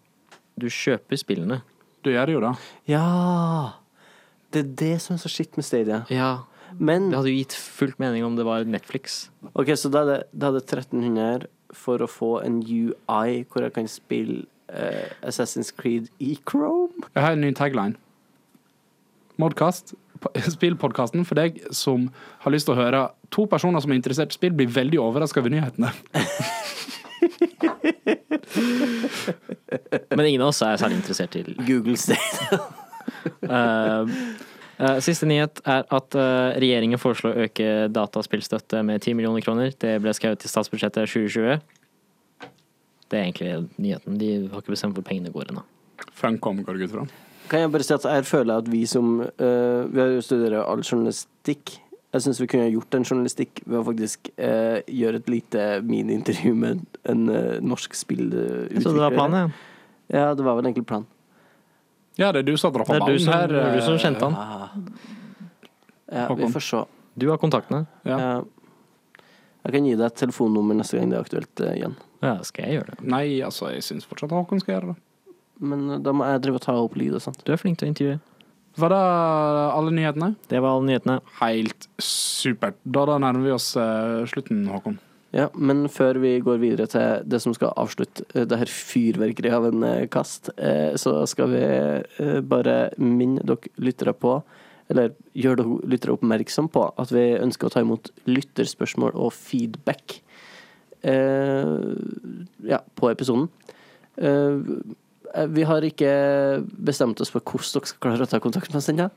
B: du kjøper spillene.
C: Du gjør det jo, da.
A: Ja! Det er det som er så skitt med Stadia.
B: Ja.
A: Men
B: Mm. Det hadde jo gitt fullt mening om det var Netflix.
A: OK, så da er det, da er det 1300 her for å få en UI hvor jeg kan spille eh, Assassin's Creed i Chrome?
C: Jeg har en ny tagline. Modcast. po- Spillpodkasten for deg som har lyst til å høre to personer som er interessert i spill, blir veldig overraska over nyhetene.
B: Men ingen av oss er særlig interessert i
A: Google Stadia.
B: Eh, eh, siste nyhet er at eh, regjeringen foreslår å øke dataspillstøtte med 10 millioner kroner. Det ble skrevet i statsbudsjettet 2020. Det er egentlig nyheten. De har ikke bestemt hvor pengene går ennå.
C: Funcom går jeg ut fra.
A: Kan jeg bare si at jeg føler at vi som eh, Vi har jo studert all journalistikk. Jeg syns vi kunne ha gjort en journalistikk ved å faktisk eh, gjøre et lite miniintervju med en eh, norsk spillutvikler.
B: Så det var planen, ja.
A: Ja, det var vel egentlig planen.
C: Ja, det er du som har dratt
B: Det
C: på
B: er du
C: ballen
B: som,
C: her.
B: det er du som
C: eh,
B: kjente han.
A: Ah. Ja, vi
C: Håkon.
A: får se.
B: Du har kontaktene.
C: Ja.
A: Ja. Jeg kan gi deg et telefonnummer neste gang det er aktuelt eh, igjen.
B: Ja, skal jeg gjøre det?
C: Nei, altså, jeg syns fortsatt Håkon skal gjøre det.
A: Men eh, da må jeg drive og ta opp lyd og sånn. sånt.
B: Du er flink til å intervjue.
C: Var det alle nyhetene?
B: Det var alle nyhetene.
C: Helt supert. Da, da nærmer vi oss eh, slutten, Håkon.
A: Ja, men før vi går videre til det som skal avslutte eh, det her fyrverkeriet av en eh, kast, eh, så skal vi eh, bare minne dere lyttere på, eller gjøre dere lyttere oppmerksom på, at vi ønsker å ta imot lytterspørsmål og feedback eh, ja, på episoden. Eh, vi har ikke bestemt oss for hvordan dere skal klare å ta kontakt med oss ennå,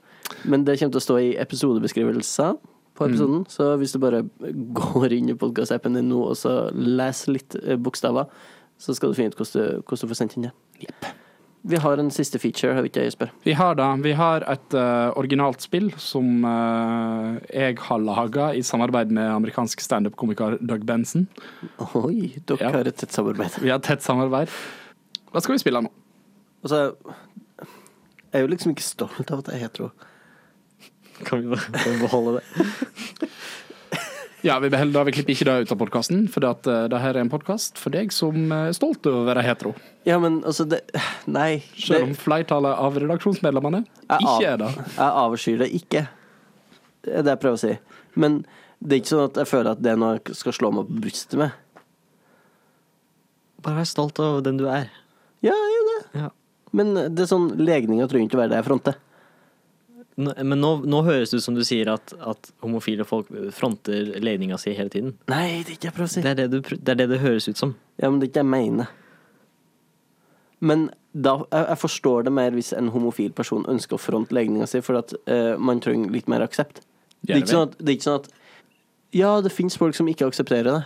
A: men det kommer til å stå i episodebeskrivelser på episoden. Så hvis du bare går inn i podkastappen din nå og så leser litt eh, bokstaver, så skal du finne ut hvordan du, hvordan du får sendt inn det. Vi har en siste feature, har vi ikke, Jesper?
C: Vi har da, vi har et eh, originalt spill som eh, jeg har laga i samarbeid med amerikansk standup-komiker Doug Benson.
A: Oi, dere
C: Ja.
A: har et tett samarbeid.
C: Vi har tett samarbeid. Hva skal vi spille nå?
A: Og så Altså, jeg er jo liksom ikke stolt av at jeg er hetero.
B: Kan vi bare kan vi beholde det?
C: Ja, Vi beholder det, vi klipper ikke det ut av podkasten, for det, at, eh, det her er en podkast for deg som eh, er stolt over å være hetero.
A: Ja, men altså det Nei. Det,
C: Selv om flertallet av redaksjonsmedlemmene
A: Jeg av-
C: ikke er det.
A: Jeg avskyr det ikke. Det er det jeg prøver å si. Men det er ikke sånn at jeg føler at det er noe jeg skal slå meg på brystet med.
B: Bare vær stolt av den du er.
A: Ja, jeg er jo det.
B: Ja.
A: Men det er sånn legninger trenger ikke være det jeg fronter.
B: Nå- Men nå, nå høres det ut som du sier at, at homofile folk fronter legninga si hele tiden.
A: Nei, det er ikke jeg prøver å si.
B: Det er det, du, pr- det er det det høres ut som.
A: Ja, men det er ikke det jeg mener. Men da, jeg, jeg forstår det mer hvis en homofil person ønsker å fronte legninga si, for at eh, man trenger litt mer aksept. Det er, ikke sånn at, det er ikke sånn at Ja, det fins folk som ikke aksepterer det.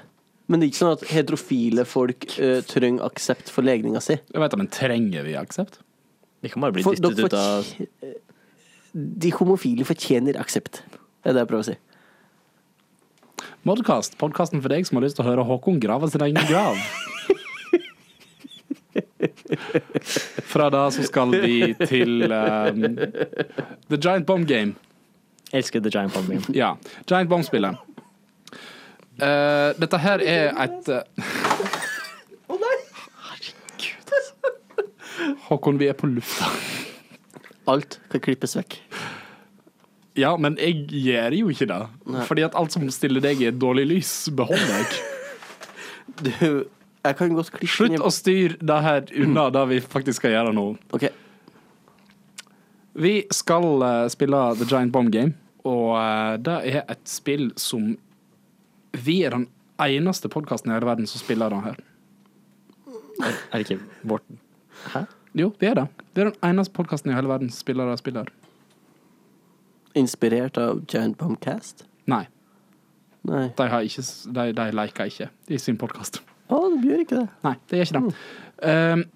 A: Men det er ikke sånn at heterofile folk eh, trenger aksept for legninga si.
C: Jeg vet, da, men trenger vi aksept?
B: De kan bare bli
A: For,
B: dyttet
A: dere
B: ut av
A: fortj- de homofile fortjener aksept. Det er det jeg prøver å si.
C: Modcast, podkasten for deg som har lyst til å høre Håkon grave sin egen grav. Fra da så skal vi til um, The Giant Bomb Game.
B: Elsker The Giant Bomb Game.
C: Ja. Giant Bomb-spillet. Eh, dette her er et eh, Håkon, vi er på lufta.
A: Alt kan klippes vekk.
C: Ja, men jeg gjør jo ikke det.
A: Nei.
C: Fordi at alt som stiller deg i et dårlig lys, behold deg.
A: Du, jeg kan godt klippe
C: Slutt
A: den i-
C: å styre det her unna det vi faktisk skal gjøre nå.
A: Ok.
C: Vi skal eh, spille The Giant Bomb Game, og eh, det er et spill som Vi er den eneste podkasten i hele verden som spiller det her.
B: Er det ikke vårt Hæ?
C: Jo, vi er det. Vi er den eneste podkasten i hele verden som spiller det spillet her.
A: Inspirert av Giant Bombcast?
C: Nei,
A: Nei.
C: de, har ikke, s- de, de leker ikke i sin podkast.
A: Å, det gjør ikke det.
C: Nei, det gjør ikke det. Um,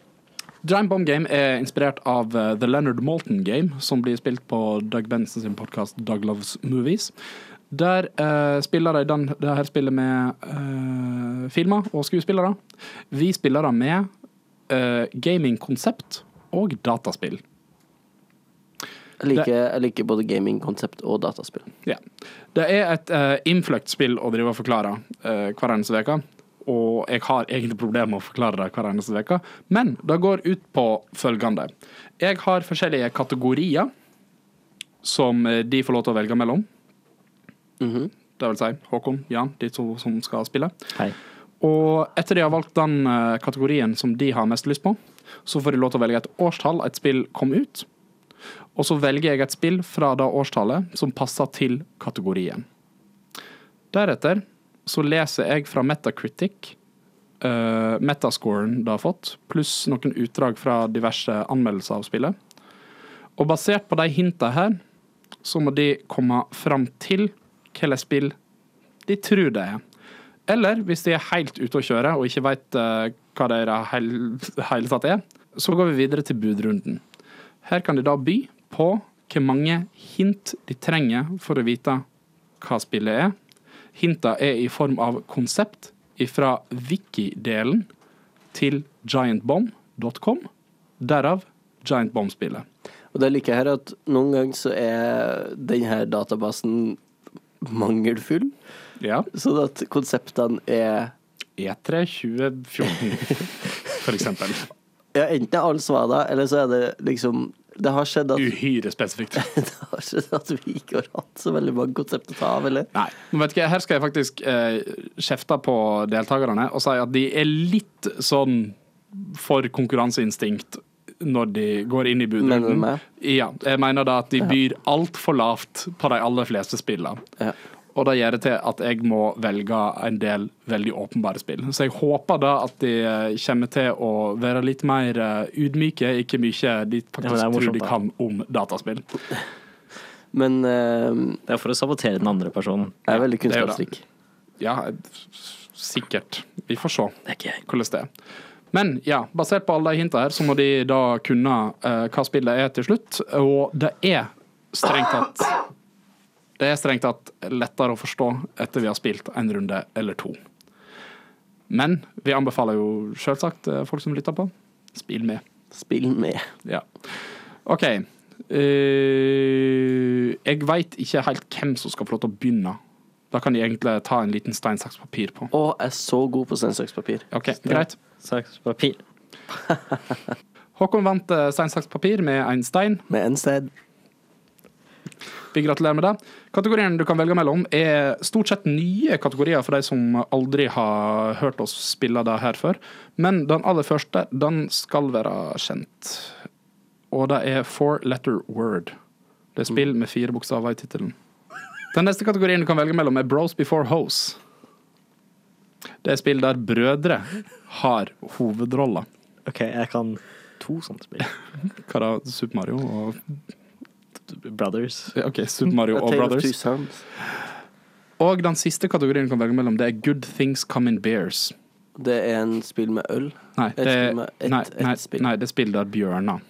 C: Giant Bomb Game er inspirert av eh, The Leonard Malton Game, som blir spilt på Doug Benson sin podkast Doug Loves Movies. Der eh, spiller de den, det her spillet med eh, filmer og skuespillere. Vi spiller det med eh, gamingkonsept og dataspill.
A: Jeg liker, jeg liker både gamingkonsept og dataspill.
C: Ja. Det er et uh, innfløkt spill å drive og forklare eh, hver eneste uke. Og jeg har egentlig problemer med å forklare det hver eneste uke. Men det går ut på følgende. Jeg har forskjellige kategorier som eh, de får lov til å velge mellom.
A: Mhm.
C: Det vil si Håkon, Jan, de to som skal spille.
B: Hei.
C: Og etter de har valgt den eh, kategorien som de har mest lyst på, så får de lov til å velge et årstall et spill kom ut. Og så velger jeg et spill fra det årstallet som passer til kategorien. Deretter så leser jeg fra Metacritic eh, metascoren det har fått, pluss noen utdrag fra diverse anmeldelser av spillet. Og basert på de hintene her, så må de komme fram til hvilket spill de tror det er. Eller hvis de er helt ute å kjøre og ikke veit hva det i det hel- hele tatt er, så går vi videre til budrunden. Her kan de da by på hvor mange hint de trenger for å vite hva spillet er. Hinta er i form av konsept fra wiki-delen til giantbomb.com, derav giantbomb-spillet.
A: Og det jeg liker her, er at noen ganger så er denne databasen mangelfull,
C: Ja.
A: sånn at konseptene er
C: E3 2014, for eksempel.
A: ja, Enten er alle svar da, eller så er det liksom Det har skjedd at,
C: Uhyre spesifikt.
A: det har skjedd at vi ikke har hatt så veldig mange konsept å ta av, eller?
C: Nei. Men vet du hva, her skal jeg faktisk eh, kjefte på deltakerne og si at de er litt sånn for konkurranseinstinkt når de går inn i
A: Mener du
C: budrunden.
A: meg?
C: Ja, jeg mener da at de byr altfor lavt på de aller fleste spillene.
A: Ja.
C: Og det gjør det til at jeg må velge en del veldig åpenbare spill. Så jeg håper da at de eh, kommer til å være litt mer eh, ydmyke i hvor mye de
B: det er
C: faktisk
B: morsomt,
C: tror de
B: da.
C: kan om dataspill.
A: Men eh,
B: Det er for å sabotere den andre personen.
A: jeg er veldig
C: det er jo det.
A: kunnskapsrik.
C: Ja, sikkert. Vi får se.
B: Det er ikke jeg.
C: hvordan det er. Men ja, basert på alle de hintene her, så må de da kunne eh, hva spillet er til slutt. Og det er strengt tatt Det er strengt tatt lettere å forstå etter vi har spilt en runde eller to. Men vi anbefaler jo selvsagt eh, folk som lytter på, spill med.
A: Spill med.
C: Ja. OK. Eh, jeg veit ikke helt hvem som skal få lov til å begynne. Da kan de egentlig ta en liten stein, saks, papir på.
A: Å, jeg er så god på steinsakspapir.
C: OK, greit.
B: Saks, papir.
C: Håkon vant eh, stein, saks, papir med en stein.
A: Med en sted.
C: Vi gratulerer med det. Kategorien du kan velge mellom, er stort sett nye kategorier for de som aldri har hørt oss spille det her før. Men den aller første, den skal være kjent. Og det er four letter word. Det er spill med fire bokstaver i tittelen. Den neste kategorien du kan velge mellom, er Bros before Hoes. Det er spill der brødre har hovedrolla.
B: OK, jeg kan to sånne spill.
C: Hva da? Super Mario og
B: Brothers.
C: ja, OK, Super Mario
A: A
C: og
A: Tale of Two
C: Brothers.
A: Sons.
C: Og den siste kategorien du kan velge mellom, det er Good Things Come in Bears.
A: Det er en spill med øl.
C: Nei,
A: Et
C: det er,
A: spill med- et-
C: nei,
A: et
C: nei,
A: spill.
C: nei, det er spill der bjørner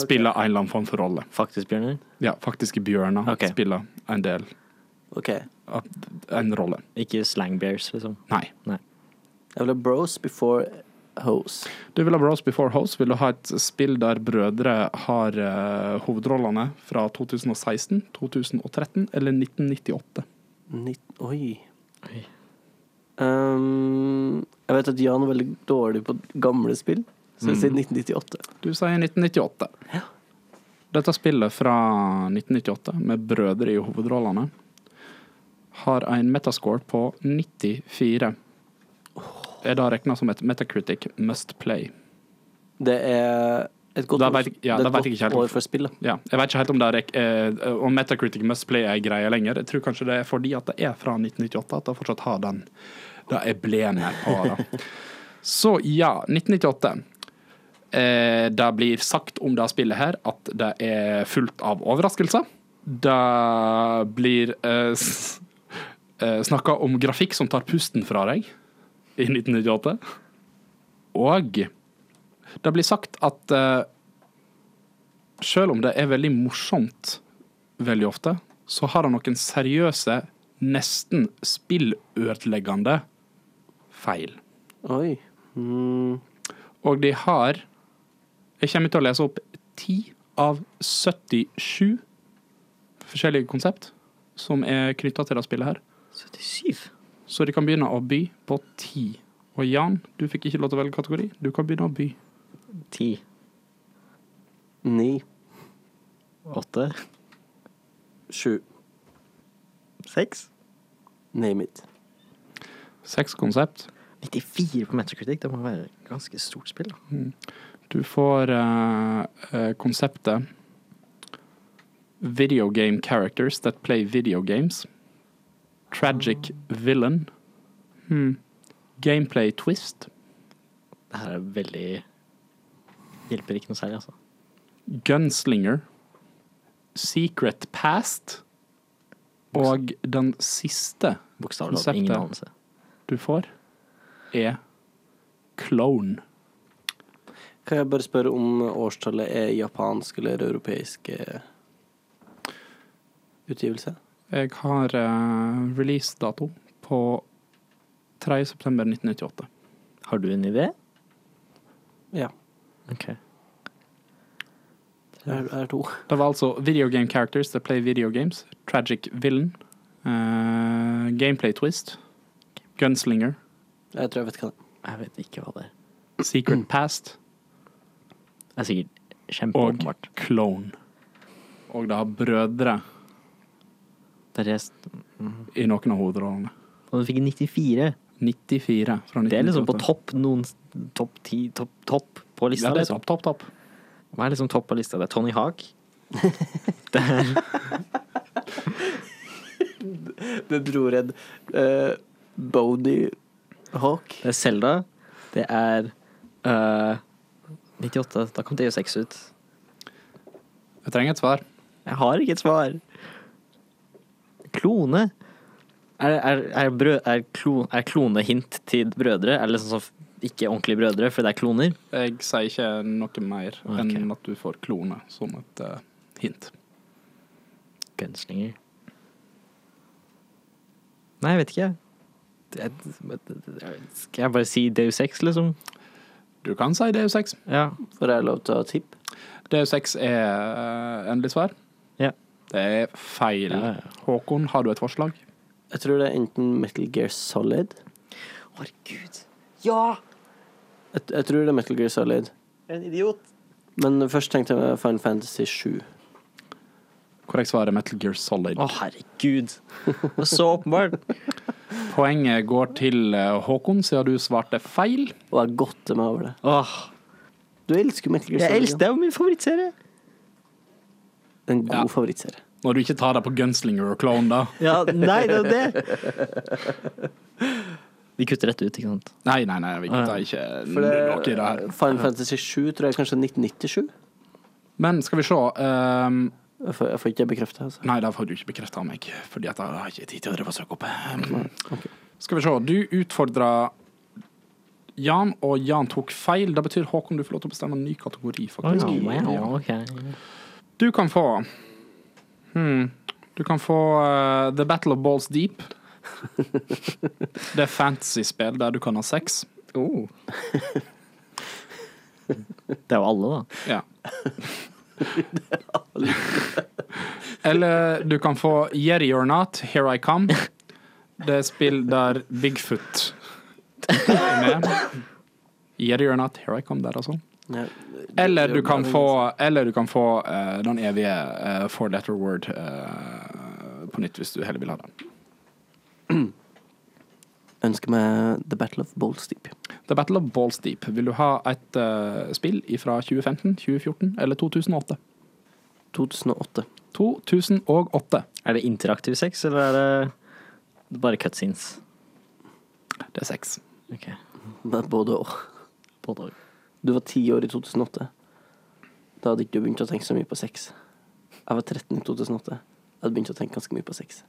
C: spiller en eller annen form for rolle.
B: Faktisk, Bjørnar.
C: Ja, faktiske bjørner
B: Ok.
C: spiller en del
A: OK. Jeg
C: av en rolle.
B: Ikke slang bears, liksom.
C: Nei.
A: vil ha Bros before Hoes.
C: Du vil ha Bros Before Hoes. Vil du ha et spill der brødre har eh, hovedrollene fra 2016, 2013 eller 1998?
A: Nitt- Oi.
B: Oi.
A: Um, jeg vet at Jan er veldig dårlig på gamle spill, så jeg sier
C: Mm.
A: 1998.
C: Du sier 1998. Dette spillet fra 1998, med brødre i hovedrollene, har en metascore på 94. Er da regna som et Metacritic must play.
A: Det er et godt,
C: Da
A: år,
C: vet jeg- ja,
A: det er
C: da vet
A: et
C: jeg ikke helt
A: godt
C: om-
A: år for spill. Da.
C: Ja, jeg vet ikke helt om, det er, rek- eh, om Metacritic must play er greia lenger. Jeg tror kanskje det er fordi at det er fra 1998 at det fortsatt har den det emblemet på det. Så ja, 1998. Eh, det blir sagt om det spillet her at det er fullt av overraskelser. Det blir eh, s- eh, snakka om grafikk som tar pusten fra deg i 1998. Og det blir sagt at eh, selv om det er veldig morsomt veldig ofte, så har det noen seriøse, nesten spillødeleggende feil.
A: Oi. Mm.
C: Og de har Jeg kommer til å lese opp 10 av 77 forskjellige konsept som er knytta til det spillet her.
B: 77.
C: Så de kan begynne å by på 10. Og Jan, du fikk ikke lov til å velge kategori. Du kan begynne å by.
B: 10.
A: Ni.
B: 8.
A: Sju.
B: 6.
A: Name it.
C: Seks konsept.
B: 94 på Metacritic. Det må være et ganske stort spill. da.
C: Du får eh, eh, konseptet Video game characters that play video games. Tragic villain. Hmm. Gameplay twist.
B: Det her er veldig Hjelper ikke noe særlig, altså.
C: Gunslinger. Secret past. Og den siste
B: Bokstavelig talt ingen
C: Konseptet.
B: anelse.
C: du får, er clone.
A: Kan jeg bare spørre om årstallet er japansk eller europeisk eh, utgivelse?
C: Jeg har eh, releasedato på 3. september 1998.
B: Har du en idé?
A: Ja.
B: OK.
A: Det er, er to.
C: Det var altså video game characters that play video games, tragic villain, eh, gameplay twist, gunslinger,
A: Jeg tror jeg vet hva det er.
B: Jeg vet ikke hva det er.
C: secret past
B: Det er sikkert
C: og
B: kjempeåpenbart.
C: clone. Og det har brødre
B: Det er rest...
C: i noen av hovedrollene.
B: Og du fikk 94.
C: 94 fra 1998.
B: Det er liksom på topp noen Topp ti, topp, topp på lista,
C: Ja, det er
B: liksom.
C: topp, topp, topp.
B: Hva er liksom topp på lista? Det er Tony Hawk.
A: Det dro redd uh, Bodie Hawk.
B: Det er Selda. Det er øh, 98. Da kom DU6 ut.
C: Jeg trenger et svar.
B: Jeg har ikke et svar. Klone. Er, er, er, brø, er, klo, er klonehint til brødre? Er det liksom sånn f- ikke ordentlige brødre fordi det er kloner?
C: Jeg sier ikke noe mer
B: Ok.
C: enn at du får klone som et eh, hint.
B: Gunslinger. Nei, jeg vet ikke. Det, det, det, skal jeg bare si DU6, liksom?
C: Du kan si DU6.
B: Ja.
A: Får jeg lov til å ha tipp?
C: DU6 er eh, endelig svar.
B: Ja.
C: Det er feil.
B: Ja, ja.
C: Håkon, har du et forslag?
A: Jeg tror det er enten Metal Gear Solid.
B: Herregud.
A: Jeg, jeg tror det er Metal Gear Solid.
B: En idiot.
A: Men først tenkte jeg Final Fantasy 7.
C: Korrekt svar er Metal Gear Solid.
B: Å, herregud. Det var så åpenbart.
C: Poenget går til eh, Håkon, siden du svarte feil.
A: Og jeg godter meg over det.
B: Åh,
A: Du elsker Metal Gear
B: jeg
A: Solid.
B: elsker det. Det er jo min favorittserie.
A: ja. En god
C: Ja.
A: favorittserie.
C: Når du ikke tar deg på Gunslinger og Clone, da.
B: Ja, nei, det er det! Vi kutter rett ut, ikke sant?
C: Nei, nei, nei, vi tar ikke
A: For det,
C: noe i det her.
A: Final Fantasy 7 tror jeg kanskje er 1997.
C: Men skal vi se ehm,
A: Jeg får, jeg får ikke bekrefta, altså.
C: Nei, det får du ikke bekrefta av meg, Fordi at jeg har ikke tid til å drive og søke opp. Ehm, Skal vi se. Du utfordra Jan, og Jan tok feil. Det betyr Håkon, du får lov til å bestemme en ny kategori, faktisk.
B: wow, ok.
C: Du kan få hmm, Du kan få eh, The Battle of Balls Deep. Det er fantasy-spill der du kan ha sex.
B: Oh. Det er jo alle, da.
C: Ja. Eller du kan få Yeti or not, Here I Come. Det er spill der Bigfoot er med. Yeti or not, Here I Come der, altså.
A: Ja.
C: Eller du kan få, eller du kan få eh, den evige eh, four letter word eh, på nytt, hvis du heller vil ha den.
A: Ønsker meg The Battle of Bolsteep.
C: The Battle of Balls Deep. Vil du ha et eh, spill fra 2015, 2014 eller 2008?
A: 2008.
C: 2008.
B: Er det interaktiv sex, eller er det bare cutscenes?
C: Det er seks.
B: Ok,
A: Men Både og.
B: både og.
A: Du var ti år i 2008. Da hadde ikke du begynt å tenke så mye på sex. Jeg var 13 i 2008. Jeg hadde begynt å tenke ganske mye på sex.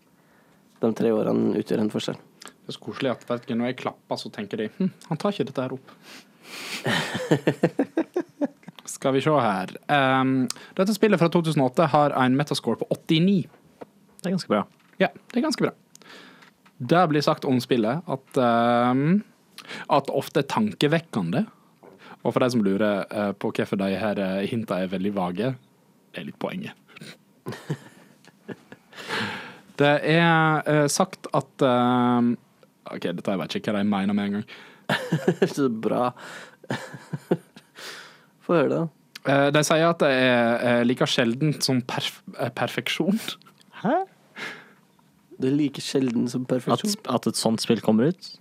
A: De tre årene utgjør en forskjell.
C: Det er så koselig at vet ikke, når jeg klapper, så tenker de hm, han tar ikke dette her opp. Skal vi se her. Ehm, dette spillet fra 2008 har en metascore på 89.
B: Det er ganske bra.
C: Ja, det er ganske bra. Det blir sagt om spillet at, ehm, at ofte er tankevekkende. Og for de som lurer eh, på hvorfor de her eh, hinta er veldig vage, det er litt poenget. det er eh, sagt at ehm, OK, dette vet jeg ikke hva de mener med en gang.
A: Så bra. Få høre det, da.
C: Eh, de sier at det er eh, like sjeldent som perf eh, perfeksjon.
B: Hæ?
A: Det er like sjelden som
B: At,
A: perfeksjon.
B: at et sånt spill kommer ut?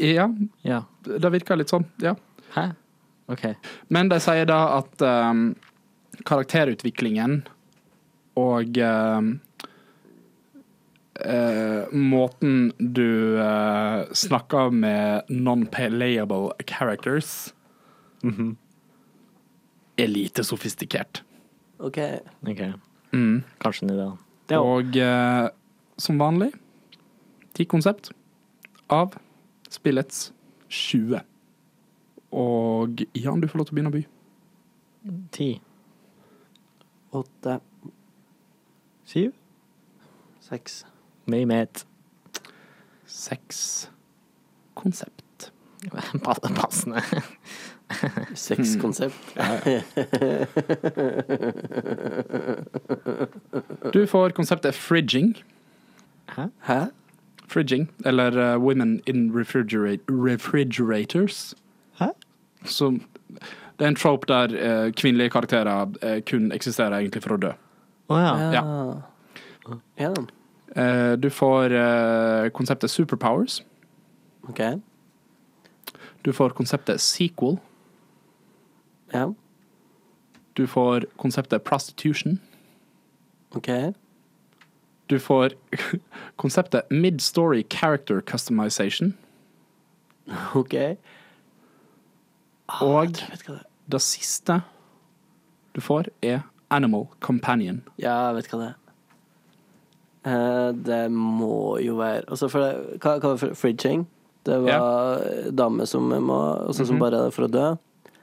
C: Ja,
B: Ja.
C: det virker litt sånn. ja.
B: Hæ? Ok.
C: Men de sier da at ehm, karakterutviklingen og ehm, eh, måten du eh, snakker med non-playable characters er lite sofistikert.
A: OK.
B: Ok. Kanskje en idé, da. Det er jo-
C: Og eh, som vanlig ti konsept av spillets 20. Og Jan, du får lov til å begynne å by.
B: Ti.
A: Åtte,
B: Syv.
A: seks
B: Mye med et
C: Seks konsept.
B: pa- passende.
A: Seks konsept.
C: Du får konseptet fridging.
B: Hæ?
A: Hæ?
C: Fridging, eller eh, Women in refrigerate, Refrigerators.
B: Hæ?
C: Som, det er en trope der eh, kvinnelige karakterer eh, kun eksisterer egentlig for å dø.
B: Å ja.
A: Ja. ja.
C: Eh, du får eh, konseptet superpowers.
A: OK.
C: Du får konseptet sequel.
A: Ja.
C: Du får konseptet prostitution.
A: OK.
C: Du får konseptet mid-story character customization.
A: OK.
C: Og
A: Ah, Jeg vet hva det er.
C: det siste du får, er animal companion.
A: Ja, jeg vet hva det er. Eh, det må jo være Altså, for det, hva, hva var det? Fridging? Det var dame som må Altså som
C: Mhm.
A: bare er der for å dø.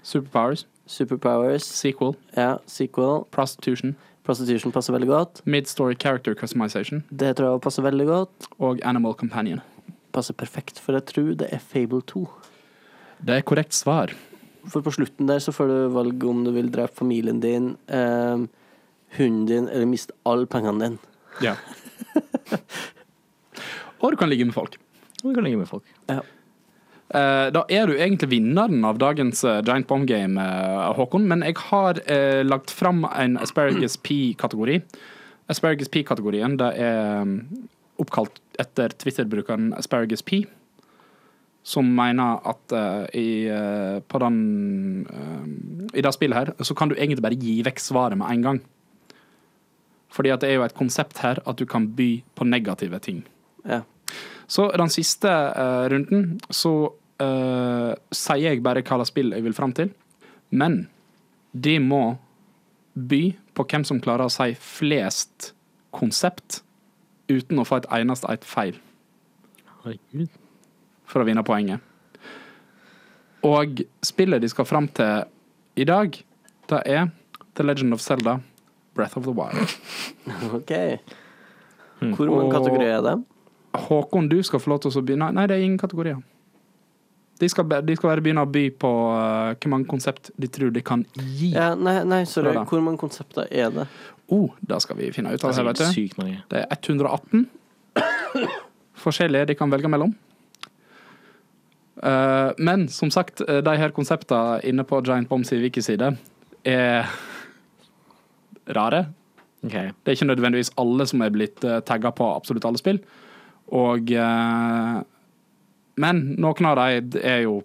C: Superpowers,
A: Superpowers.
C: sequel,
A: Ja, sequel.
C: prostitution.
A: Prostitution passer veldig godt.
C: Mid-story character customization
A: Det tror jeg også passer veldig godt.
C: og Animal Companion.
A: Passer perfekt, for jeg tror det er Fable 2.
C: Det er korrekt svar.
A: For på slutten der så får du valg om du vil drepe familien din, eh, hunden din, eller miste alle pengene dine.
C: Ja. og du kan ligge med folk.
B: Du kan ligge med folk.
C: Eh, da er du egentlig vinneren av dagens eh, Giant Bomb Game, eh, Håkon, men jeg har eh, lagt fram en Asparagus P-kategori. Asparagus P-kategorien det er mm, oppkalt etter Twitter-brukeren Asparagus P, som mener at eh, i, eh, på den, eh, i det spillet her, så kan du egentlig bare gi vekk svaret med en gang. Fordi at det er jo et konsept her at du kan by på negative ting.
A: Ja.
C: Så den siste eh, runden så eh, sier jeg bare hva slags spill jeg vil fram til. Men de må by på hvem som klarer å si flest konsept uten å få et eneste et feil
B: Herregud.
C: for å vinne poenget. Og spillet de skal fram til i dag, det er The Legend of Zelda, Breath of the Wild.
A: OK.
C: Hmm.
A: Hvor mange
C: Og-
A: kategorier er det?
C: Håkon, du skal få lov til å begynne. Nei, det er ingen kategorier. De skal, be- de skal bare begynne å by på eh, hvor mange konsept de tror de kan gi.
A: Ja, nei, nei, sorry.
C: Prøv da.
A: Hvor mange konsepter er det?
C: Oh, det skal vi finne ut
B: Det er
C: av. her, vet
B: sikkert
C: du.
B: sykt mange.
C: Det er 118 forskjellige de kan velge mellom. Eh, men som sagt, eh, de her konseptene inne på Giant Bombs i Wiki-side er rare.
B: Ok.
C: Det er ikke nødvendigvis alle som er blitt uh, tagga på absolutt alle spill. Og eh, Men noen av de er jo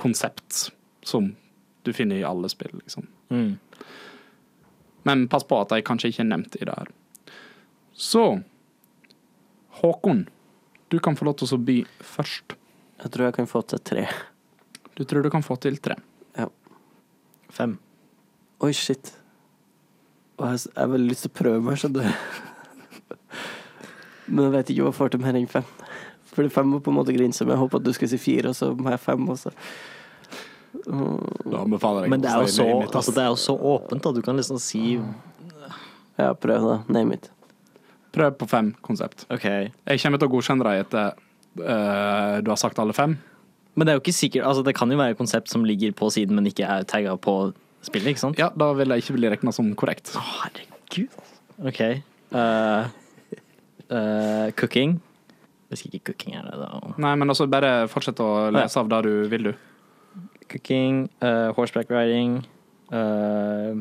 C: konsept som du finner i alle spill, liksom.
B: Mm.
C: Men pass på at jeg kanskje ikke er nevnt i det her. Så Håkon, du kan få lov til å by først.
A: Jeg tror jeg kan få til tre.
C: Du tror du kan få til tre.
B: Fem.
A: Oi, shit. Og jeg s- jeg har veldig lyst til å prøve meg, skjønner du. Men jeg vet ikke om jeg får til mer enn fem. Fordi fem var på en måte grensa, men jeg håper at du skal si fire, og så må jeg fem også.
C: Da anbefaler
B: Men det er, jo så, altså, det er jo så åpent, da. Du kan liksom si
A: Ja, prøv da. Name it.
C: Prøv på fem konsept.
B: OK.
C: Jeg kommer til å godkjenne deg etter eh, du har sagt alle fem.
B: Men det er jo ikke sikkert altså, Det kan jo være konsept som ligger på siden, men ikke er tagga på spillet, ikke sant?
C: Ja, da vil jeg ikke bli regna som korrekt.
B: Herregud. OK. Eh, eh, cooking. Hvis ikke cooking er det, da
C: Nei, men altså bare fortsett å lese av det du vil, du.
B: Cooking, eh, horseback riding, eh,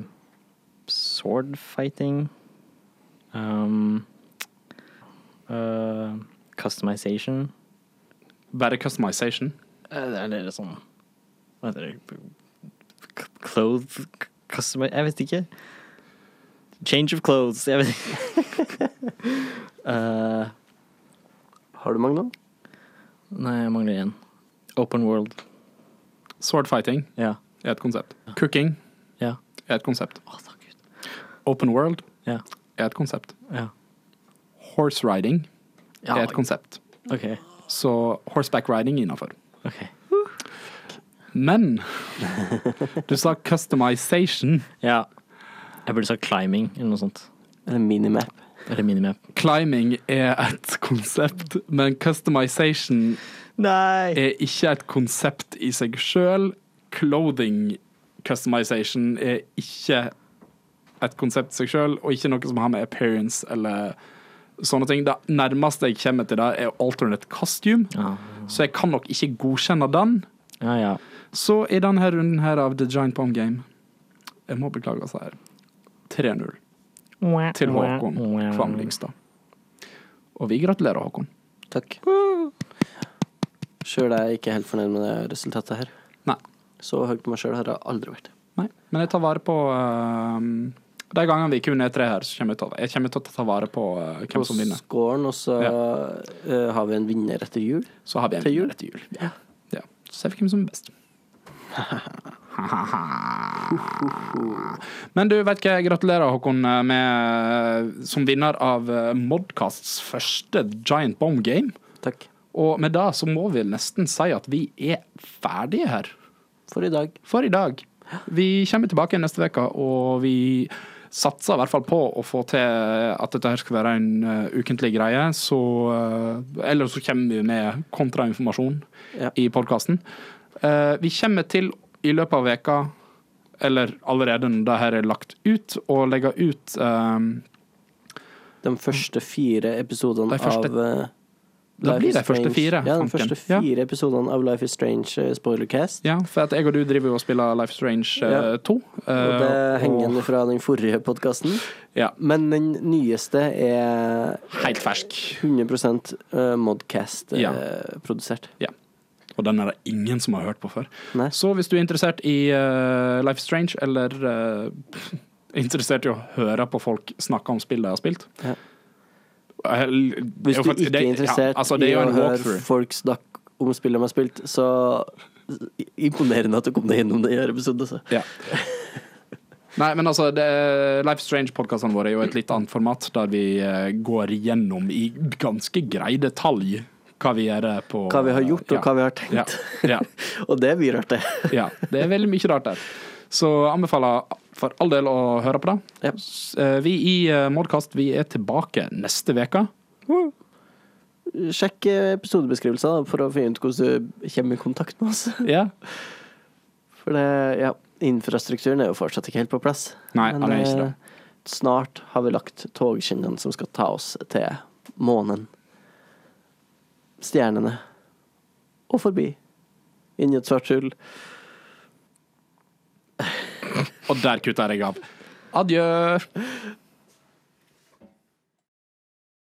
B: sword fighting um, eh, Customization.
C: Bare customization.
B: Eh, Det er dere sånn Hva heter det? C- Clothes c- customi- Jeg vet ikke. Change of clothes. Jeg vet ikke. Eh,
A: Har du mange nå?
B: nei, jeg mangler én. Open world.
C: Swordfighting
B: Ja.
C: er et konsept. Cooking
B: Ja.
C: er et konsept.
B: Å, takk Gud.
C: Open world
B: Ja.
C: er et konsept.
B: Ja.
C: Horse riding
B: ja.
C: er et konsept.
B: OK.
C: Så horseback riding innafor.
B: ok.
C: Men du sa customization.
B: Ja. Jeg burde sagt climbing eller noe sånt.
A: Eller minimap.
B: Eller minimap.
C: Climbing er et konsept, men customization
B: Nei!
C: er ikke et konsept i seg sjøl. Clothing customization er ikke et konsept i seg sjøl, og ikke noe som har med appearance eller sånne ting. Det nærmeste jeg kommer til det, er alternate costume,
B: Ja.
C: så jeg kan nok ikke godkjenne den.
B: ja, ja.
C: Så i denne runden her av The Giant Bomb Game Jeg må beklage oss her. 3-0 til Håkon Kvam Lyngstad. Og vi gratulerer, Håkon.
A: Takk. Sjøl er jeg ikke helt fornøyd med det resultatet her.
C: Nei.
A: Så høyt på meg sjøl har jeg aldri vært.
C: Nei. Men jeg tar vare på ehm, De gangene vi kun er tre her, så kommer jeg til å, jeg kommer til å ta vare på eh, hvem som vinner.
A: Scoren, og så eh, har vi en vinner etter jul.
C: Så har vi en
A: Til jul?
C: vinner etter jul. Ja. Ja. Så ser vi hvem som er best. Men du, vet hva, gratulerer Håkon eh, med, som vinner av eh, Modcasts første Giant Bomb Game.
A: Takk
C: Og med det så må vi nesten si at vi er ferdige her
A: for i dag.
C: for i dag. Vi kommer tilbake neste uke, og vi satser i hvert fall på å få til at dette her skal være en eh, ukentlig greie. Så, eh, eller så kommer vi med kontrainformasjon
A: Ja.
C: i podkasten. vi kommer til i løpet av veka, eller allerede når det her er lagt ut, å legge ut eh,
A: De første fire episodene
C: De første-
A: av eh,
C: Da
A: Life
C: blir
A: is
C: de første
A: Strange.
C: fire,
A: Ja, de
C: fanken.
A: første
C: Ja.
A: fire episodene av Life is Strange eh, spoilercast.
C: Ja, for at jeg og du driver jo og spiller Life is Strange eh,
A: Ja.
C: 2.
A: Og det
C: eh,
A: henger igjen fra den forrige podkasten.
C: ja,
A: Men den nyeste er
C: helt fersk.
A: 100 eh, Modcast eh,
C: Ja.
A: produsert.
C: Og den er det ingen som har hørt på før.
A: Nei.
C: Så hvis du er interessert i eh, Life is Strange eller eh, interessert i å høre på folk snakke om spill de har spilt. eh,
A: Ja.
C: Jeg-
A: Hvis
C: jeg-
A: du ikke er interessert
C: ja, altså, det er
A: i
C: jo
A: å
C: en
A: høre
C: walkthrough.
A: folk snakke om spill de har spilt, så imponerende at du kom deg gjennom det i hver episode. altså. Så.
C: Ja. Nei, men altså, det, Life Strange-podkastene våre er jo et litt annet format, der vi eh, går gjennom i ganske grei detalj hva vi gjør eh, på
A: Hva vi har gjort, og
C: ja.
A: hva vi har tenkt.
C: Ja. ja.
A: Og det er mye rart, det.
C: Ja, det er veldig mye rart der. Så anbefaler for all del å høre på det.
A: Ja.
C: S- eh, Vi i eh, Modcast vi er tilbake neste uke.
A: Sjekk eh, episodebeskrivelser da, for å finne ut hvordan du kommer i kontakt med oss.
C: Ja.
A: For det, ja, infrastrukturen er jo fortsatt ikke helt på plass.
C: Nei, han er ikke
A: eh, snart har vi lagt togskinnene som skal ta oss til månen, stjernene og forbi. Inn i et svart hull.
C: Og der kutter jeg av. Adjø.